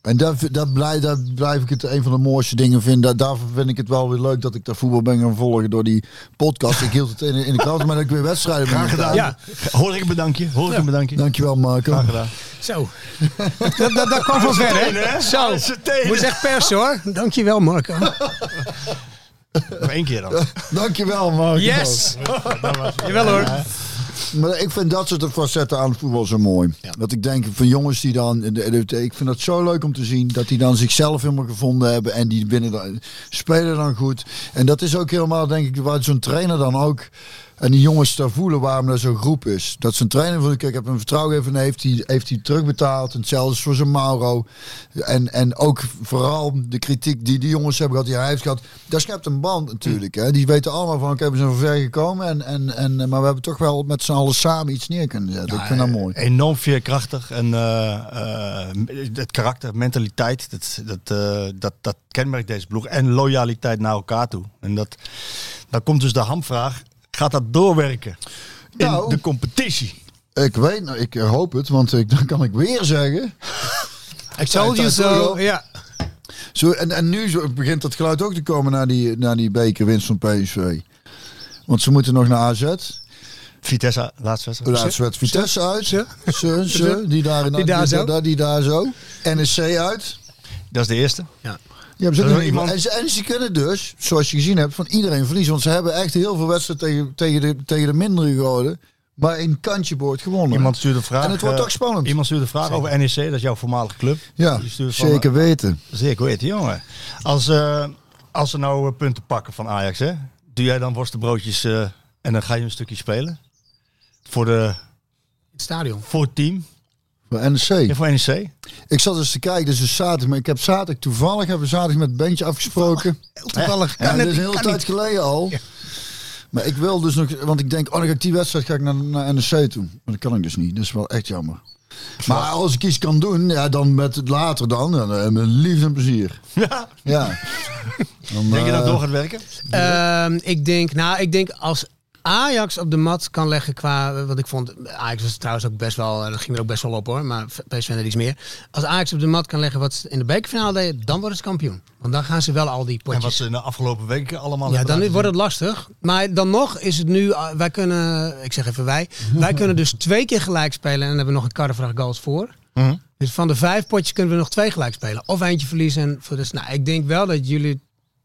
Speaker 2: en dat, dat, blijf, dat blijf ik het een van de mooiste dingen vinden. Daar- Daarvoor vind ik het wel weer leuk dat ik daar voetbal ben gaan volgen door die podcast. Ik hield het in, in de krant, maar dat ik weer wedstrijden ben
Speaker 4: Graag
Speaker 2: gaan
Speaker 4: gedaan.
Speaker 2: kijken.
Speaker 4: Ja. Hoor ik een bedankje. Hoor ik een bedankje.
Speaker 2: Dankjewel Marco.
Speaker 4: Graag gedaan.
Speaker 9: Zo,
Speaker 6: Dat, dat, dat kwam van ver, hè?
Speaker 9: zo. Moet je echt persen hoor. Dankjewel Marco.
Speaker 4: Nog één keer dan.
Speaker 2: Dankjewel Marco.
Speaker 6: Yes! Jawel hoor.
Speaker 2: Maar ik vind dat soort facetten aan het voetbal zo mooi. Dat ik denk van jongens die dan. de- de- de- Ik vind dat zo leuk om te zien. Dat die dan zichzelf helemaal gevonden hebben. En die winnen dan, spelen dan goed. En dat is ook helemaal, denk ik, waar zo'n trainer dan ook. En die jongens daar voelen waarom dat zo'n groep is. Dat zijn trainer van, kijk, ik heb hem vertrouwen gegeven en heeft hij heeft hij terugbetaald. En hetzelfde is voor zijn Mauro. En, en ook vooral de kritiek die die jongens hebben gehad, die hij heeft gehad. Daar schept een band natuurlijk. Hè. Die weten allemaal van, oké, we zijn ver gekomen. En, en, en, eh, maar we hebben toch wel met z'n allen samen iets neer kunnen zetten. ik vind dat mooi.
Speaker 4: Eh, Enorm veerkrachtig. En eh, eh, het karakter, mentaliteit, dat, dat, eh, dat, dat kenmerkt deze ploeg. En loyaliteit naar elkaar toe. En dat, dan komt dus de hamvraag. Gaat dat doorwerken in
Speaker 2: Nou.
Speaker 4: de competitie?
Speaker 2: Ik weet, nou, ik hoop het, want ik, dan kan ik weer zeggen.
Speaker 6: I told you so. Ja.
Speaker 2: Zo, en, en nu zo- begint dat geluid ook te komen naar die, naar die bekerwinst van PSV. Want ze moeten nog naar AZ.
Speaker 4: Vitesse, laatste wedstrijd.
Speaker 2: Laatste wedstrijd. Vitesse uit. Ze, ze, die daar,
Speaker 4: Die daar zo.
Speaker 2: daar- die daar zo. NSC uit.
Speaker 4: Dat is de eerste.
Speaker 6: Ja.
Speaker 2: Ja, maar ze
Speaker 4: Dat
Speaker 2: kunnen
Speaker 4: is iemand-
Speaker 2: en, ze, en ze kunnen dus, zoals je gezien hebt, van iedereen verliezen. Want ze hebben echt heel veel wedstrijden tegen, tegen, de, tegen de mindere gehouden. Maar in kantje boord gewonnen.
Speaker 4: Iemand stuurde een vraag.
Speaker 2: En het wordt
Speaker 4: eh,
Speaker 2: toch spannend.
Speaker 4: Iemand stuurde een vraag
Speaker 2: Zeker.
Speaker 4: over NEC, dat is jouw voormalige club.
Speaker 2: Ja,
Speaker 4: Die stuurde van,
Speaker 2: zeker weten.
Speaker 4: eh, zeker weten, jongen. Als, eh, als ze nou eh, punten pakken van Ajax, hè, doe jij dan worstenbroodjes eh, en dan ga je een stukje spelen? Voor, de,
Speaker 6: Het stadion.
Speaker 4: voor het team?
Speaker 2: Voor NEC.
Speaker 4: Ja, voor E NEC.
Speaker 2: Ik zat eens te kijken, dus is zaterdag. Maar ik heb zaterdag toevallig, hebben we zaterdag met het bandje afgesproken.
Speaker 6: toevallig.
Speaker 2: Ja,
Speaker 6: Kan
Speaker 2: dat
Speaker 6: het
Speaker 2: is
Speaker 6: niet,
Speaker 2: een hele
Speaker 6: kan
Speaker 2: tijd
Speaker 6: niet.
Speaker 2: geleden al. Maar ik wil dus nog, want ik denk, oh, dan ga ik die wedstrijd ga ik naar, naar NEC toe. Maar dat kan ik dus niet, dat is wel echt jammer. Maar als ik iets kan doen, ja, dan met het later dan, dan eh, met liefde en plezier.
Speaker 4: Ja.
Speaker 2: Ja. Dan,
Speaker 4: Denk je dat
Speaker 2: eh,
Speaker 4: het door gaat werken?
Speaker 9: Ehm, ik denk, nou, ik denk als Ajax op de mat kan leggen qua, want ik vond Ajax was trouwens ook best wel, eh, dat ging er ook best wel op hoor, maar PSV er iets meer. Als Ajax op de mat kan leggen wat ze in de bekerfinale deden, dan worden ze kampioen. Want dan gaan ze wel al die
Speaker 4: En
Speaker 9: potjes.
Speaker 4: wat ze in de afgelopen weken allemaal
Speaker 9: Ja,
Speaker 4: hebben
Speaker 9: dan
Speaker 4: laten
Speaker 9: wordt het lastig. Maar dan nog is het nu, ah, wij kunnen, ik zeg even wij, wij kunnen dus twee keer gelijk spelen en dan hebben we nog een karrevraag goals voor.
Speaker 4: zien. Mhm.
Speaker 9: Dus van de vijf potjes kunnen we nog twee gelijk spelen. Of eentje verliezen. En voor de, nou, ik denk wel dat jullie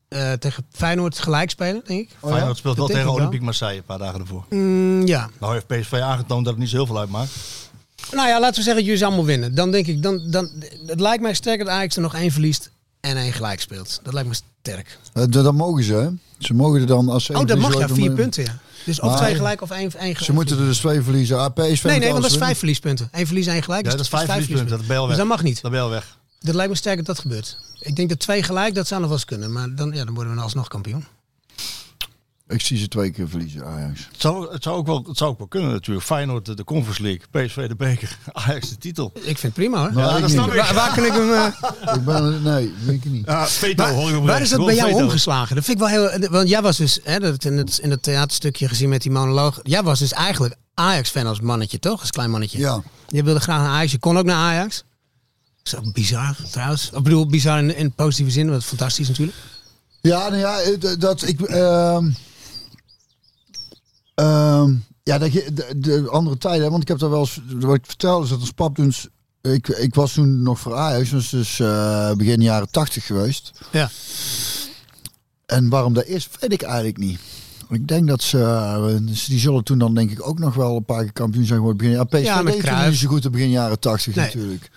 Speaker 9: eh, tegen Feyenoord gelijk spelen, denk ik.
Speaker 4: Feyenoord speelt wel
Speaker 9: Dat
Speaker 4: tegen
Speaker 9: denk ik wel.
Speaker 4: Olympique Marseille een paar dagen ervoor.
Speaker 9: Mm, ja.
Speaker 4: Nou heeft PSV aangetoond dat het niet zo heel veel uitmaakt.
Speaker 9: Nou ja, laten we zeggen dat jullie ze allemaal winnen. Dan denk ik, dan, dan, het lijkt mij sterk dat Ajax er nog één verliest en één gelijk speelt. Dat lijkt me sterk.
Speaker 2: eh, dat dat mogen ze, hè? Ze mogen er dan als ze
Speaker 9: Oh, dat
Speaker 2: verliezen,
Speaker 9: mag ja,
Speaker 2: ook nog
Speaker 9: vier
Speaker 2: maar-
Speaker 9: punten ja. Dus of
Speaker 2: Maar-
Speaker 9: twee gelijk of één, één gelijk.
Speaker 2: Ze moeten er dus twee verliezen. Ah, PSV
Speaker 9: Nee,
Speaker 2: moet
Speaker 9: nee, want dat
Speaker 2: alles
Speaker 9: is vijf
Speaker 2: winnen.
Speaker 9: verliespunten. Eén verlies, één gelijk.
Speaker 4: Ja,
Speaker 9: dus
Speaker 4: dat is vijf verliespunten. Dat is bij al
Speaker 9: Dus
Speaker 4: weg.
Speaker 9: dat mag niet.
Speaker 4: Dan ben je al weg.
Speaker 9: Dat lijkt me sterk dat dat gebeurt. Ik denk dat twee gelijk, dat zou nog wel eens kunnen. Maar dan, ja, dan worden we nou alsnog kampioen.
Speaker 2: Ik zie ze twee keer verliezen, Ajax.
Speaker 4: Het zou, het, zou ook wel, het zou ook wel kunnen natuurlijk. Feyenoord eh, de, de Conference League, PSV de beker, Ajax de titel.
Speaker 9: Ik vind het prima hoor.
Speaker 2: Nou, ik
Speaker 4: dat
Speaker 2: niet.
Speaker 4: snap ik.
Speaker 9: Waar, waar kan ik hem... eh,
Speaker 2: Ik ben, nee, denk ik niet.
Speaker 4: Ah, veto, hoor ik op
Speaker 9: Waar
Speaker 4: rechts.
Speaker 9: is dat bij
Speaker 4: Gewoon
Speaker 9: jou
Speaker 4: veto.
Speaker 9: omgeslagen? Dat vind ik wel heel. Want jij was dus, hè, dat in het, in het theaterstukje gezien met die monoloog. Jij was dus eigenlijk Ajax-fan als mannetje, toch? Als klein mannetje.
Speaker 2: Ja.
Speaker 9: Je wilde graag naar Ajax. Je kon ook naar Ajax. Dat is ook bizar trouwens. Ik bedoel, bizar in, in positieve zin, want fantastisch natuurlijk.
Speaker 2: Ja, nou ja, eh, d- dat ik. ehm, ehm, ja, dat je, de, de andere tijden, hè, want ik heb daar wel eens. Wat ik vertelde is dat als pap toen. s- Ik, ik was toen nog voor Ajax, dus, dus eh, begin jaren tachtig geweest.
Speaker 9: Ja.
Speaker 2: En waarom dat is, weet ik eigenlijk niet. Ik denk dat ze, eh, dus die zullen toen dan denk ik ook nog wel een paar keer kampioen zijn geworden. Begin, ja, PSV
Speaker 9: Ja, met
Speaker 2: deed toen
Speaker 9: Cruijff.
Speaker 2: niet zo goed in begin jaren tachtig
Speaker 9: Nee.
Speaker 2: natuurlijk.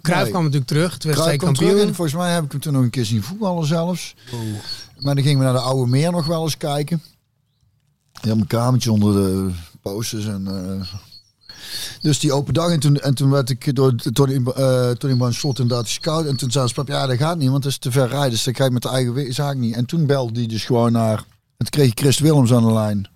Speaker 9: Cruijff
Speaker 2: Nee.
Speaker 9: kwam natuurlijk terug. Toen werd
Speaker 2: Kruijf
Speaker 9: hij
Speaker 2: kwam terug en
Speaker 9: kampioen.
Speaker 2: volgens mij heb ik hem toen nog een keer zien voetballen zelfs. Maar dan gingen we naar de Oude Meer nog wel eens kijken. Ik had mijn kamertje onder de posters en... eh, dus die open dag en toen, en toen werd ik door Tony, eh Tony Van Slot inderdaad gescout. En toen zei ze, "Pap, ja dat gaat niet, want dat is te ver rijden. Dus dat ga ik met de eigen we- zaak niet. En toen belde die dus gewoon naar... En toen kreeg ik Chris Willems aan de lijn.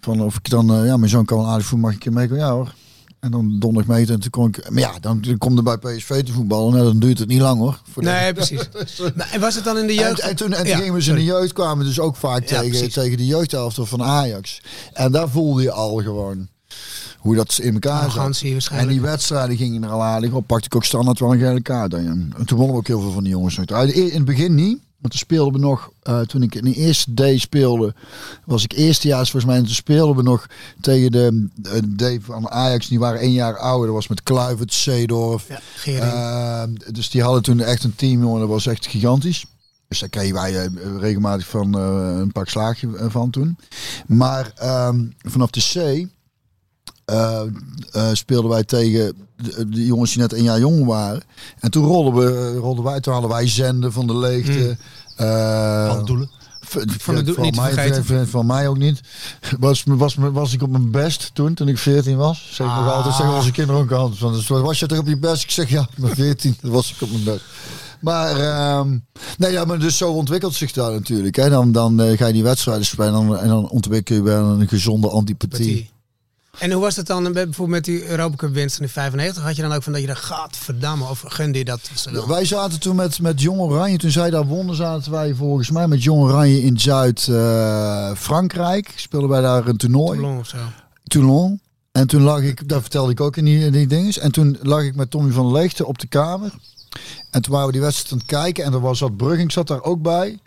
Speaker 2: Van of ik dan, eh, ja mijn zoon kan wel aardig voetballen, mag ik je mee? Ja hoor. En dan donderdag mee en toen kon ik... Maar ja, dan kom er bij PSV te voetballen. Nou, dan duurt het niet lang hoor. Voor de-
Speaker 9: Nee, precies. Maar, en was het dan in de jeugd?
Speaker 2: en, en toen, en toen
Speaker 9: Ja,
Speaker 2: gingen we ze in
Speaker 9: sorry.
Speaker 2: de jeugd, kwamen we dus ook vaak
Speaker 9: Ja,
Speaker 2: tegen,
Speaker 9: precies.
Speaker 2: tegen de jeugdhelft van Ajax. En daar voelde je al gewoon hoe dat in elkaar zat.
Speaker 9: Arrogantie
Speaker 2: En
Speaker 9: waarschijnlijk.
Speaker 2: die wedstrijden gingen er al aardig op. Pakte ik ook standaard wel een gele kaart. aan. En toen wonnen we ook heel veel van die jongens. nog. Uit- In het begin niet. Want toen speelden we nog, eh, toen ik in de eerste D speelde, was ik eerstejaars volgens mij. En toen speelden we nog tegen de eh, D van Ajax. Die waren één jaar ouder. Dat was met Kluivert, Seedorf.
Speaker 9: Ja, Gering.
Speaker 2: Eh, dus die hadden toen echt een team, jongen, dat was echt gigantisch. Dus daar kregen wij eh, regelmatig van eh, een pak slaagje eh, van toen. Maar ehm, vanaf de C eh, eh, speelden wij tegen de, eh, de jongens die net een jaar jong waren. En toen rolden we, rolden wij, toen hadden wij zenden van de leegte. eh,
Speaker 4: Van doelen.
Speaker 2: van,
Speaker 9: Van de Doel- niet te
Speaker 2: mij,
Speaker 9: vergeten.
Speaker 2: van- van mij ook niet. Was, was, was ik op mijn best toen, toen ik 14 was? Zeg ik nog
Speaker 9: Ah.
Speaker 2: altijd, zeggen onze kinderen ook altijd. Van, dus was je toch op je best? Ik zeg ja, op mijn 14 was ik op mijn best. Maar, ehm, nee, ja, maar dus zo ontwikkelt zich daar natuurlijk. Hè. Dan, dan eh, ga je die wedstrijden spelen en dan, en dan ontwikkel je wel een gezonde antipathie.
Speaker 9: En hoe was dat dan eh, bijvoorbeeld met die Europa Cup winst in de 95? Had je dan ook van dat je dacht, gadverdamme, of gunde je dat? ze wel?
Speaker 2: Wij zaten toen met, met Jong Oranje, toen zij daar wonnen, zaten wij volgens mij met Jong Oranje in Zuid-Frankrijk. Speelden wij daar een toernooi.
Speaker 9: Toulon of zo.
Speaker 2: Toulon. En toen lag ik, dat vertelde ik ook in die, in die dinges. En toen lag ik met Tommy van Leegte op de kamer. En toen waren we die wedstrijd aan het kijken. En er was dat Brugging zat daar ook bij.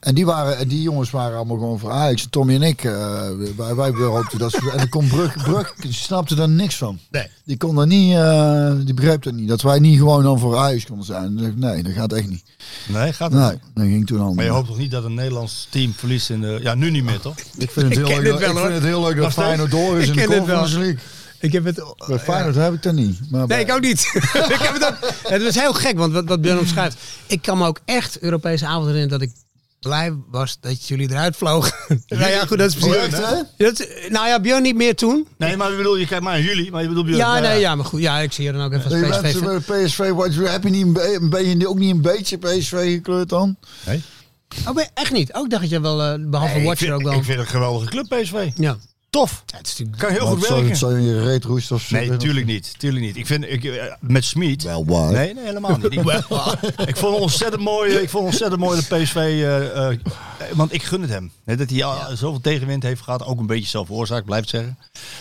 Speaker 2: En die, waren, en die jongens waren allemaal gewoon voor Ajax. En Tommy en ik, eh, wij, wij hoopten dat ze... En dan kon Brug, Brug die snapte daar niks van.
Speaker 6: Nee.
Speaker 2: Die kon daar niet... eh, die begreep dat niet. Dat wij niet gewoon dan voor Ajax konden zijn. En dan dacht ik, nee, dat gaat echt niet.
Speaker 4: Nee, gaat het
Speaker 2: Nee, dat ging toen al.
Speaker 4: Maar je hoopt toch niet dat een Nederlands team verliest in de... Ja, nu niet meer, toch?
Speaker 2: Ik vind het heel
Speaker 4: ken
Speaker 2: leuk,
Speaker 4: dit
Speaker 2: dat-
Speaker 4: wel,
Speaker 2: ik
Speaker 4: hoor.
Speaker 2: vind het heel leuk dat
Speaker 4: Nog steeds?
Speaker 2: Feyenoord door is
Speaker 4: Ik
Speaker 2: in
Speaker 4: ken
Speaker 2: de
Speaker 4: dit
Speaker 2: Conference League.
Speaker 9: Ik heb het...
Speaker 2: Bij Feyenoord heb ik dat niet. Maar bij-
Speaker 9: Nee, ik ook niet. ik heb het, ook, het was heel gek, want wat, wat Björn omschrijft. Ik kan me ook echt Europese avond herinneren dat ik blij was dat jullie eruit vlogen. nou ja, goed, dat is precies.
Speaker 4: Oh, echt, hè?
Speaker 9: Dat is- nou ja, Björn niet meer toen.
Speaker 4: Nee, maar ik bedoel, je kijkt maar aan jullie, maar je bedoelt...
Speaker 9: Ja,
Speaker 4: nou
Speaker 9: nee, ja, maar goed. Ja, ik zie je dan ook even
Speaker 2: Je
Speaker 9: als
Speaker 2: bent
Speaker 9: PSV.
Speaker 2: bij de PSV, wat, heb je niet een, be- een beetje, ook niet een beetje PSV gekleurd dan?
Speaker 4: Nee.
Speaker 9: Oh, ben je echt niet? Ook dacht dat je wel, eh, behalve
Speaker 4: Nee, ik,
Speaker 9: Watcher
Speaker 4: vind,
Speaker 9: ook wel.
Speaker 4: ik vind het een geweldige club, PSV.
Speaker 9: ja.
Speaker 4: Tof.
Speaker 9: Ja, het is natuurlijk...
Speaker 4: Kan heel
Speaker 2: Wat
Speaker 4: goed
Speaker 2: zou-
Speaker 4: werken.
Speaker 2: Zou je je reet roesten of zo?
Speaker 4: Nee, tuurlijk niet. Tuurlijk niet. Ik vind, ik, eh, met Smit...
Speaker 2: Wel waar.
Speaker 4: Nee, nee, helemaal niet. Ik, ik vond het ontzettend mooi, ik vond ontzettend mooi dat PSV... eh, eh, want ik gun het hem. Hè, dat hij al zoveel tegenwind heeft gehad. Ook een beetje zelf veroorzaakt, blijft zeggen.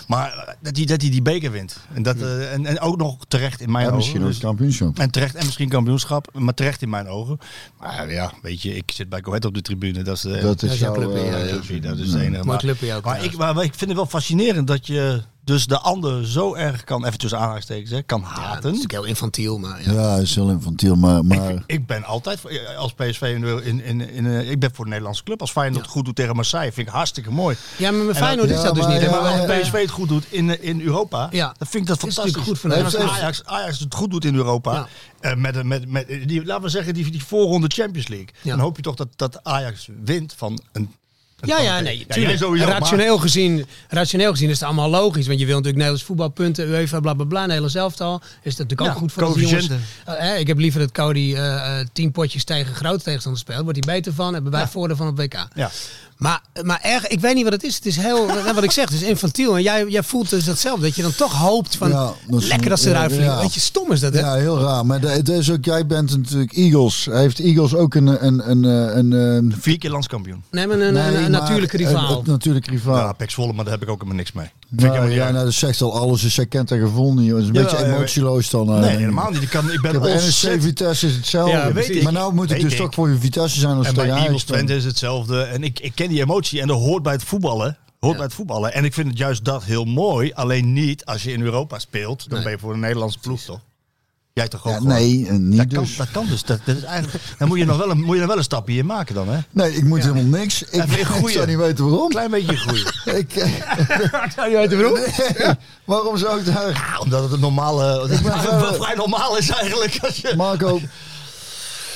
Speaker 4: Maar eh, dat hij, dat hij die beker wint. En, dat, eh, en, en ook nog terecht in mijn
Speaker 2: Ja,
Speaker 4: ogen.
Speaker 2: misschien ook
Speaker 4: Dus-
Speaker 2: het kampioenschap.
Speaker 4: En terecht, en misschien kampioenschap, maar terecht in mijn ogen. Maar ja, weet je, ik zit bij Coët op de tribune. Dat is, eh,
Speaker 2: Dat
Speaker 9: is
Speaker 2: is
Speaker 9: jouw
Speaker 2: jouw...
Speaker 9: club, ja,
Speaker 2: eh,
Speaker 9: ja.
Speaker 4: clubje, dat is het
Speaker 2: nee.
Speaker 4: enige.
Speaker 9: Mooi
Speaker 4: Maar,
Speaker 9: clubje ook.
Speaker 4: maar, ik, maar ik vind het wel fascinerend dat je dus de ander zo erg kan, even tussen aanhalingstekens, hè, kan
Speaker 9: Ja, dat is
Speaker 4: haten.
Speaker 9: natuurlijk heel infantiel, maar ja.
Speaker 2: Ja, is heel infantiel, maar... maar
Speaker 4: ik, ik ben altijd, voor- eh, als PSV, in, in, in, in, eh, ik ben voor de Nederlandse club. Als Feyenoord het goed doet tegen Marseille, vind ik hartstikke mooi.
Speaker 9: Ja, maar mijn
Speaker 4: En
Speaker 9: Feyenoord
Speaker 4: dat-
Speaker 9: is dat dus
Speaker 2: Ja,
Speaker 9: niet. hè,
Speaker 2: maar-
Speaker 9: maar
Speaker 2: ja,
Speaker 9: wel-
Speaker 4: Als PSV het goed doet in, eh, in Europa,
Speaker 9: Ja.
Speaker 4: dan vind ik dat
Speaker 9: is
Speaker 4: fantastisch.
Speaker 9: natuurlijk goed voor
Speaker 4: En als
Speaker 9: Nederland.
Speaker 4: Ajax, Ajax het goed doet in Europa,
Speaker 9: Ja.
Speaker 4: eh, met, een- met, met, die, laten we zeggen die, die voorronde Champions League,
Speaker 9: Ja.
Speaker 4: dan hoop je toch dat, dat Ajax wint van een... een
Speaker 9: Ja, ja,
Speaker 4: van-
Speaker 9: nee.
Speaker 4: jij
Speaker 9: tuurlijk.
Speaker 4: sowieso, maar-
Speaker 9: rationeel, gezien, rationeel gezien is het allemaal logisch. Want je wil natuurlijk Nederlands voetbalpunten, UEFA, bla bla bla. Nederlands elftal. Is dat natuurlijk ook
Speaker 4: Ja,
Speaker 9: goed voor onze jongens.
Speaker 4: coëfficiënten.
Speaker 9: Eh, hè, ik heb liever dat Cody eh, eh, tien potjes tegen grote tegenstanders speelt. Wordt hij beter van. Hebben wij voordeel van op WK.
Speaker 4: Ja.
Speaker 9: Maar, maar erg, ik weet niet wat het is. Het is heel, net wat ik zeg, het is infantiel. En jij, jij voelt dus datzelfde. Dat je dan toch hoopt van,
Speaker 2: Ja, dat is-
Speaker 9: lekker dat ze
Speaker 2: ja,
Speaker 9: eruit vliegen.
Speaker 2: ja.
Speaker 9: Weet je, stom is dat, hè?
Speaker 2: ja, heel raar. Maar de- het is ook, jij bent natuurlijk Eagles. Heeft Eagles ook een... een, een, een, een, een
Speaker 4: Vier keer landskampioen.
Speaker 9: Nee, maar een, een,
Speaker 2: Nee,
Speaker 9: een
Speaker 2: maar
Speaker 9: natuurlijke
Speaker 2: een-
Speaker 9: rivaal.
Speaker 2: Een natuurlijk rivaal.
Speaker 4: Ja, Pek Zwolle, maar daar heb ik ook helemaal niks mee. Vind ik
Speaker 2: Nou,
Speaker 4: helemaal niet
Speaker 2: ja,
Speaker 4: erg.
Speaker 2: nou, dat zegt al alles. Dus zij kent dat gevoel niet. joh. Het is een
Speaker 4: Jawel,
Speaker 2: beetje
Speaker 4: ja,
Speaker 2: emotieloos dan. eh,
Speaker 4: Nee,
Speaker 2: denk ik.
Speaker 4: helemaal niet. Ik, kan, ik ben
Speaker 2: Ja, bij NEC
Speaker 4: ontzettend-
Speaker 2: Vitesse is hetzelfde.
Speaker 4: Ja, weet ik.
Speaker 2: maar nou moet ik
Speaker 4: Weet
Speaker 2: dus
Speaker 4: ik.
Speaker 2: toch voor je Vitesse zijn als
Speaker 4: En
Speaker 2: het
Speaker 4: bij
Speaker 2: tegen Ajax
Speaker 4: Eagles
Speaker 2: speelt.
Speaker 4: Twente is hetzelfde. En ik, ik ken die emotie en dat hoort bij het voetballen. Hoort bij het voetballen. En ik vind het juist dat heel mooi. Alleen niet als je in Europa speelt. Dan ben je voor een Nederlandse ploeg toch? Jij toch ook?
Speaker 2: Ja,
Speaker 4: gewoon?
Speaker 2: nee, eh, niet
Speaker 4: Dat kan,
Speaker 2: dus.
Speaker 4: dat kan dus. Dat, dat is eigenlijk, dan moet je, nog wel een, moet je nog wel een stapje in maken dan, hè?
Speaker 2: Nee, ik moet helemaal niks. Ik,
Speaker 4: Even een
Speaker 2: ik
Speaker 4: goeie.
Speaker 2: zou niet weten waarom.
Speaker 4: Klein beetje groeien.
Speaker 2: Ik, eh,
Speaker 9: Zou je nou uit de broek?
Speaker 2: nee, waarom zou ik daar...
Speaker 4: Ja, Ah, omdat het een normale... Dat
Speaker 2: ben eh, wel-
Speaker 4: wel vrij normaal is eigenlijk. Als je,
Speaker 2: Marco,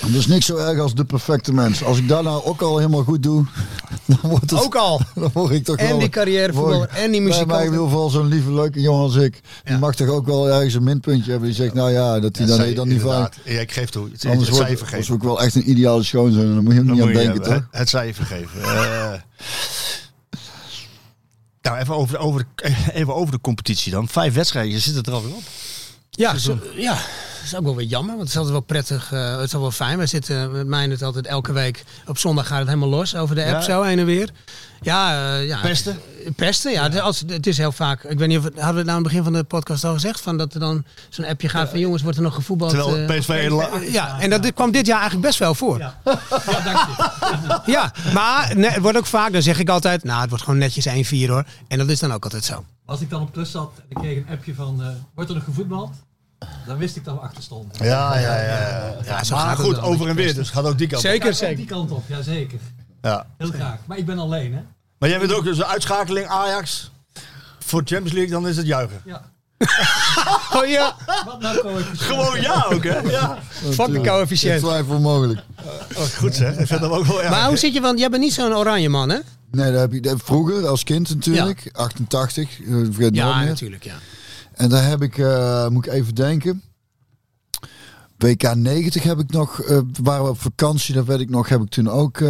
Speaker 2: dat is niks zo erg als de perfecte mens. Als ik daar nou ook al helemaal goed doe, dan wordt het...
Speaker 9: Ook al.
Speaker 2: Dan word ik toch
Speaker 9: En
Speaker 2: wel-
Speaker 9: die carrièrevoetballer
Speaker 2: word ik-
Speaker 9: en die
Speaker 2: Nee,
Speaker 9: muzikant.
Speaker 2: Maar ik wil vooral zo'n lieve, leuke jongen als ik. Die mag toch ook wel ergens een minpuntje hebben. Die zegt, nou ja, dat hij dan,
Speaker 4: Zij-
Speaker 2: nee, dan niet vaak...
Speaker 4: inderdaad. Ja, ik geef toe. Het, het,
Speaker 2: Anders
Speaker 4: het
Speaker 2: wordt het
Speaker 4: zij vergeven.
Speaker 2: was ook wel echt een ideale schoonzoon. Dan moet je hem
Speaker 4: Dan
Speaker 2: niet aan
Speaker 4: moet je
Speaker 2: denken,
Speaker 4: hebben,
Speaker 2: toch?
Speaker 4: hè? Het cijfer geven. Eh, nou, even over, over, de, eh, even over de competitie dan. Vijf wedstrijden, zit het er alweer op.
Speaker 9: Ja, zo, ja, dat is ook wel weer jammer. Want het is altijd wel prettig. eh, het is wel wel fijn. Wij zitten met mij het altijd elke week. Op zondag gaat het helemaal los over de app
Speaker 4: Ja.
Speaker 9: zo heen en weer. Ja, eh, ja.
Speaker 4: Pesten?
Speaker 9: Pesten, ja. Het, als, het is heel vaak. Ik weet niet of het, hadden we het nou aan het begin van de podcast al gezegd. Van dat er dan zo'n appje gaat van jongens, wordt er nog gevoetbald.
Speaker 4: Terwijl
Speaker 9: eh,
Speaker 4: PSV... la-
Speaker 9: ja, en dat dit kwam dit jaar eigenlijk best wel voor. Ja, maar nee, het wordt ook vaak, dan zeg ik altijd, nou het wordt gewoon netjes 1-4 hoor. En dat is dan ook altijd zo.
Speaker 10: Als ik dan op klus zat en ik kreeg een appje van, eh, wordt er nog gevoetbald? Dan wist ik dat we achter stonden.
Speaker 4: Ja, ja, ja. ja.
Speaker 9: zo gaat
Speaker 4: maar
Speaker 9: het
Speaker 4: goed,
Speaker 9: wel,
Speaker 4: over en weer. Dus gaat ook die kant op.
Speaker 10: Zeker, zeker. Die kant op, ja zeker.
Speaker 4: Ja.
Speaker 10: Heel graag. Maar ik ben alleen, hè?
Speaker 4: Maar jij bent ook dus een uitschakeling Ajax. Voor Champions League, dan is het juichen.
Speaker 10: Ja.
Speaker 9: Oh ja,
Speaker 10: Wat nou kon ik
Speaker 4: Gewoon ja ook, hè? Ja.
Speaker 9: fucking
Speaker 2: Ik
Speaker 9: coëfficiënt.
Speaker 2: twijfel mogelijk.
Speaker 4: Oh, goed zeg, ik vind dat ook wel erg.
Speaker 9: Maar hoe zit je, want jij bent niet zo'n oranje man hè?
Speaker 2: Nee, dat heb je dat- vroeger als kind natuurlijk. 88, eh, vergeet nooit
Speaker 9: Ja,
Speaker 2: meer.
Speaker 9: natuurlijk, ja.
Speaker 2: En daar heb ik, eh, moet ik even denken. WK 90 heb ik nog, eh, waren we op vakantie, dat weet ik nog, heb ik toen ook, eh,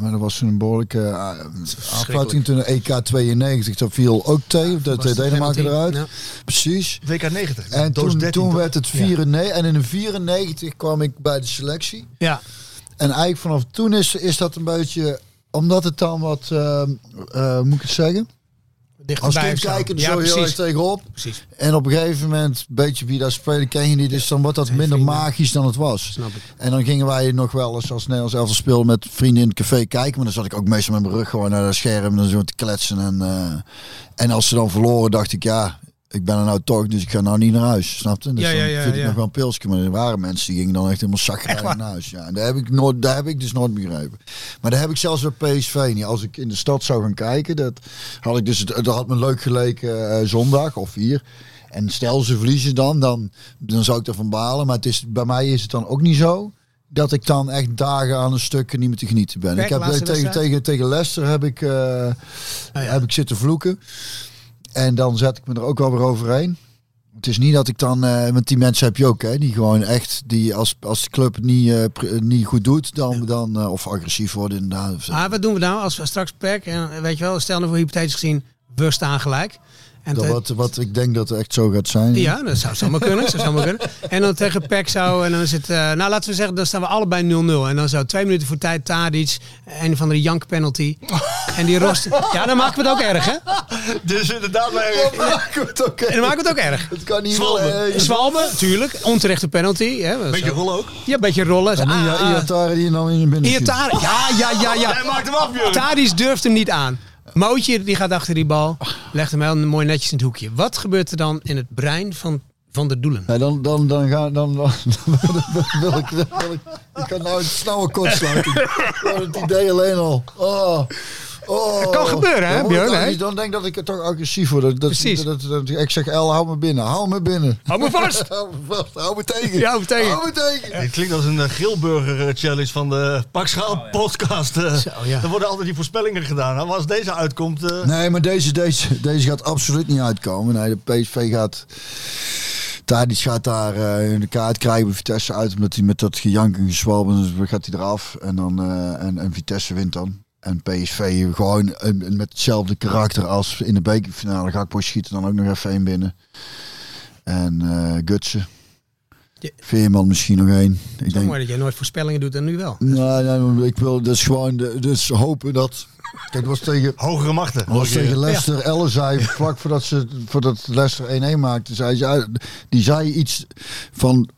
Speaker 2: maar dat was een behoorlijke eh, afsluiting. Toen de EK 92, dat viel ook tegen, dat deed Denemarken eruit.
Speaker 9: Ja.
Speaker 2: Precies.
Speaker 4: WK 90.
Speaker 2: En
Speaker 4: doos
Speaker 2: toen,
Speaker 4: 13,
Speaker 2: toen
Speaker 4: toch?
Speaker 2: werd het 4 en in de 94 kwam ik bij de selectie.
Speaker 9: Ja.
Speaker 2: En eigenlijk vanaf toen is, is dat een beetje, omdat het dan wat, eh, eh, moet ik het zeggen? als
Speaker 9: dichterbij
Speaker 2: kind
Speaker 9: of zo.
Speaker 2: kijken er
Speaker 9: Ja,
Speaker 2: zo eh, heel erg
Speaker 9: precies.
Speaker 2: tegenop.
Speaker 9: Precies.
Speaker 2: En op een gegeven moment, een beetje wie daar spelen, ken je niet. Dus dan wordt dat minder magisch dan het was. En dan gingen wij nog wel eens als Nederlands elftal speel met vrienden in het café kijken. Maar dan zat ik ook meestal met mijn rug gewoon naar dat scherm. Dan zo te kletsen. En, eh, en als ze dan verloren, dacht ik ja... Ik ben er nou toch, dus ik ga nou niet naar huis, snap je? Dus
Speaker 9: Ja, ja,
Speaker 2: dan
Speaker 9: ja,
Speaker 2: vind ik
Speaker 9: ja.
Speaker 2: nog wel een pilsje, maar er waren mensen die gingen dan echt helemaal zakkerig naar huis. Ja, en daar heb, ik nooit, daar heb ik dus nooit begrepen. Maar daar heb ik zelfs bij PSV niet. Als ik in de stad zou gaan kijken, dat had ik dus, dat had me leuk geleken eh, zondag of hier. En stel ze verliezen dan, dan, dan zou ik ervan balen. Maar het is, bij mij is het dan ook niet zo dat ik dan echt dagen aan een stuk niet meer te genieten ben.
Speaker 9: Kijk,
Speaker 2: ik heb eh,
Speaker 9: laatste
Speaker 2: tegen,
Speaker 9: wedstrijd. Ah,
Speaker 2: tegen, tegen Leicester heb ik, eh, heb ik zitten vloeken. En dan zet ik me er ook wel weer overheen. Het is niet dat ik dan, eh want die mensen heb je ook, hè, die gewoon echt, die als, als de club het niet, eh, pr- eh, niet goed doet, dan, dan eh, of agressief worden inderdaad. Of zo.
Speaker 9: Maar wat doen we nou als we straks PEC, en weet je wel, stel nou voor hypothetisch gezien, we staan gelijk. En
Speaker 2: dat
Speaker 9: te-
Speaker 2: wat, wat ik denk dat het echt zo gaat zijn.
Speaker 9: Ja, dat zou zomaar kunnen. zou zomaar kunnen. En dan tegen Peck zou, en dan is het, eh, nou laten we zeggen, dan staan we allebei 0-0. En dan zou twee minuten voor tijd Tadic, een van de jank penalty. En die rost. Ja, dan maken we het ook erg, hè?
Speaker 4: Dus inderdaad, wij
Speaker 9: En dan maken we het ook erg.
Speaker 2: Het kan niet
Speaker 4: Zwalbe.
Speaker 2: wel, eh,
Speaker 9: Zwalbe, tuurlijk, onterechte penalty. Hè, dat is
Speaker 4: Beetje
Speaker 9: ook-
Speaker 4: rollen ook.
Speaker 9: Ja, een beetje rollen.
Speaker 2: En
Speaker 9: Ah,
Speaker 2: Ia-
Speaker 9: ah.
Speaker 2: Iatare die dan in binnen.
Speaker 9: Iataren. Ja, ja, ja, Oh. Ah, ja.
Speaker 4: Hij maakt hem af, joh.
Speaker 9: Tadic durft hem niet aan. Mootje die gaat achter die bal, legt hem heel mooi netjes in het hoekje. Wat gebeurt er dan in het brein van, van de doelen?
Speaker 2: Nee, dan, dan, dan ga dan, dan, dan wil ik, dan wil ik, ik kan nou een snelle kortsluiting. Gewoon het idee alleen al. Oh. Oh.
Speaker 9: kan gebeuren, hè,
Speaker 2: Dan word
Speaker 9: Björn,
Speaker 2: ik
Speaker 9: hè?
Speaker 2: eigenlijk- Dan denk ik dat ik het toch agressief word. Dat, dat,
Speaker 9: Precies.
Speaker 2: Dat, dat- dat- ik zeg, El, hou me binnen. Hou me binnen.
Speaker 9: Hou me vast!
Speaker 2: Hou me vast. Hou me tegen.
Speaker 9: Ja, hou me tegen.
Speaker 2: Hou me tegen.
Speaker 4: Dit klinkt als een eh, grillburger eh, challenge van de Pakschaal podcast. eh.
Speaker 9: ja.
Speaker 4: Er worden altijd die voorspellingen gedaan. Nou, maar als deze uitkomt, eh,
Speaker 2: Nee, maar deze, deze, deze gaat absoluut niet uitkomen. Nee, de PSV gaat... Tadic gaat daar eh, een kaart krijgen bij Vitesse uit. Omdat hij met dat gejank en gezwalben dus gaat hij eraf. En, dan, eh, en, en Vitesse wint dan. En PSV gewoon een- een met hetzelfde karakter als in de bekerfinale. Gakpo schiet er dan ook nog even één binnen. En eh Gutsen.
Speaker 9: Ja.
Speaker 2: Veerman misschien nog één. Ik
Speaker 9: Zo
Speaker 2: denk
Speaker 9: mooi dat jij nooit voorspellingen doet en nu wel.
Speaker 2: Nee, nee, ik wil dus gewoon de- dus hopen dat... Kijk, het was tegen
Speaker 4: hogere machten.
Speaker 2: dat was tegen Leicester. Ellen zei vlak voordat, ze, voordat Leicester 1-1 maakte, zei ze, "Ah, die zei iets van,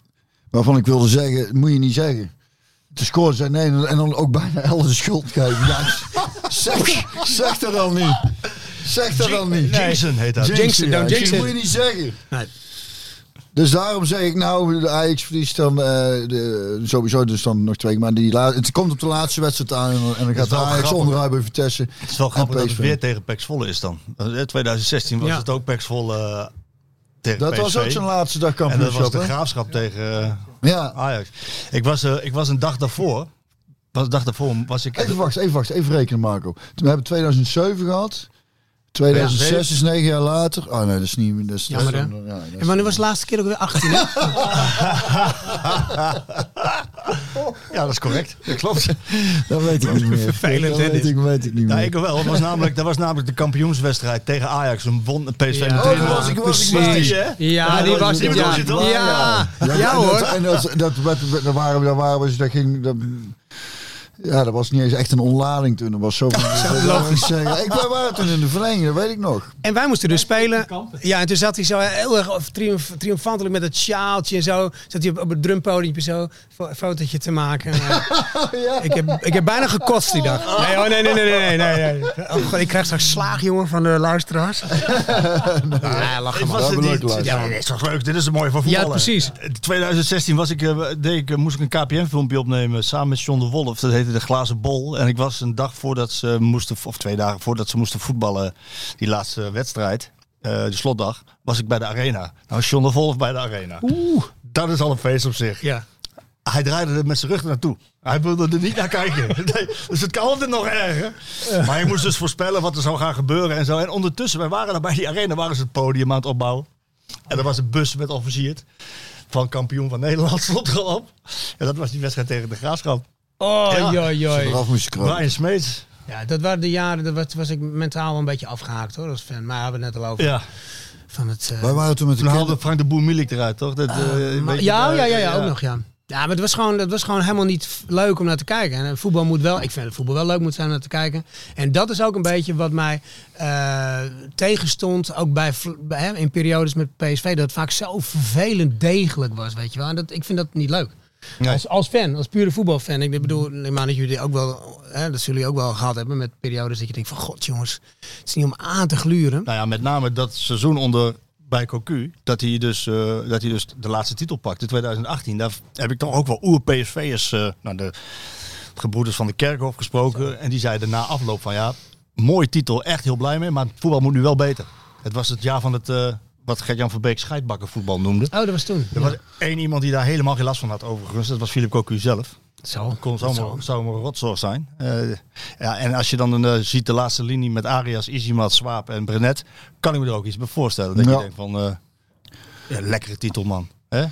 Speaker 2: waarvan ik wilde zeggen, moet je niet zeggen. De score zei nee en dan ook bijna Ellen de schuld geven. Ja, zeg, zeg dat dan niet. Zeg dat dan niet.
Speaker 4: Jason heet dat.
Speaker 9: Jinxen,
Speaker 2: ja.
Speaker 9: don't
Speaker 2: Dus
Speaker 9: jinxen.
Speaker 2: Dat moet je niet zeggen.
Speaker 9: Nee.
Speaker 2: Dus daarom zeg ik nou, de Ajax verliest dan eh, de, sowieso dus dan nog twee. Maar die la- het komt op de laatste wedstrijd aan en dan, en dan gaat
Speaker 4: wel
Speaker 2: Ajax
Speaker 4: grappig.
Speaker 2: onderuit bij Vitesse.
Speaker 4: Het is wel grappig
Speaker 2: en
Speaker 4: dat het
Speaker 2: PSV.
Speaker 4: weer tegen Pax Volle is dan. Eh, 2016 was
Speaker 9: Ja.
Speaker 4: het ook Pax Volle eh, tegen
Speaker 2: Dat was
Speaker 4: PSV.
Speaker 2: ook zijn laatste dag
Speaker 4: En dat was
Speaker 2: kampioenschap.
Speaker 4: de
Speaker 2: hè?
Speaker 4: graafschap tegen eh,
Speaker 2: Ja,
Speaker 4: Ajax. Ik was, eh, ik was een dag daarvoor. Was, een dag daarvoor was ik.
Speaker 2: Even wachten, even wachten, even rekenen Marco. We hebben 2007 gehad. 2006 is negen jaar later. Oh nee, dat is niet... Dat is,
Speaker 9: Jammer,
Speaker 2: dat is-
Speaker 9: hè?
Speaker 2: ja, dat is-
Speaker 9: En wanneer was de laatste keer ook weer 18? hè?
Speaker 4: Ja, dat is correct. Dat klopt.
Speaker 2: Dat weet ik niet meer.
Speaker 9: Vervelend,
Speaker 2: dat
Speaker 9: hè,
Speaker 2: weet
Speaker 9: dit.
Speaker 2: ik, weet ik niet meer.
Speaker 4: Ja, ik wel. Dat was, namelijk, dat was namelijk de kampioenswedstrijd tegen Ajax. Een won een PSV
Speaker 9: Ja.
Speaker 4: met 3-0.
Speaker 2: Oh, dat was ik, was ik bij.
Speaker 4: die, hè?
Speaker 9: Ja, die was het.
Speaker 4: Die
Speaker 9: Ja,
Speaker 4: was het, hoor.
Speaker 9: ja.
Speaker 2: Ja,
Speaker 9: ja
Speaker 2: en Dat,
Speaker 9: hoor.
Speaker 2: en dat, dat, werd- daar waren we, daar waren we, dus dat ging... Dat, ja, dat was niet eens echt een onlading toen. Dat was zo van... Logisch. Zeggen. Ik, wij waren toen in de verlenging, dat weet ik nog.
Speaker 9: En wij moesten dus spelen.
Speaker 10: Kampen.
Speaker 9: Ja, en toen zat hij zo heel erg triomf, triomfantelijk met het sjaaltje en zo. Zat hij op, op het drumpodium zo fo- een fotootje te maken. En, eh, ik, heb, ik heb bijna gekotst die dag. Nee, oh, nee, nee, nee, nee, nee, nee. nee. Oh, God, ik krijg straks slaag, jongen, van de luisteraars. Ja, lach
Speaker 4: Ik
Speaker 9: maar.
Speaker 2: hebben
Speaker 4: was het
Speaker 2: we
Speaker 4: niet.
Speaker 2: leuk geluisterd.
Speaker 4: Ja, dit is toch leuk. Dit is het mooie van
Speaker 9: Ja,
Speaker 4: voetballen. Eh,
Speaker 9: precies.
Speaker 4: In 2016 was ik, eh, deed ik, eh, moest ik een KPM-filmpje opnemen samen met John de Wolf. Dat heette De Glazen Bol. En ik was een dag voordat ze moesten, of twee dagen voordat ze moesten voetballen, die laatste wedstrijd, eh, de slotdag, was ik bij de Arena. Nou, John de Wolf bij de Arena. Oeh. Dat is al een feest op zich.
Speaker 9: Ja.
Speaker 4: Hij draaide er met zijn rug naartoe. Hij wilde er niet naar kijken. Nee, dus het kan altijd nog erger. Maar je moest dus voorspellen wat er zou gaan gebeuren en zo. En ondertussen, wij waren daar bij die arena, waren ze het podium aan het opbouwen. En er was een bus met officierd van kampioen van Nederland stond erop. En dat was die wedstrijd tegen de Graafschap.
Speaker 9: Oh,
Speaker 4: Ja.
Speaker 9: joi, joi.
Speaker 2: Eraf moest je kropen.
Speaker 4: Brian Smeets.
Speaker 9: Ja, dat waren de jaren, dat was, was ik mentaal wel een beetje afgehaakt hoor, als fan. Maar we hebben het net al over.
Speaker 4: Ja.
Speaker 9: Van het, eh,
Speaker 2: Wij waren toen met de
Speaker 4: Toen haalde
Speaker 2: kinderen...
Speaker 4: Frank de Boer Milik eruit, toch? Dat, eh, weet je
Speaker 9: Ah, ja,
Speaker 4: daar-
Speaker 9: ja, ja, ja, ook nog, ja. Ja, maar het was, gewoon, het was gewoon helemaal niet leuk om naar te kijken. En voetbal moet wel, ik vind dat voetbal wel leuk moet zijn om naar te kijken. En dat is ook een beetje wat mij eh, tegenstond, ook bij, vl- bij, hè, in periodes met PSV, dat het vaak zo vervelend degelijk was, weet je wel. En dat, ik vind dat niet leuk.
Speaker 4: Nee.
Speaker 9: Als, als fan, als pure voetbalfan. Ik bedoel, ik maar dat jullie ook wel, hè, dat zullen jullie ook wel gehad hebben met periodes dat je denkt van, god jongens, het is niet om aan te gluren.
Speaker 4: Nou ja, met name dat seizoen onder bij Cocu, dat hij dus, eh, dat hij dus de laatste titel pakte, 2018. Daar heb ik toch ook wel oer-PSV'ers, eh nou de gebroeders van de Kerkhof gesproken. En die zeiden na afloop van ja, mooi titel, echt heel blij mee, maar het voetbal moet nu wel beter. Het was het jaar van het, eh, wat Gert-Jan van Beek scheidbakken voetbal noemde.
Speaker 9: Oh, dat was toen.
Speaker 4: Er was één iemand die daar helemaal geen last van had overigens, dat was Philip Cocu zelf.
Speaker 9: Zo.
Speaker 4: Kon
Speaker 9: dat
Speaker 4: zomaar, zomaar rotzooi zijn. Eh, ja, en als je dan een, eh, ziet de laatste linie met Arias, Isimat, Swaap en Brenet, kan ik me er ook iets bij voorstellen. Dat
Speaker 2: Ja.
Speaker 4: je denkt van, eh, ja, lekkere titel man. Hè?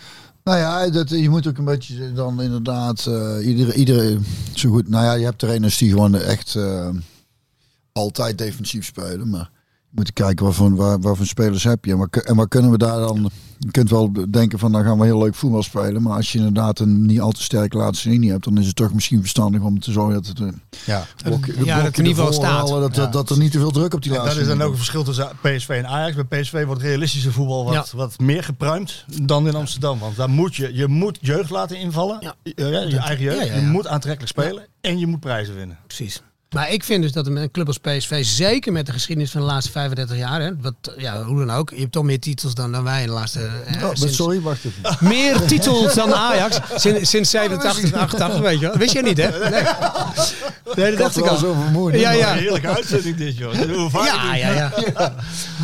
Speaker 2: Nou ja, dat, je moet ook een beetje dan inderdaad, eh iedere, iedere, zo goed, nou ja, je hebt trainers die gewoon echt eh, altijd defensief spelen, maar je moet kijken wat voor, waar, wat voor spelers heb je en wat, kun- en wat kunnen we daar dan, je kunt wel denken van dan gaan we heel leuk voetbal spelen, maar als je inderdaad een niet al te sterke laatste linie hebt, dan is het toch misschien verstandig om te zorgen dat het... eh,
Speaker 4: Ja.
Speaker 2: blok- de
Speaker 9: het
Speaker 2: blokken
Speaker 9: niveau
Speaker 2: ervoor
Speaker 9: staat.
Speaker 2: halen, Dat, dat, dat er niet te veel druk op die
Speaker 4: En
Speaker 2: laatste
Speaker 4: dat is dan
Speaker 2: linie
Speaker 4: ook een verschil tussen PSV en Ajax. Bij PSV wordt realistische voetbal wat, wat meer gepruimd dan in Amsterdam. Want daar moet je, je moet jeugd laten invallen.
Speaker 9: Ja.
Speaker 4: Eh, ja, je eigen jeugd.
Speaker 9: ja, ja,
Speaker 4: Je
Speaker 9: ja.
Speaker 4: moet aantrekkelijk spelen en je moet prijzen winnen.
Speaker 9: Precies. Maar ik vind dus dat een club als PSV, zeker met de geschiedenis van de laatste 35 jaar, hè, wat, ja, hoe dan ook, je hebt toch meer titels dan, dan wij in de laatste. hè,
Speaker 2: Oh,
Speaker 9: sinds-
Speaker 2: sorry, wacht even.
Speaker 9: Meer titels dan Ajax sinds, sinds 87, 88, weet je wel. Wist je niet, hè? Nee, nee dat dacht ik
Speaker 2: wel
Speaker 9: al.
Speaker 2: zo vermoeid.
Speaker 9: Ja, ja.
Speaker 4: Een heerlijke uitzending dit, joh. Hoe vaak
Speaker 9: Ja, ja, ja.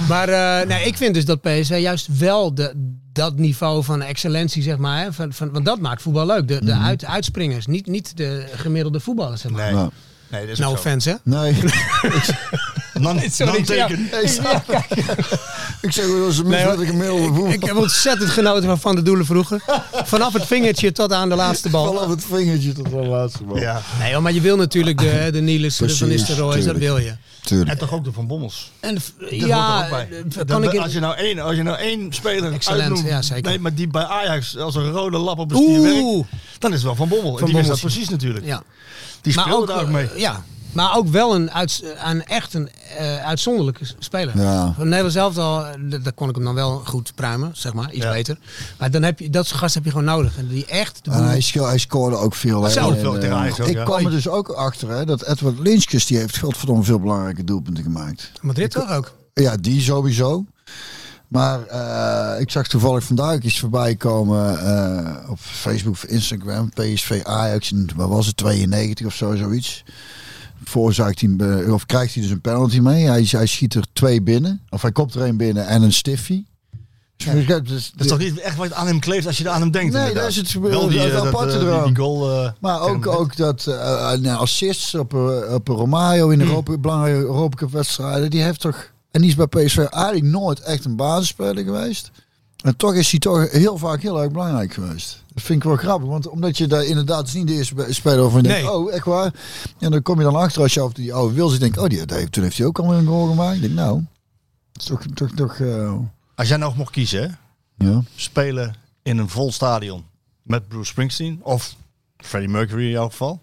Speaker 9: Maar eh, nee, ik vind dus dat PSV juist wel de, dat niveau van excellentie, zeg maar, hè, van, van, want dat maakt voetbal leuk. De, de uit, uitspringers, niet, niet de gemiddelde voetballers, zeg maar.
Speaker 4: Nee.
Speaker 2: Nou,
Speaker 4: nee, dat is
Speaker 9: No
Speaker 4: ook zo.
Speaker 9: offense, hè?
Speaker 2: nee.
Speaker 4: Non,
Speaker 9: Sorry,
Speaker 4: non
Speaker 9: ja.
Speaker 4: teken.
Speaker 2: Ik zeg wel eens een
Speaker 9: Nee, hoor.
Speaker 2: misvatting gemiddelde voetbal.
Speaker 9: Ik heb ontzettend genoten van Van de Doelen vroeger. Vanaf het vingertje tot aan de laatste bal.
Speaker 2: Vanaf het vingertje tot de laatste man.
Speaker 4: Ja.
Speaker 9: Nee, joh, maar je wil natuurlijk de, de Niels, de
Speaker 2: Precies,
Speaker 9: Van Nistelrooy, dat
Speaker 2: tuurlijk.
Speaker 9: wil je.
Speaker 2: Tuurlijk.
Speaker 4: En toch ook de Van Bommels.
Speaker 9: En, eh,
Speaker 4: Dat hoort
Speaker 9: ja,
Speaker 4: er ook bij.
Speaker 9: eh,
Speaker 4: Dat-
Speaker 9: kan ik...
Speaker 4: als, je nou één, als je nou één speler
Speaker 9: Excellent,
Speaker 4: uitnoemt,
Speaker 9: ja, zeker.
Speaker 4: Nee, maar die bij Ajax als een rode lap op een stier werkt,
Speaker 9: Oeh!
Speaker 4: dan is het wel Van Bommel. En die wist
Speaker 9: Bommel.
Speaker 4: dat precies natuurlijk.
Speaker 9: Ja.
Speaker 4: Die speelde
Speaker 9: ook,
Speaker 4: daar ook mee.
Speaker 9: eh, Ja, maar ook wel een, uits, een echt een eh, uitzonderlijke speler.
Speaker 2: Ja.
Speaker 9: Van Nederland zelf al, eh, daar kon ik hem dan wel goed pruimen, zeg maar, iets
Speaker 4: Ja.
Speaker 9: beter. Maar dan heb je, dat soort gast heb je gewoon nodig. En die echt de
Speaker 2: En
Speaker 9: boel-
Speaker 2: Eh, hij, sco- hij scoorde ook veel. hè.
Speaker 9: Zo,
Speaker 2: En,
Speaker 4: veel
Speaker 2: eh,
Speaker 4: tegen Ajax ook,
Speaker 2: ik
Speaker 4: ja.
Speaker 2: kwam er dus ook achter hè, dat Edward Lynchkes die heeft godverdomme veel belangrijke doelpunten gemaakt.
Speaker 9: Madrid toch ook?
Speaker 2: Ja, die sowieso. Maar eh, ik zag toevallig vandaag iets voorbij komen eh, op Facebook of Instagram. PSV Ajax, en wat was het, 92 of zo, zoiets. Veroorzaakt hij, een be- of krijgt hij dus een penalty mee. Hij, hij schiet er twee binnen. Of hij kopt er één binnen en een stiffie. Dus ik heb dus-
Speaker 4: Dat is toch niet echt wat aan hem kleeft als je er aan hem denkt?
Speaker 2: Nee,
Speaker 4: inderdaad.
Speaker 2: dat is het-
Speaker 4: Wel die,
Speaker 2: dat-
Speaker 4: eh,
Speaker 2: dat
Speaker 4: dat,
Speaker 2: aparte
Speaker 4: eh, die-
Speaker 2: eraan.
Speaker 4: die goal. eh,
Speaker 2: Maar ook,
Speaker 4: tegen-
Speaker 2: ook dat eh, eh, nou, assists op, eh, op Romario in
Speaker 4: Hmm.
Speaker 2: Europa, belangrijke Europa Cup wedstrijden, die heeft toch. En die is bij PSV eigenlijk nooit echt een basisspeler geweest. En toch is hij toch heel vaak heel erg belangrijk geweest. Dat vind ik wel grappig, want omdat je daar inderdaad het is niet de eerste be- speler waarvan je denkt,
Speaker 9: Nee.
Speaker 2: oh echt waar. En dan kom je dan achter als je over die oude wil zit, denk ik, oh die, die, toen heeft hij ook al een goal gemaakt. Ik denk, nou, dat is toch, toch, toch, eh,
Speaker 4: Als jij nog mocht kiezen, hè?
Speaker 2: ja.
Speaker 4: spelen in een vol stadion met Bruce Springsteen of Freddie Mercury in elk geval.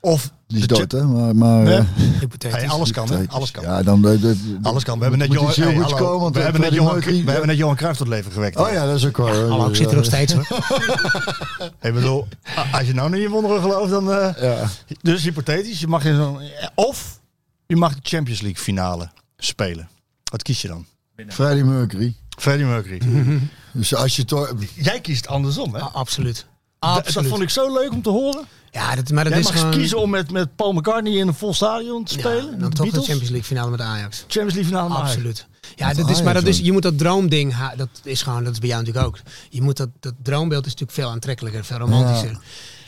Speaker 4: Of
Speaker 2: Die is
Speaker 4: de
Speaker 2: dood,
Speaker 4: Chip-
Speaker 2: hè? Maar, maar
Speaker 4: Nee.
Speaker 2: eh,
Speaker 9: Hypothetisch.
Speaker 4: Hey, alles kan, hè? Alles kan.
Speaker 2: Ja, dan, eh, dat-
Speaker 4: Alles kan. We hebben net
Speaker 2: moet
Speaker 4: Johan,
Speaker 2: iets heel
Speaker 4: hey,
Speaker 2: goeds
Speaker 4: hallo.
Speaker 2: komen, want
Speaker 4: we
Speaker 2: eh,
Speaker 4: hebben net
Speaker 2: Freddie
Speaker 4: Johan,
Speaker 2: Mercury-
Speaker 4: we hebben net Johan Cruijff tot leven gewekt.
Speaker 2: Oh ja, dat is ook wel. eh,
Speaker 9: Hallo, ik zit er nog steeds hoor.
Speaker 4: Ik bedoel, a- als je nou niet in wonderen gelooft, dan... eh,
Speaker 2: Ja.
Speaker 4: Dus hypothetisch, je mag in zo'n... Of je mag de Champions League finale spelen. Wat kies je dan?
Speaker 2: Freddie Mercury.
Speaker 4: Freddie Mercury.
Speaker 2: Dus als je toch.
Speaker 4: Jij kiest andersom, hè?
Speaker 9: Ah, absoluut.
Speaker 4: Dat- dat
Speaker 9: Absoluut.
Speaker 4: vond ik zo leuk om te horen.
Speaker 9: Ja, dat, maar dat
Speaker 4: Jij
Speaker 9: is
Speaker 4: mag
Speaker 9: gewoon...
Speaker 4: kiezen om met, met Paul McCartney in een vol stadion te
Speaker 9: Ja,
Speaker 4: spelen.
Speaker 9: dan
Speaker 4: de
Speaker 9: toch de
Speaker 4: Beatles.
Speaker 9: Champions League finale met Ajax.
Speaker 4: Champions League finale. maar-
Speaker 9: Absoluut. Ja,
Speaker 2: Met
Speaker 9: dat is, maar
Speaker 2: Ajax,
Speaker 9: dat is,
Speaker 2: hoor.
Speaker 9: je moet dat droomding, ha- dat is gewoon, dat is bij jou natuurlijk ook. Je moet dat, dat droombeeld is natuurlijk veel aantrekkelijker, veel romantischer.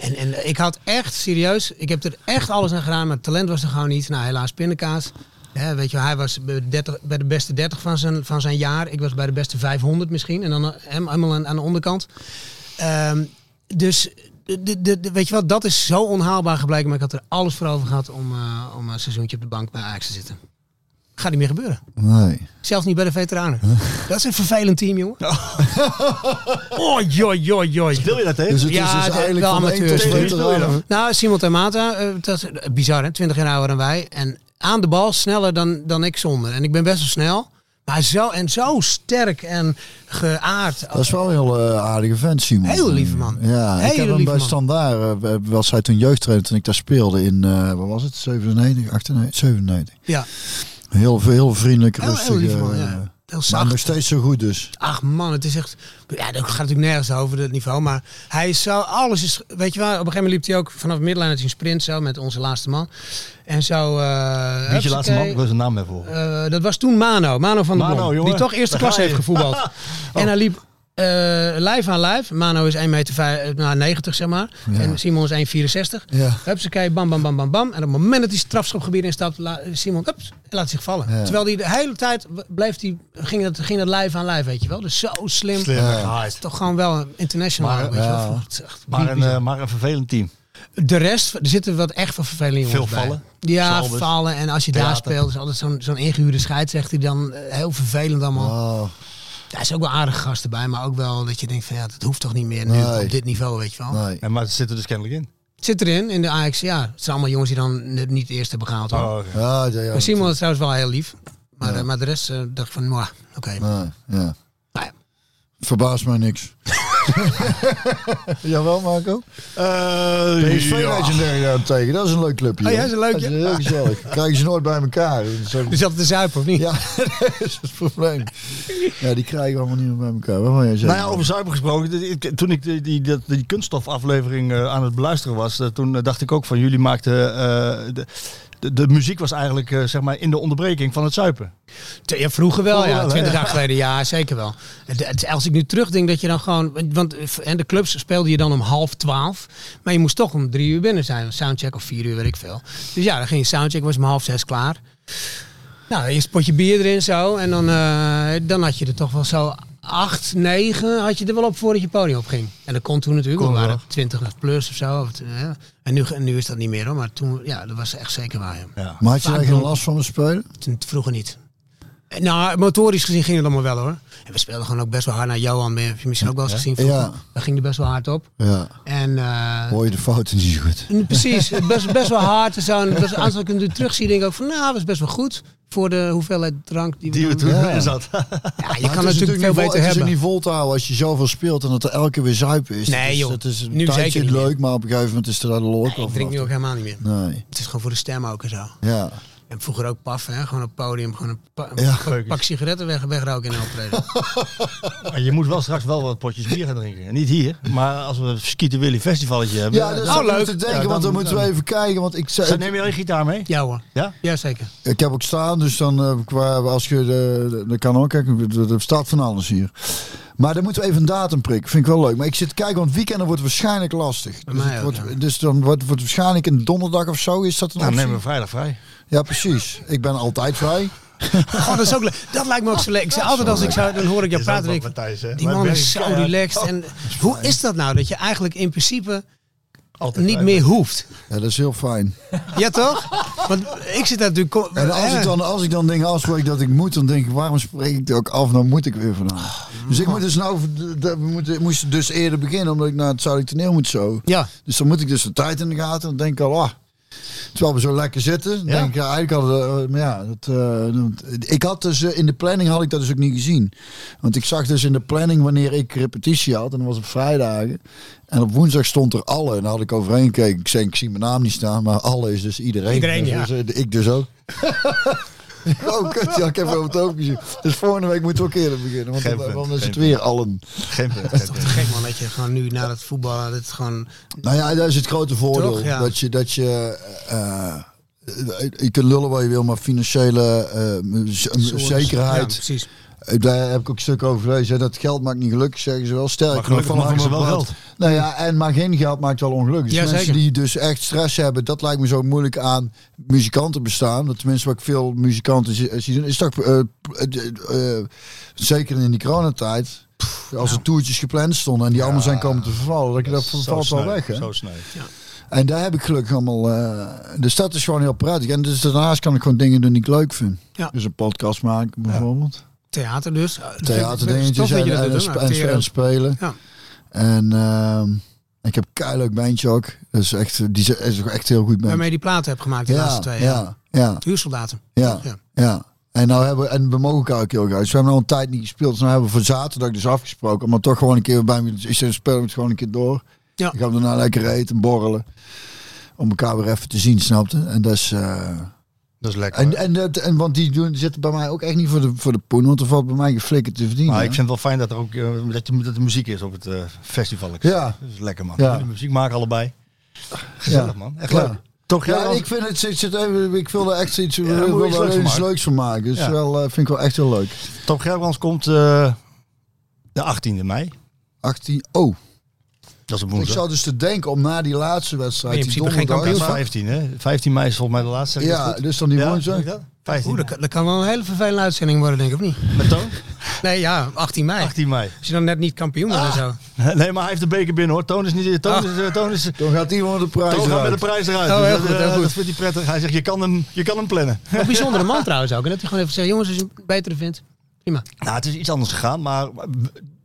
Speaker 9: En, en ik had echt, serieus, ik heb er echt alles aan gedaan, maar het talent was er gewoon niet. Nou, helaas pindakaas. Hè, weet je, wel, hij was bij de, 30 bij de beste 30 van zijn, van zijn jaar. Ik was bij de beste 500 misschien. En dan eh, hem helemaal aan, aan de onderkant. Ehm, dus, de, de, de- weet je wat, dat is zo onhaalbaar gebleken. Maar ik had er alles voor over gehad om, eh, om een seizoentje op de bank bij Ajax te zitten. Gaat niet meer gebeuren.
Speaker 2: Nee.
Speaker 9: Zelfs niet bij de veteranen. Dat is een vervelend team, jongen. Oh, joi, joi, joi.
Speaker 4: Speel je dat tegen?
Speaker 2: Dus het is dus
Speaker 9: de-
Speaker 2: eigenlijk
Speaker 9: wel
Speaker 2: van één tot
Speaker 9: amateurs.
Speaker 2: twee veteranen.
Speaker 9: Nou, Simon Tamata, eh, dat is bizar hè, 20 jaar ouder dan wij. En aan de bal sneller dan, dan ik zonder. En ik ben best wel snel. Maar zo, en zo sterk en geaard.
Speaker 2: Dat is wel een heel eh, aardige vent, Simon.
Speaker 9: Heel lieve man.
Speaker 2: Ja, ik
Speaker 9: Hele
Speaker 2: heb hem
Speaker 9: lieve
Speaker 2: bij
Speaker 9: man.
Speaker 2: Standaard, eh, was hij toen jeugdtrainer toen ik daar speelde in, eh wat was het, 97, 98, 97.
Speaker 9: Ja,
Speaker 2: Heel, heel vriendelijk,
Speaker 9: heel,
Speaker 2: rustig.
Speaker 9: heel lief man.
Speaker 2: eh,
Speaker 9: Ja. Heel
Speaker 2: Maar nog
Speaker 9: zacht.
Speaker 2: steeds zo goed dus.
Speaker 9: Ach man, het is echt... Ja, dat gaat natuurlijk nergens over, dat niveau. Maar hij is zo... Alles is... Weet je wel, op een gegeven moment liep hij ook vanaf de midlijn uit zijn sprint zo met onze laatste man. En zo... eh
Speaker 4: Wie is je
Speaker 9: hupsakee.
Speaker 4: laatste man? Ik wil zijn naam even horen.
Speaker 9: Eh, dat was toen Mano, Mano van der
Speaker 4: Mano,
Speaker 9: Blom,
Speaker 4: jongen.
Speaker 9: die toch eerste
Speaker 4: Daar
Speaker 9: klas
Speaker 4: ga
Speaker 9: heeft
Speaker 4: je. Oh.
Speaker 9: gevoetbald. En hij liep eh lijf aan lijf. Mano is 1,90 meter vij- nou, 90, zeg maar.
Speaker 2: Ja.
Speaker 9: En Simon is 1,64.
Speaker 2: Ja.
Speaker 9: Hupsakee, bam, bam, bam, bam, bam. En op het moment dat hij strafschopgebied instapt, la- Simon ups, laat zich vallen.
Speaker 2: Ja.
Speaker 9: Terwijl hij de hele tijd w- bleef hij, ging, dat, ging dat lijf aan lijf, weet je wel. Dus zo slim.
Speaker 4: Slim,
Speaker 9: Ja.
Speaker 4: hard.
Speaker 9: Toch gewoon wel een international.
Speaker 4: Maar,
Speaker 9: weet je
Speaker 2: ja.
Speaker 9: wel. Het is echt
Speaker 4: Maar een,
Speaker 9: bizar.
Speaker 4: eh, maar een vervelend team.
Speaker 9: De rest, er zitten wat echt van vervelende jongens
Speaker 4: Veel
Speaker 9: bij.
Speaker 4: vallen.
Speaker 9: Ja,
Speaker 4: Zalbers.
Speaker 9: vallen. En als je daar
Speaker 4: Theater.
Speaker 9: speelt, is altijd zo'n zo'n ingehuurde scheidsrechter die dan eh, heel vervelend allemaal.
Speaker 2: Oh,
Speaker 9: Daar is ook wel aardige gasten bij, maar ook wel dat je denkt van ja, dat hoeft toch niet meer nu
Speaker 2: Nee.
Speaker 9: op dit niveau, weet je wel.
Speaker 2: nee.
Speaker 4: En, maar ze zitten dus kennelijk in.
Speaker 9: Het Zit erin, in de Ajax, ja. Het zijn allemaal jongens die dan net niet eerst hebben gehaald. hoor.
Speaker 4: Oh, oké.
Speaker 2: Ja, ja, ja.
Speaker 9: maar Simon is trouwens wel heel lief. Maar,
Speaker 2: Ja.
Speaker 9: eh, maar de rest eh, dacht ik van, mwah, oké.
Speaker 2: Nee, ja.
Speaker 9: Nou ja.
Speaker 2: Verbaast mij niks. Jawel, Marco? PSV
Speaker 4: Eh, ja.
Speaker 2: Legendary daarentegen, dat is een leuk clubje.
Speaker 9: Oh ja,
Speaker 2: hoor.
Speaker 9: is een leuk,
Speaker 2: Dat is
Speaker 9: ja.
Speaker 2: heel gezellig. Krijgen ze nooit bij elkaar. Dat is ook-
Speaker 9: Dus dat de zuipen, of niet?
Speaker 2: Ja, dat is het probleem. Ja, die krijgen allemaal niet meer bij elkaar. Wat wil jij zeggen?
Speaker 4: Nou ja, over zuipen gesproken. dit- ik- Toen ik die, die, dat- die kunststofaflevering eh, aan het beluisteren was, eh, toen eh, dacht ik ook van jullie maakten... eh, de, de, de muziek was eigenlijk eh, zeg maar in de onderbreking van het zuipen.
Speaker 9: T- Ja, vroeger wel,
Speaker 4: Vroeger
Speaker 9: ja.
Speaker 4: wel, hè?
Speaker 9: 20 jaar geleden, ja, zeker wel. Het- het- Als ik nu terugdenk dat je dan gewoon... want- Want eh, en de clubs speelden je dan om half twaalf. Maar je moest toch om drie uur binnen zijn. Soundcheck of vier uur, weet ik veel. Dus ja, dan ging je soundcheck, was om half zes klaar. Nou, eerst een potje bier erin zo. En dan, eh, dan had je er toch wel zo acht, negen had je er wel op voordat je podium op ging. En dat kon toen natuurlijk.
Speaker 4: Kon
Speaker 9: we waren
Speaker 4: wel.
Speaker 9: twintig plus of zo. Of, eh, en, nu, en nu is dat niet meer hoor. Maar toen, ja, dat was echt zeker waar. ja.
Speaker 4: Ja.
Speaker 2: Maar had je daar
Speaker 9: Vaak
Speaker 2: geen
Speaker 9: wel.
Speaker 2: last van het spelen?
Speaker 9: Toen- Vroeger niet. Eh, Nou, motorisch gezien ging het allemaal wel hoor. En we speelden gewoon ook best wel hard naar Johan. Heb je misschien ook wel eens gezien? vroeger?
Speaker 2: Ja.
Speaker 9: Dat ging er best wel hard op.
Speaker 2: Ja.
Speaker 9: En eh,
Speaker 2: Hoor je de fouten niet zo goed?
Speaker 9: en precies, best, best wel hard. En zo. En best, als ik hem nu terug zie, denk ik ook van nou, dat is best wel goed. Voor de hoeveelheid drank die we,
Speaker 4: Die we
Speaker 9: dan-
Speaker 4: toen
Speaker 2: Ja.
Speaker 4: in zat.
Speaker 9: Ja,
Speaker 2: Maar
Speaker 9: je kan
Speaker 2: het is
Speaker 9: natuurlijk veel
Speaker 2: niet vol-
Speaker 9: beter
Speaker 2: Het is
Speaker 9: hebben.
Speaker 2: ook niet vol te houden als je zoveel speelt en dat er elke keer weer zuipen is.
Speaker 9: Nee,
Speaker 2: dat is,
Speaker 9: joh.
Speaker 2: Dat is een
Speaker 9: Nu
Speaker 2: tijdje
Speaker 9: zeker niet
Speaker 2: leuk, maar op een gegeven moment is er daar de lol
Speaker 9: Nee, ik drink nu ook helemaal niet meer.
Speaker 2: Nee,
Speaker 9: Het is gewoon voor de stem ook en zo.
Speaker 2: ja.
Speaker 9: En vroeger ook paf, hè? gewoon op het podium. Gewoon een, pa-
Speaker 2: Ja,
Speaker 9: een pak sigaretten weg, wegroken in een optreden.
Speaker 4: Maar je moet wel straks wel wat potjes bier gaan drinken. En Niet hier, maar als we een Skieten Willy festivaletje hebben.
Speaker 2: Ja, dat is
Speaker 4: dan-
Speaker 9: Nou,
Speaker 4: Nou,
Speaker 2: ook leuk. te denken,
Speaker 4: Ja,
Speaker 2: want dan,
Speaker 4: dan-
Speaker 2: moeten we
Speaker 4: dan-
Speaker 2: even kijken. Want ik,
Speaker 4: Zij-
Speaker 2: zei,
Speaker 4: Neem je al je gitaar mee?
Speaker 9: Ja hoor.
Speaker 4: Ja?
Speaker 9: Jazeker.
Speaker 2: ik heb ook staan, dus dan eh, qua, als je de, de, de kan ook kijken, er- er staat van alles hier. Maar dan moeten we even een datum prikken. Vind ik wel leuk. Maar ik zit te kijken, want weekenden wordt waarschijnlijk lastig. Dus,
Speaker 9: mij
Speaker 2: het
Speaker 9: ook,
Speaker 2: wordt, dus dan wordt, wordt waarschijnlijk een donderdag of zo. Is dat een
Speaker 4: Nou,
Speaker 2: optie?
Speaker 4: nemen we vrijdag vrij.
Speaker 2: Ja, precies. Ik ben altijd vrij.
Speaker 9: Oh, dat, is ook leuk. dat lijkt me ook zo leuk. Ik zei altijd als ik zou, dan hoor ik jou praten. denk ik, die man is zo relaxed. En hoe is dat nou? Dat je eigenlijk in principe niet meer hoeft.
Speaker 2: Ja, dat is heel fijn.
Speaker 9: Ja, toch? Want ik zit daar natuurlijk... Eh. ko-
Speaker 2: En als
Speaker 9: hè?
Speaker 2: ik dan, als ik dan dingen afspreek dat ik moet, dan denk ik, waarom spreek ik het ook af? Nou moet ik weer vandaag.
Speaker 9: Ah,
Speaker 2: Dus ik moet dus nou, we moeten, moesten dus eerder beginnen, omdat ik naar het Zuidelijk Toneel moet zo.
Speaker 9: Ja,
Speaker 2: Dus dan moet ik dus de tijd in de gaten. Dan denk ik al, ah, terwijl we zo lekker zitten, dan
Speaker 4: Ja.
Speaker 2: denk ik ja, eigenlijk al, eh, maar ja, dat, eh, ik had dus eh, in de planning had ik dat dus ook niet gezien. Want ik zag dus in de planning wanneer ik repetitie had, en dat was op vrijdagen. En op woensdag stond er alle, en daar had ik overheen gekeken. Ik zei, ik zie mijn naam niet staan, maar alle is dus iedereen.
Speaker 9: Iedereen, ja.
Speaker 2: Dus, eh, ik dus ook. Oh, kut, ja, ik heb over het hoofd gezien. Dus volgende week moeten we ook eerder beginnen, want
Speaker 4: Geen
Speaker 2: dan,
Speaker 4: punt,
Speaker 2: dan is
Speaker 4: geen
Speaker 2: het weer allen.
Speaker 4: Geen punt. geen
Speaker 9: toch te
Speaker 4: punt.
Speaker 9: gek man. Dat je gewoon nu na het voetbal... Dat het gewoon,
Speaker 2: Nou ja, dat is het grote voordeel.
Speaker 9: Toch? Ja.
Speaker 2: Dat je, dat je eh, je kunt lullen waar je wil, maar financiële eh, z- zekerheid.
Speaker 9: Ja, precies.
Speaker 2: eh, Daar heb ik ook stukken over gelezen. hè. Dat geld maakt niet gelukkig, zeggen ze wel. Sterk,
Speaker 4: Maar gelukkig maken ze wel geld.
Speaker 2: Nou ja, en maar geen geld maakt wel ongelukkig. Dus
Speaker 9: Ja,
Speaker 2: mensen
Speaker 9: zeker.
Speaker 2: die dus echt stress hebben, dat lijkt me zo moeilijk aan muzikanten bestaan. Dat tenminste wat ik veel muzikanten zie zie doen, is toch eh, eh, eh, zeker in die coronatijd. Als er toertjes gepland stonden en die allemaal zijn komen te vervallen, dat, dat
Speaker 4: Zo
Speaker 2: valt wel
Speaker 4: sneu,
Speaker 2: weg. Hè?
Speaker 4: Zo sneu.
Speaker 2: En daar heb ik gelukkig allemaal. eh, dus dat is gewoon heel prettig. En dus daarnaast kan ik gewoon dingen doen die ik leuk vind.
Speaker 9: Ja.
Speaker 2: Dus een podcast maken bijvoorbeeld.
Speaker 9: Theater dus.
Speaker 2: Theaterdingetjes en, en, en, sp-
Speaker 9: nou,
Speaker 2: en spelen.
Speaker 9: Ja.
Speaker 2: En ehm, ik heb een keileuk bandje ook. Dat is echt, eh, die is- is ook echt heel goed bandje.
Speaker 9: Waarmee je die platen hebt gemaakt de
Speaker 2: Ja,
Speaker 9: laatste twee
Speaker 2: ja,
Speaker 9: jaar.
Speaker 2: ja.
Speaker 9: Huursoldaten.
Speaker 2: Ja,
Speaker 9: Ja.
Speaker 2: ja. En, nou hebben, we- en we mogen elkaar ook heel graag. Dus we hebben al een tijd niet gespeeld. Dus nou hebben we voor zaterdag dus afgesproken. Maar toch gewoon een keer bij me. Dus dan spelen we het gewoon een keer door.
Speaker 9: Ja.
Speaker 2: Dan gaan we daarna lekker eten, borrelen. Om elkaar weer even te zien, snapte? En dat is... eh,
Speaker 4: Dat is lekker.
Speaker 2: en, en, dat, en want die, doen, die zitten bij mij ook echt niet voor de, voor de poen, want er valt bij mij geflikkerd te verdienen.
Speaker 4: Maar ik
Speaker 2: hè?
Speaker 4: vind het wel fijn dat er ook eh, dat, je, dat er muziek is op het eh, festival. Ik-
Speaker 2: Ja.
Speaker 4: Dat is lekker man.
Speaker 2: Ja.
Speaker 4: Jullie muziek maken allebei. Gezellig
Speaker 2: Ja.
Speaker 4: man. Echt
Speaker 2: Ja.
Speaker 4: leuk. Toch
Speaker 2: Ja,
Speaker 4: Gerard?
Speaker 2: ik vind het, zit, zit even, ik wil er echt iets,
Speaker 4: daar moet je
Speaker 2: wil
Speaker 4: iets
Speaker 2: er
Speaker 4: leuks van
Speaker 2: iets
Speaker 4: maken.
Speaker 2: leuks van maken. Dus
Speaker 4: Ja.
Speaker 2: wel, eh, vind ik wel echt heel leuk.
Speaker 4: Top Gerbrands komt eh, de 18e mei.
Speaker 2: 18, oh.
Speaker 4: Dat is een
Speaker 2: Ik
Speaker 4: woensdag.
Speaker 2: zou dus te denken om na die laatste wedstrijd,
Speaker 9: In
Speaker 2: die
Speaker 9: principe geen
Speaker 2: donderdag-
Speaker 4: Dat is 15, hè? 15 mei is volgens mij de laatste. Is
Speaker 2: Ja,
Speaker 4: dat goed?
Speaker 2: dus dan die
Speaker 4: Ja,
Speaker 2: woensdag.
Speaker 4: weet je dat? 15
Speaker 9: Oeh, dat, kan- dat kan wel een hele vervelende uitzending worden, denk ik, of niet?
Speaker 4: met Toon?
Speaker 9: Nee, ja, 18 mei.
Speaker 4: 18 mei.
Speaker 9: Als je dan net niet kampioen wordt en zo.
Speaker 4: Nee, maar hij heeft de beker binnen hoor. Toon is niet. Toon
Speaker 9: Ah.
Speaker 4: is. eh, Toon is
Speaker 2: Dan gaat iemand de prijs
Speaker 4: Toon gaat met de
Speaker 2: eruit.
Speaker 4: prijs eruit.
Speaker 9: Oh,
Speaker 4: Dus
Speaker 9: heel
Speaker 4: dat,
Speaker 9: goed, heel
Speaker 4: eh,
Speaker 9: goed.
Speaker 4: Dat vindt hij prettig. Hij zegt: je kan hem, je kan hem plannen.
Speaker 9: Een bijzondere man trouwens ook. En dat hij gewoon even zegt, jongens, als je het beter vindt, prima.
Speaker 4: Nou, het is iets anders gegaan, maar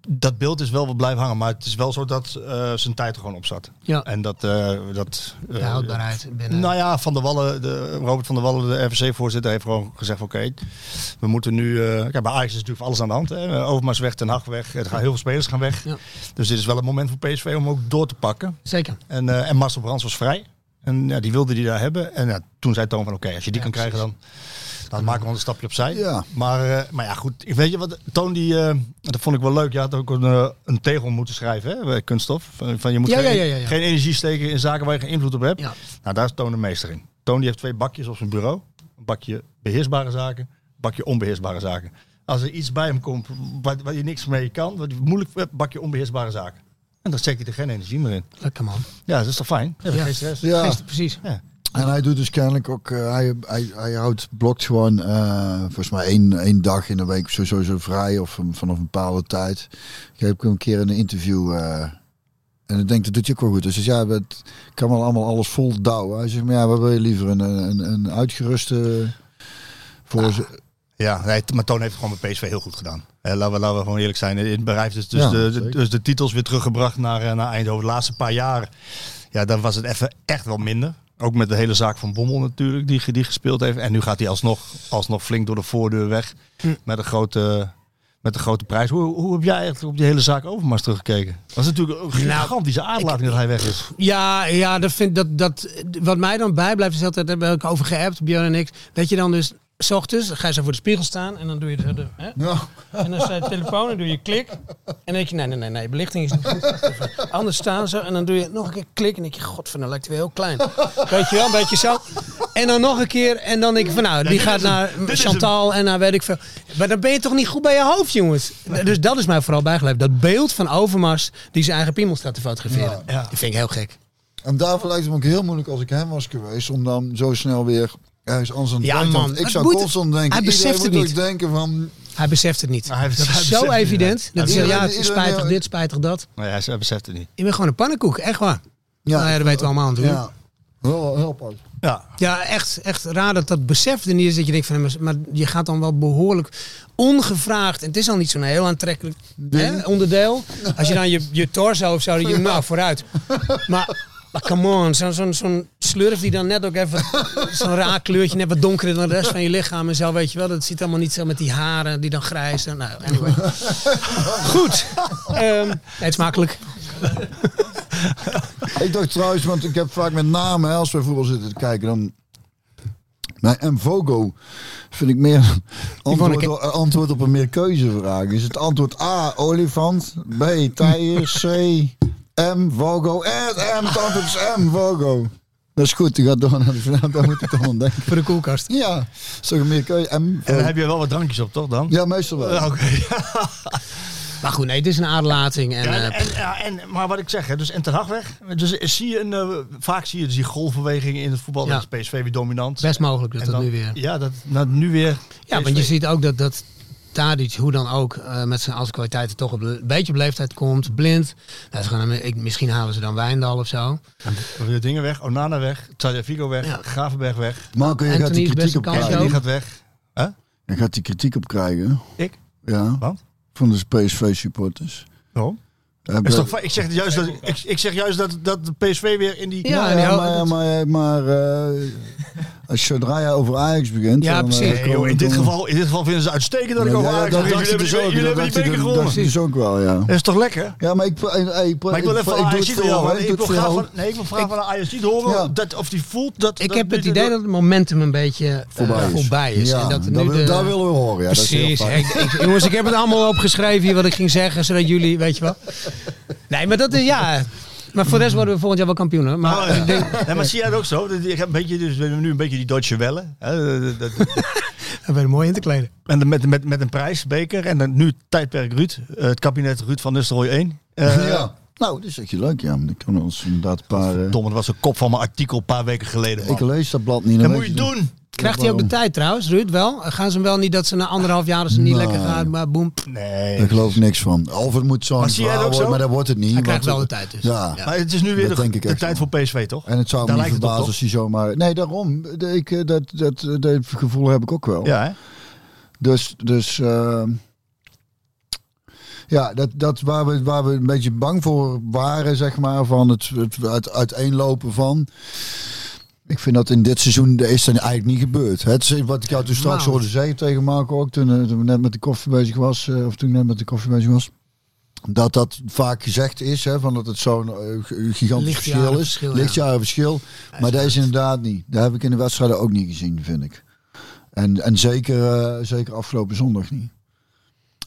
Speaker 4: dat beeld is wel wat blijven hangen. Maar het is wel zo dat eh, zijn tijd er gewoon op zat.
Speaker 9: Ja.
Speaker 4: En dat. eh, dat eh,
Speaker 9: De houdbaarheid eh, binnen.
Speaker 4: Nou ja, Van der Wallen, de, Robert van der Wallen, de RVC-voorzitter, heeft gewoon gezegd: van, oké, we moeten nu. eh, kijk, bij Ajax is natuurlijk alles aan de hand. Hè. Overmars weg, Ten Hag weg. Er gaan heel veel spelers gaan weg.
Speaker 9: Ja.
Speaker 4: Dus dit is wel een moment voor PSV om ook door te pakken.
Speaker 9: Zeker.
Speaker 4: En, eh, en Marcel Brands was vrij. En ja, die wilde die daar hebben. En ja, toen zei Toon van oké, als je die kan krijgen dan, dan maken we wel een stapje opzij.
Speaker 2: Ja.
Speaker 4: Maar, eh, maar ja, goed. Ik weet je wat, Toon die, eh, dat vond ik wel leuk. Je had ook een, eh, een tegel moeten schrijven, hè, bij kunststof. Van, van je moet
Speaker 9: Ja,
Speaker 4: geen,
Speaker 9: ja, ja, ja, ja.
Speaker 4: geen energie steken in zaken waar je geen invloed op hebt.
Speaker 9: Ja.
Speaker 4: Nou, daar is Toon de meester in. Toon die heeft twee bakjes op zijn bureau. Een bakje beheersbare zaken, een bakje onbeheersbare zaken. Als er iets bij hem komt waar, waar je niks mee kan, wat hij moeilijk hebt, bakje onbeheersbare zaken. En dan steekt hij er geen energie meer in.
Speaker 9: Lekker man.
Speaker 4: Ja, dat is toch fijn? Ja,
Speaker 9: Ja.
Speaker 4: geen stress.
Speaker 2: Ja,
Speaker 9: Gisteren, precies.
Speaker 2: en hij doet dus kennelijk ook, eh, hij, hij, hij houdt, blokt gewoon eh, volgens mij één, één dag in de week sowieso zo vrij of een- vanaf een bepaalde tijd. Ik heb hem een keer in een interview eh, en ik denk dat doet je ook wel goed. Dus hij zei, ja, het kan wel allemaal alles vol douwen. Hij zegt, maar ja, wat wil je liever, een, een, een uitgeruste...
Speaker 4: Ah,
Speaker 2: Voor ze-
Speaker 4: Ja, nee, t- maar Toon heeft het gewoon bij PSV heel goed gedaan. Eh, laten, we, laten we gewoon eerlijk zijn. In het bedrijf is dus,
Speaker 2: Ja,
Speaker 4: de, de-
Speaker 2: zeker.
Speaker 4: dus de titels weer teruggebracht naar, eh, naar Eindhoven. De laatste paar jaar, ja, dan was het even echt wel minder. Ook met de hele zaak van Bommel natuurlijk, die, ge- die gespeeld heeft. En nu gaat hij alsnog, alsnog flink door de voordeur weg met, een grote, met een grote prijs. Hoe, hoe heb jij echt op die hele zaak Overmars teruggekeken? Dat is natuurlijk een gigantische aardlating dat hij weg is.
Speaker 9: Ja, ja dat vind, dat, dat, wat mij dan bijblijft is altijd, daar hebben we ook over geappt, Björn en ik, dat je dan dus... S ochtends dan ga je zo voor de spiegel staan en dan doe je zo de, hè?
Speaker 4: nou.
Speaker 9: En dan staat je telefoon en doe je klik. En dan denk je, nee, nee, nee, nee, belichting is niet goed. Wacht even. Anders staan ze. En dan doe je nog een keer klik. En dan denk je, godverdomme, lijkt hij wel heel klein. Weet je wel, een beetje zo. En dan nog een keer. En dan denk ik van, nou, die gaat naar Chantal en naar weet ik veel. Maar dan ben je toch niet goed bij je hoofd, jongens. Dus dat is mij vooral bijgebleven. Dat beeld van Overmars die zijn eigen piemel staat te fotograferen. Dat vind ik heel gek.
Speaker 2: En daarvoor lijkt het me ook heel moeilijk als ik hem was geweest, om dan zo snel weer ergens anders aan te
Speaker 9: Ja,
Speaker 2: denken.
Speaker 9: man.
Speaker 2: Want Ik
Speaker 9: Het
Speaker 2: zou
Speaker 9: moet-
Speaker 2: constant denken,
Speaker 9: hij
Speaker 2: iedereen
Speaker 9: beseft het
Speaker 2: moet
Speaker 9: niet.
Speaker 2: ook denken van,
Speaker 9: Hij beseft het niet.
Speaker 4: Nou, hij
Speaker 9: dat
Speaker 4: beseft-
Speaker 9: is
Speaker 4: hij
Speaker 9: zo
Speaker 4: beseft het
Speaker 9: evident.
Speaker 4: niet.
Speaker 9: Dat hij zegt, ja,
Speaker 2: Iedereen-
Speaker 9: het is
Speaker 2: iedereen-
Speaker 9: spijtig dit, spijtig dat.
Speaker 4: Nee, hij, hij beseft het niet.
Speaker 9: Je bent gewoon een pannenkoek, echt waar. Ja, nou ja, dat weten we allemaal natuurlijk.
Speaker 2: Ja, heel, heel apart.
Speaker 4: Ja,
Speaker 9: Ja, echt, echt raar dat dat besef er niet is. Dat je denkt van, maar je gaat dan wel behoorlijk ongevraagd. En het is al niet zo'n heel aantrekkelijk hè, onderdeel. Als je dan je, je torso of zo, dat je, nou vooruit. Maar, maar come on, zo'n zo'n zo'n slurf die dan net ook even zo'n raar kleurtje, net wat donkerder dan de rest van je lichaam en zo, weet je wel. Dat ziet allemaal niet zo met die haren die dan grijs zijn. Nou, anyway. Goed. Ehm, nee, het is makkelijk.
Speaker 2: Ik dacht trouwens, want ik heb vaak met name, hè, als we voetbal zitten te kijken, dan... Nee, en Vogo vind ik meer een antwoord,
Speaker 9: ik-
Speaker 2: een antwoord op een meerkeuzevraag. Is het antwoord A, olifant, B, tijger, C, M, Vogo. Eh, M, het antwoord is M, Vogo. Dat is goed, die gaat door naar de finale, daar moet ik aan denken.
Speaker 9: Voor de koelkast.
Speaker 2: Ja, zo een meerkeuze, M,
Speaker 4: en
Speaker 2: Vogo.
Speaker 4: dan heb je wel wat drankjes op, toch dan? Eh,
Speaker 2: Ja, meestal wel.
Speaker 4: Oké,
Speaker 9: Maar goed, nee, het is een aardlating. En,
Speaker 4: Ja, en,
Speaker 9: eh,
Speaker 4: en, ja, en, maar wat ik zeg, hè, dus en Ten Hag weg. Dus zie je een, eh, vaak zie je dus die golfbewegingen in het voetbal.
Speaker 9: Ja.
Speaker 4: Dat is PSV weer dominant.
Speaker 9: best mogelijk dat
Speaker 4: En
Speaker 9: dat
Speaker 4: dan-
Speaker 9: nu weer...
Speaker 4: Ja, dat, nou, nu weer.
Speaker 9: Ja,
Speaker 4: PSV.
Speaker 9: want je ziet ook dat, dat Tadic, hoe dan ook, eh, met zijn als kwaliteiten toch op le- een beetje op leeftijd komt. Blind. Nou, ze gaan hem- ik, misschien halen ze dan Wijndal of zo.
Speaker 4: De dingen weg, Onana weg, Tagliafico weg, Gravenberg weg.
Speaker 2: Marco, je gaat die kritiek op krijgen.
Speaker 4: Die gaat weg.
Speaker 2: Je gaat die kritiek op krijgen.
Speaker 4: Ik?
Speaker 2: Ja.
Speaker 4: Want?
Speaker 2: Van de PSV supporters. Eh,
Speaker 4: Waarom?
Speaker 2: Ja,
Speaker 4: Is toch, fa- ik zeg juist, dat, ik, ik zeg juist dat, dat de PSV weer in die...
Speaker 2: Ja, maar, maar, maar eh, als zodra je over Ajax begint...
Speaker 4: Ja,
Speaker 2: dan, eh,
Speaker 4: precies. Nee,
Speaker 2: komen-
Speaker 4: joh, in, dit
Speaker 2: komen-
Speaker 4: geval, in dit geval vinden ze uitstekend dat ik
Speaker 2: Ja,
Speaker 4: over
Speaker 2: ja,
Speaker 4: Ajax
Speaker 2: dat
Speaker 4: begin.
Speaker 2: dacht
Speaker 4: Jullie
Speaker 2: ik
Speaker 4: hebben
Speaker 2: dus
Speaker 4: die-
Speaker 2: ook.
Speaker 4: jullie
Speaker 2: Dat
Speaker 4: hebben die
Speaker 2: dacht ik
Speaker 4: beker
Speaker 2: dus- dacht ik
Speaker 4: gewonnen.
Speaker 2: dus ook wel, ja.
Speaker 4: Dat is toch lekker?
Speaker 2: Ja, maar ik... eh, eh, ik-
Speaker 4: Maar ik wil even
Speaker 2: ik
Speaker 4: van
Speaker 2: doe
Speaker 4: Ajax
Speaker 2: het
Speaker 4: niet
Speaker 2: voor jou,
Speaker 4: horen.
Speaker 2: ik
Speaker 4: Ik
Speaker 2: doe
Speaker 4: wil
Speaker 2: het
Speaker 4: graag
Speaker 2: voor jou.
Speaker 4: van, nee, ik wil graag van Ajax niet horen dat, of die voelt dat...
Speaker 9: Ik
Speaker 4: dat
Speaker 9: heb
Speaker 4: dit-
Speaker 9: het idee dat het momentum een beetje eh,
Speaker 2: Voorbij
Speaker 9: voorbij
Speaker 2: is.
Speaker 9: is.
Speaker 2: Ja,
Speaker 9: en dat er
Speaker 2: dat
Speaker 9: nu
Speaker 2: wil-
Speaker 9: de-
Speaker 2: dat willen we horen, ja, dat is heel
Speaker 9: Precies.
Speaker 2: fijn.
Speaker 9: Ik- ik- jongens, ik heb het allemaal opgeschreven hier wat ik ging zeggen, zodat jullie, weet je wel. Nee, maar dat is, ja. Maar voor de rest worden we volgend jaar wel kampioen, hoor. Maar eh,
Speaker 4: Oh, ja.
Speaker 9: ik denk,
Speaker 4: Nee, maar zie jij het ook zo? Dat- Ik heb een beetje, dus we hebben nu een beetje die Deutsche Welle. Hè? dat- dat-
Speaker 9: we zijn mooi in te kleden.
Speaker 4: En dan met, met, met een prijsbeker. En dan nu tijdperk Ruud. eh, het kabinet Ruud van Nistelrooy 1. Eh,
Speaker 2: Ja. Nou, dat is echt leuk, ja. maar Dan kunnen we ons inderdaad een paar... eh,
Speaker 4: Dom, dat was een kop van mijn artikel een paar weken geleden. man.
Speaker 2: ik lees dat blad niet.
Speaker 4: dat
Speaker 2: dan
Speaker 4: moet je
Speaker 2: weet
Speaker 4: doen.
Speaker 9: Krijgt hij ook de tijd trouwens, Ruud? Wel? Gaan ze hem wel niet dat ze na anderhalf jaar als ze niet
Speaker 2: Nee.
Speaker 9: lekker gaat, maar boem.
Speaker 4: Nee.
Speaker 2: Daar geloof ik niks van. Of het moet zo'n
Speaker 4: Maar zie jij dat
Speaker 2: verhaal worden,
Speaker 4: ook zo?
Speaker 2: maar dat wordt het niet.
Speaker 9: Hij
Speaker 2: want-
Speaker 9: krijgt wel de tijd dus.
Speaker 2: Ja.
Speaker 4: Maar het is nu weer
Speaker 2: Dat
Speaker 4: de,
Speaker 2: denk ik
Speaker 4: de
Speaker 2: echt
Speaker 4: tijd voor PSV, toch?
Speaker 2: En het zou
Speaker 4: Daar
Speaker 2: me niet
Speaker 4: lijkt het op,
Speaker 2: verbazen als hij zomaar... Nee, daarom. De- Ik, eh, dat, dat, dat, gevoel heb ik ook wel.
Speaker 4: Ja, hè?
Speaker 2: Dus, dus ehm, ja, dat, dat waar, we, waar we een beetje bang voor waren, zeg maar, van het, het, uit- uiteenlopen van. Ik vind dat in dit seizoen is dat eigenlijk niet gebeurd. Het, is wat ik jou toen straks
Speaker 9: Nou.
Speaker 2: hoorde zeggen tegen Marco ook, toen, eh, toen we net met de koffie bezig was, eh, of toen ik net met de koffie bezig was. Dat dat vaak gezegd is, hè, van dat het zo'n eh, g- gigantisch verschil is.
Speaker 9: Lichtjarenverschil, ja.
Speaker 2: Lichtjarenverschil. Maar dat is inderdaad niet. Dat heb ik in de wedstrijden ook niet gezien, vind ik. En, en zeker, eh, zeker afgelopen zondag niet.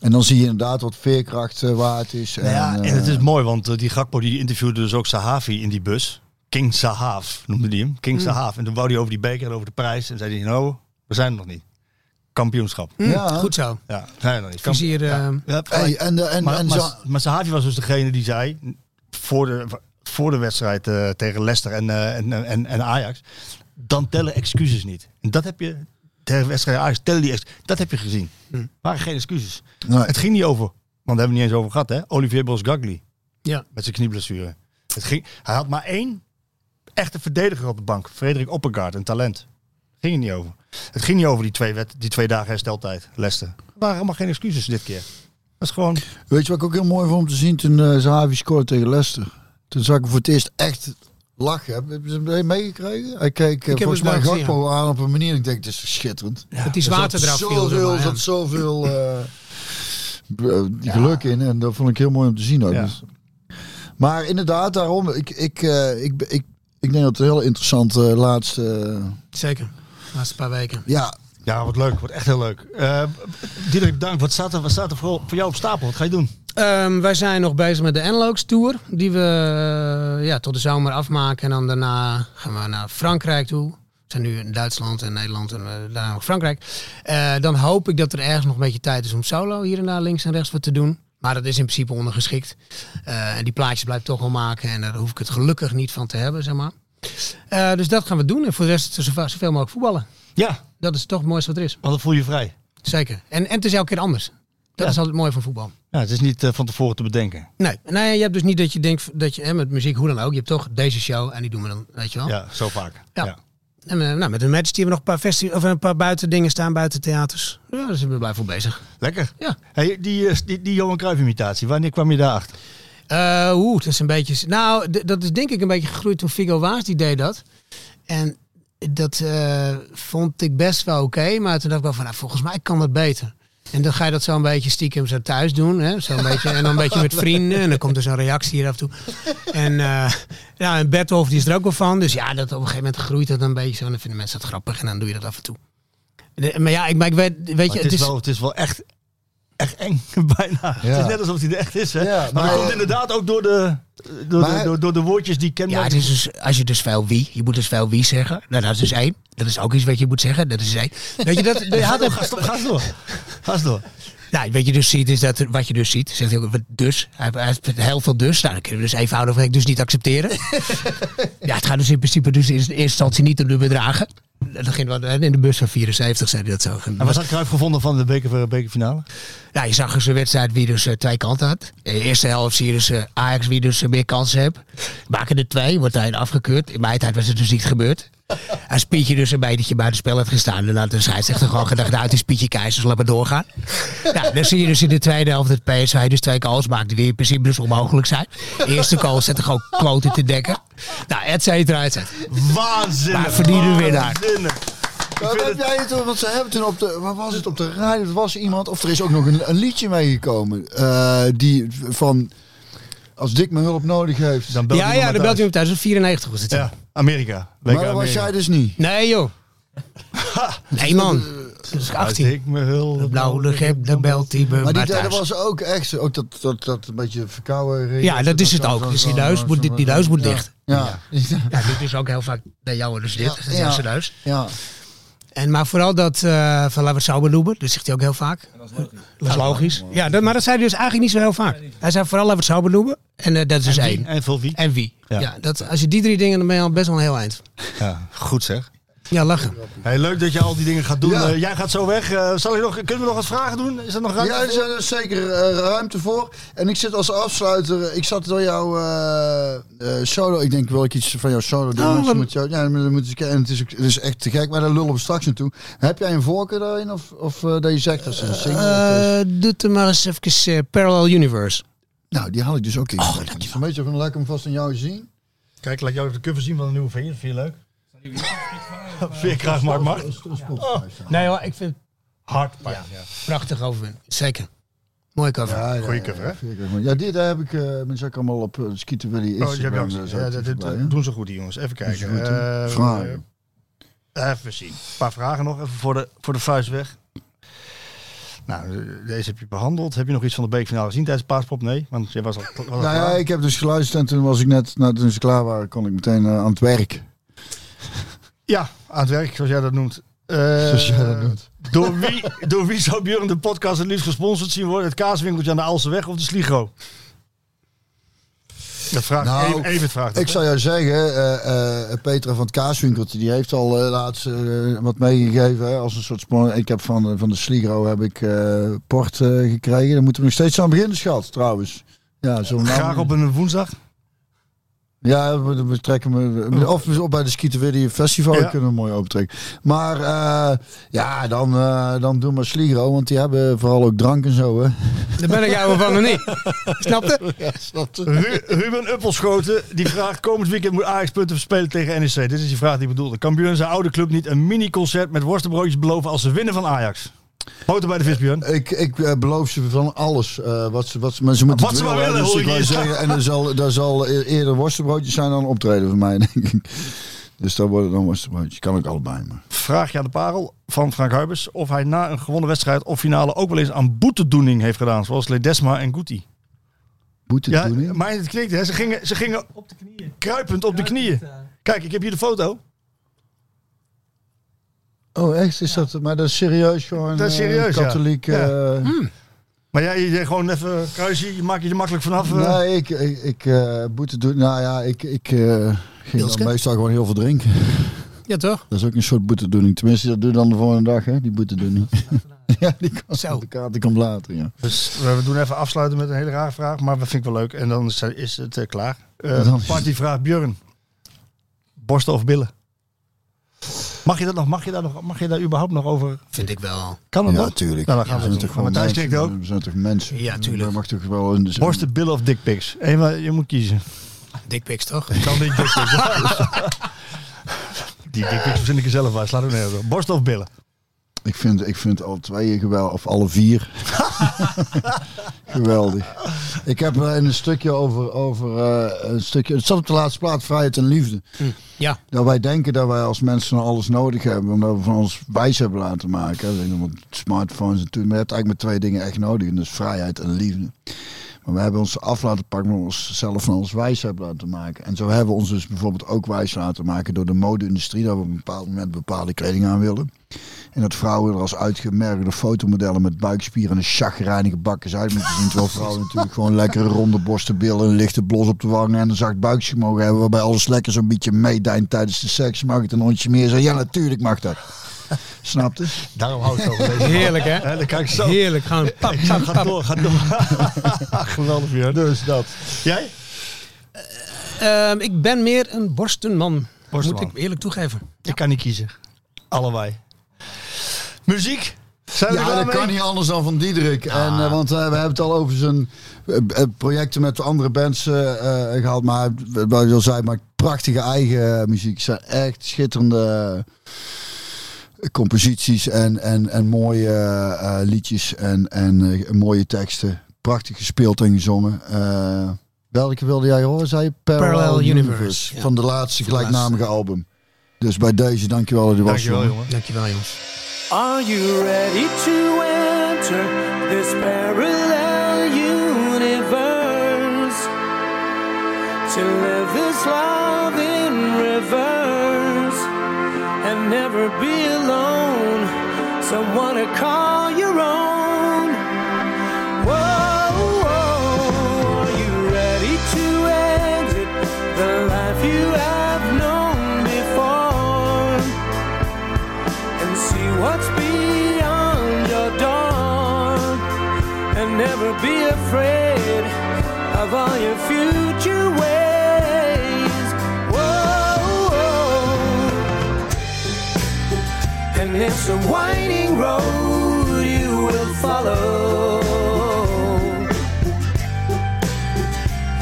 Speaker 2: En dan zie je inderdaad wat veerkracht eh, waard is. En,
Speaker 4: Nou ja, en
Speaker 2: eh,
Speaker 4: het is mooi, want eh, die Gakpo die interviewde dus ook Sahavi in die bus. King Sahav noemde die hem. King Sahav. En toen wou hij over die beker en over de prijs. En zei hij, nou, we zijn er nog niet. Kampioenschap.
Speaker 2: ja.
Speaker 9: Mm. Goed zo.
Speaker 4: Ja, zijn we nog niet. Kamp-
Speaker 9: Vizier, eh,
Speaker 4: Ja,
Speaker 2: Hey, en, eh, en,
Speaker 4: maar,
Speaker 2: en
Speaker 4: maar,
Speaker 2: zo-
Speaker 4: maar Sahavi was dus degene die zei voor de, voor de wedstrijd eh, tegen Leicester en, eh, en, en, en Ajax, dan tellen excuses niet. En dat heb je tegen wedstrijd Ajax, tellen die ex- dat heb je gezien. Er waren geen excuses.
Speaker 2: Nee.
Speaker 4: Het ging niet over, want daar hebben we het niet eens over gehad, hè? Olivier Bos-Gagli
Speaker 9: Ja.
Speaker 4: met zijn knieblessure. Het ging, hij had maar één echte verdediger op de bank, Frederik Oppergaard, een talent. Ging het niet over. Het ging niet over die twee, wet, die twee dagen hersteltijd, Leicester. Er waren helemaal geen excuses dit keer. Dat is gewoon
Speaker 2: Weet je wat ik ook heel mooi vond om te zien toen eh Zahavi scoorde tegen Leicester? Toen zag ik hem voor het eerst echt lachen. Heb heb je hem mee- meegekregen? Hij keek eh,
Speaker 9: heb
Speaker 2: volgens
Speaker 9: het
Speaker 2: mij
Speaker 9: wel gezien,
Speaker 2: Gakpo aan op een manier. Ik denk, dit is schitterend.
Speaker 9: dat die zwaarte eraf viel. zeg
Speaker 2: zoveel, er
Speaker 9: maar, ja.
Speaker 2: zat zoveel eh, b- eh, geluk in. En dat vond ik heel mooi om te zien ook.
Speaker 4: Ja.
Speaker 2: Dus- Maar inderdaad, daarom, ik, ik, eh, ik, ik, ik denk dat het een heel interessant eh, laatste...
Speaker 9: Zeker. Laatste paar weken.
Speaker 2: ja,
Speaker 4: Ja, wat leuk. Wordt echt heel leuk. Eh Diederik, bedankt. Wat staat er, wat staat er voor, voor jou op stapel? Wat ga je doen?
Speaker 9: Ehm, wij zijn nog bezig met de Enlooks Tour. Die we eh, ja, tot de zomer afmaken. En dan daarna gaan we naar Frankrijk toe. We zijn nu in Duitsland en Nederland en eh, daarna nog Frankrijk. Eh, dan hoop ik dat er ergens nog een beetje tijd is om solo hier en daar links en rechts wat te doen. Maar dat is in principe ondergeschikt. Eh, en die plaatjes blijf ik toch wel maken. En daar hoef ik het gelukkig niet van te hebben, zeg maar. Eh, dus dat gaan we doen. En voor de rest zoveel, zoveel mogelijk voetballen.
Speaker 4: Ja,
Speaker 9: Dat is toch het mooiste wat er is.
Speaker 4: want dan voel je je vrij.
Speaker 9: Zeker. En, en het is elke keer anders. Dat
Speaker 4: Ja.
Speaker 9: is altijd mooi van voetbal.
Speaker 4: Ja, het is niet eh, van tevoren te bedenken.
Speaker 9: Nee, nee, je hebt dus niet dat je denkt dat je hè, met muziek, hoe dan ook, je hebt toch deze show en die doen we dan, weet je wel.
Speaker 4: Ja, zo vaak.
Speaker 9: Ja. En, eh, nou, met een match die hebben we nog een paar, festi- of een paar buiten dingen staan, buiten theaters. Ja, daar zijn we blij voor bezig.
Speaker 4: Lekker.
Speaker 9: Ja.
Speaker 4: Hey, die, eh, die, die Johan Cruijff imitatie, wanneer kwam je daarachter?
Speaker 9: Eh, Oeh, dat is een beetje. Nou, d- dat is denk ik een beetje gegroeid toen Figo Waas die deed dat. En dat eh, vond ik best wel oké, maar toen dacht ik wel van, nou, volgens mij kan dat beter. En dan ga je dat zo een beetje stiekem zo thuis doen. Hè? Zo een beetje, en dan een beetje met vrienden. En dan komt er zo'n reactie hier af en toe. En eh ja, en Bertolf die is er ook wel van. Dus ja, dat op een gegeven moment groeit dat een beetje zo. En dan vinden mensen dat grappig. En dan doe je dat af en toe. De- maar ja, ik, maar ik weet, weet
Speaker 4: Maar
Speaker 9: je,
Speaker 4: het, is wel, het is wel echt, echt eng, bijna.
Speaker 2: Ja.
Speaker 4: Het is net alsof hij er echt is. Hè?
Speaker 2: Ja,
Speaker 4: maar,
Speaker 2: maar-
Speaker 4: dat komt inderdaad ook door de, door,
Speaker 2: Maar-
Speaker 4: de, door, door de woordjes die
Speaker 9: Ja, het
Speaker 4: kenmerken.
Speaker 9: is dus, als je dus veel wie, je moet dus veel wie zeggen. Nou, dat is dus één. Dat is ook iets wat je moet zeggen. Dat is één. Weet je, dat, dat
Speaker 4: Ga
Speaker 9: had
Speaker 4: door,
Speaker 9: ook,
Speaker 4: ga door, ga door. Ga door.
Speaker 9: nou, wat je dus ziet is dat, er- wat je dus ziet, zegt heel, wat dus, hij hij heeft heel veel dus. Nou, dan kunnen we dus eenvoudig ik dus niet accepteren. ja, het gaat dus in principe dus in eerste instantie niet om de bedragen. dat ging wel, in de bus van 74 zei hij dat zo.
Speaker 4: En wat had Cruijff gevonden van de beker, eh, bekerfinale?
Speaker 9: Ja, je zag dus een wedstrijd wie dus uh, twee kanten had. In de eerste helft zie je dus uh, Ajax wie dus uh, meer kansen hebt. Maken er twee, wordt hij afgekeurd. In mijn tijd was het dus niet gebeurd. Als Pietje dus een beetje buiten spel had gestaan. En dan de scheidsrechter gewoon gedacht, uit is Pietje Keizers, laat maar doorgaan. Ja, dan zie je dus in de tweede helft dat PSV dus twee calls maakt. Die in principe dus onmogelijk zijn. De eerste call zette gewoon kloten te dekken. Nou, et cetera, et cetera.
Speaker 4: Waanzinnig.
Speaker 9: Maar verdiende winnaar.
Speaker 2: Maar heb jij het, want ze hebben toen op de, waar was het op de radio? Er was iemand, of er is ook nog een, een liedje meegekomen. Uh, die van, als Dick me hulp nodig heeft.
Speaker 9: Dan belt ja, ja, dan belt u hem thuis. 94 was het.
Speaker 4: Ja, Amerika.
Speaker 2: Lekker maar dat was jij dus niet.
Speaker 9: Nee, joh. nee, man. Dat is 18.
Speaker 4: Dick me hulp.
Speaker 9: De blauwe gep, dan belt hij me
Speaker 2: Maar die daar was ook echt, ook dat, dat, dat een beetje verkouden.
Speaker 9: Ja, dat, dat is het ook. Dus die neus moet, die, die neus moet dicht.
Speaker 2: eh, Ja.
Speaker 9: Ja, dit is ook heel vaak bij jou dus dit. Ja, ja. neus.
Speaker 2: Ja.
Speaker 9: En, maar vooral dat uh, van laten we het sauber noemen, dat zegt hij ook heel vaak. En dat is logisch. Dat is logisch. Ja, dat, maar dat zei hij dus eigenlijk niet zo heel vaak. Hij zei vooral laten we het sauber noemen. En uh, dat is dus
Speaker 4: en
Speaker 9: één.
Speaker 4: En voor wie?
Speaker 9: En wie. Ja. ja. dat, als je die drie dingen, dan ben je al best wel een heel eind.
Speaker 4: Ja, goed zeg.
Speaker 9: Ja, lachen.
Speaker 4: Hey, leuk dat je al die dingen gaat doen. Ja. Uh, jij gaat zo weg. Uh, zal je nog, kunnen we nog wat vragen doen? Is er nog ruimte
Speaker 2: Ja, er is er zeker uh, ruimte voor. En ik zit als afsluiter. Ik zat door jouw eh, solo. Ik denk, wil ik iets van jouw solo doen? Oh, met jou, ja, dan moet ik, en het, is, het is echt te gek, maar daar lullen we straks naartoe. Heb jij een voorkeur daarin? Of, of eh, dat je zegt dat ze een single
Speaker 9: is? Eh, Doe het maar eens even eh, Parallel Universe.
Speaker 2: Nou, die haal ik dus ook in. Oh, dat is een beetje van, laat ik hem vast aan jou zien.
Speaker 4: Kijk, laat jou de cover zien van een nieuwe vinger. Vind je leuk? Veerkracht Mark Macht.
Speaker 9: Oh, nee hoor, ik vind
Speaker 4: hardpijn. Ja. Ja.
Speaker 9: Prachtig overwinning. Zeker. Mooi cover.
Speaker 4: Ja, Goeie cover, hè?
Speaker 2: Veerkracht. Ja, dit heb ik uh, met zak allemaal op uh, Skieten Willy eh,
Speaker 4: Oh, je hebt ook, ja, dit, dit bij, doen ze goed, die jongens. Even kijken.
Speaker 2: Goed, uh, vragen.
Speaker 4: Uh, even zien. Een paar vragen nog, even voor de, voor de vuist weg. Nou, deze heb je behandeld. Heb je nog iets van de beekfinale gezien tijdens Paaspop? Nee, want jij was al... Was
Speaker 2: nou ja, ik heb dus geluisterd en toen was ik net, nou, toen ze klaar waren, kon ik meteen eh, aan het werk.
Speaker 4: Ja, aan het werk, zoals jij dat noemt. Uh,
Speaker 2: zoals jij dat noemt.
Speaker 4: Door wie, door wie zou Björn de podcast het liefst gesponsord zien worden? Het kaaswinkeltje aan de Alseweg of de Sligo? Dat vraagt nou, even, even vraagt
Speaker 2: Ik zou jou zeggen, uh, uh, Petra van het Kaaswinkeltje, die heeft al eh, laatst wat meegegeven hè, als een soort sponsor. Ik heb van, van de Sligo heb ik eh, port gekregen. Daar moeten we nog steeds aan beginnen, schat, trouwens. Ja, zo
Speaker 4: Graag op een woensdag.
Speaker 2: Ja, we, we trekken
Speaker 4: Oh.
Speaker 2: me. Of we op bij de Skieterwiddy Festival ja. kunnen we mooi optrekken. Maar uh, ja, dan, uh, dan doen we Sligro, want die hebben vooral ook drank en zo. Hè.
Speaker 9: Daar ben ik jou van nog niet. Snapte?
Speaker 2: Ja, snapte.
Speaker 4: Ru Ruben Uppelschoten die vraagt: komend weekend moet Ajax punten verspelen tegen NEC. Dit is die vraag die ik bedoelde. Kan Björn zijn oude club niet een mini-concert met worstenbroodjes beloven als ze winnen van Ajax? Houten bij de visbjörn.
Speaker 2: Ik, ik uh, beloof ze van alles. Uh, wat ze, wat ze, maar ze moeten
Speaker 4: wat ze willen, willen hoor
Speaker 2: dus zeggen. En er zal, daar zal e- eerder worstenbroodjes zijn dan optreden voor mij, denk ik. Dus daar worden dan worstenbroodjes. Kan ik allebei, maar...
Speaker 4: Vraag je aan de parel van Frank Huibers of hij na een gewonnen wedstrijd of finale ook wel eens aan boetedoening heeft gedaan. Zoals Ledesma en Guti.
Speaker 2: Boetedoening?
Speaker 4: Ja, maar het klinkt hè. Ze gingen, ze gingen
Speaker 10: op de knieën.
Speaker 4: kruipend op kruipend, de knieën.
Speaker 10: eh,
Speaker 4: Uh... Kijk, ik heb hier de foto.
Speaker 2: Oh, echt? Is dat, maar dat is serieus gewoon
Speaker 4: dat is serieus,
Speaker 2: uh, katholiek... Ja.
Speaker 4: Ja. Uh, hmm. Maar jij je gewoon even kruisje, je maakt je er makkelijk vanaf. eh.
Speaker 2: Uh. Nee, ik, ik, ik boete doen. Nou ja, ik, ik ging dan meestal gewoon heel veel drinken.
Speaker 9: Ja, toch?
Speaker 2: Dat is ook een soort boetedoening. Tenminste, dat doe je dan de volgende dag, hè, die boetedoening. ja, die komt, Zo. de kaart die komt later, ja.
Speaker 4: Dus we doen even afsluiten met een hele rare vraag, maar dat vind ik wel leuk. En dan is het eh, klaar. Dan partyvraag Björn. Borsten of billen? Mag je, dat nog, mag, je daar nog, mag je daar überhaupt nog over?
Speaker 9: Vind ik wel.
Speaker 4: Kan dat?
Speaker 2: Ja,
Speaker 4: nog?
Speaker 2: tuurlijk.
Speaker 4: Nou, dan gaan
Speaker 2: ja,
Speaker 4: we toch gewoon Matthijs kijkt ook.
Speaker 2: We zijn toch mensen?
Speaker 9: Ja, tuurlijk.
Speaker 2: Dat mag toch wel een...
Speaker 4: Borsten, billen of dickpics? Eenmaal, je moet kiezen.
Speaker 9: Dickpics toch?
Speaker 4: Ik kan niet dickpics. Die dickpics verzin ik er zelf uit. Slaat ook nergens op. Borsten of billen?
Speaker 2: Ik vind, ik vind al twee geweldig, of alle vier. geweldig. Ik heb er een stukje over, over uh, een stukje, het zat op de laatste plaat, vrijheid en liefde.
Speaker 9: Mm, ja.
Speaker 2: Dat wij denken dat wij als mensen nou alles nodig hebben, omdat we van ons wijs hebben laten maken. Hè. Smartphones en toen, maar je hebt eigenlijk met twee dingen echt nodig, en dat is vrijheid en liefde. Maar we hebben ons af laten pakken, maar onszelf van ons wijs hebben laten maken. En zo hebben we ons dus bijvoorbeeld ook wijs laten maken door de mode-industrie. Dat we op een bepaald moment bepaalde kleding aan willen. En dat vrouwen er als uitgemerkte fotomodellen met buikspieren en een chagrijnige bakjes uit moeten zien. Terwijl vrouwen natuurlijk gewoon lekkere ronde borsten, billen, een lichte blos op de wangen en een zacht buikje mogen hebben. Waarbij alles lekker zo'n beetje meedijnt tijdens de seks. Mag het een hondje meer? Zo, ja, natuurlijk mag dat. Snapte?
Speaker 4: Daarom houdt het over deze
Speaker 9: Heerlijk, hè?
Speaker 4: Dan kan ik zo.
Speaker 9: Heerlijk, gewoon pap, pap,
Speaker 4: Ga
Speaker 9: pap.
Speaker 4: door, ga door. Geweldig weer. Dus dat. Jij?
Speaker 9: Ehm, ik ben meer een borstenman.
Speaker 4: Borstenman.
Speaker 9: Moet ik eerlijk toegeven.
Speaker 4: Ik kan niet kiezen. Allebei. Muziek? Zijn we er
Speaker 2: Ja,
Speaker 4: klaar
Speaker 2: dat
Speaker 4: mee? Ah.
Speaker 2: kan niet anders dan van Diederik. En, eh, want eh, we hebben het al over zijn eh, eh, projecten met andere bands eh, eh, gehad. Maar hij- wat je al zei, maakt prachtige eigen eh, muziek. Het zijn echt schitterende eh, composities en, en, en mooie eh, eh, liedjes en, en eh, mooie teksten. Prachtig gespeeld en gezongen. Eh, welke wilde jij horen, zei je? Parallel,
Speaker 9: Parallel
Speaker 2: Universe.
Speaker 9: Universe, ja.
Speaker 2: Van de laatste
Speaker 9: Van de laatste.
Speaker 2: gelijknamige album. Dus bij deze, dankjewel dat je was.
Speaker 4: Dankjewel,
Speaker 2: jongen.
Speaker 4: jongen.
Speaker 9: Dankjewel, jongens.
Speaker 11: Are you ready to enter this parallel universe? To live this love in reverse and never be alone. Someone to call your own. Whoa, whoa, are you ready to exit the life you have known before? and see what's beyond your door and never be afraid of all your future ways. Whoa, whoa. and it's a winding road you will follow,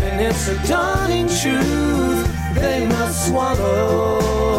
Speaker 11: and it's a dawning truth they must swallow.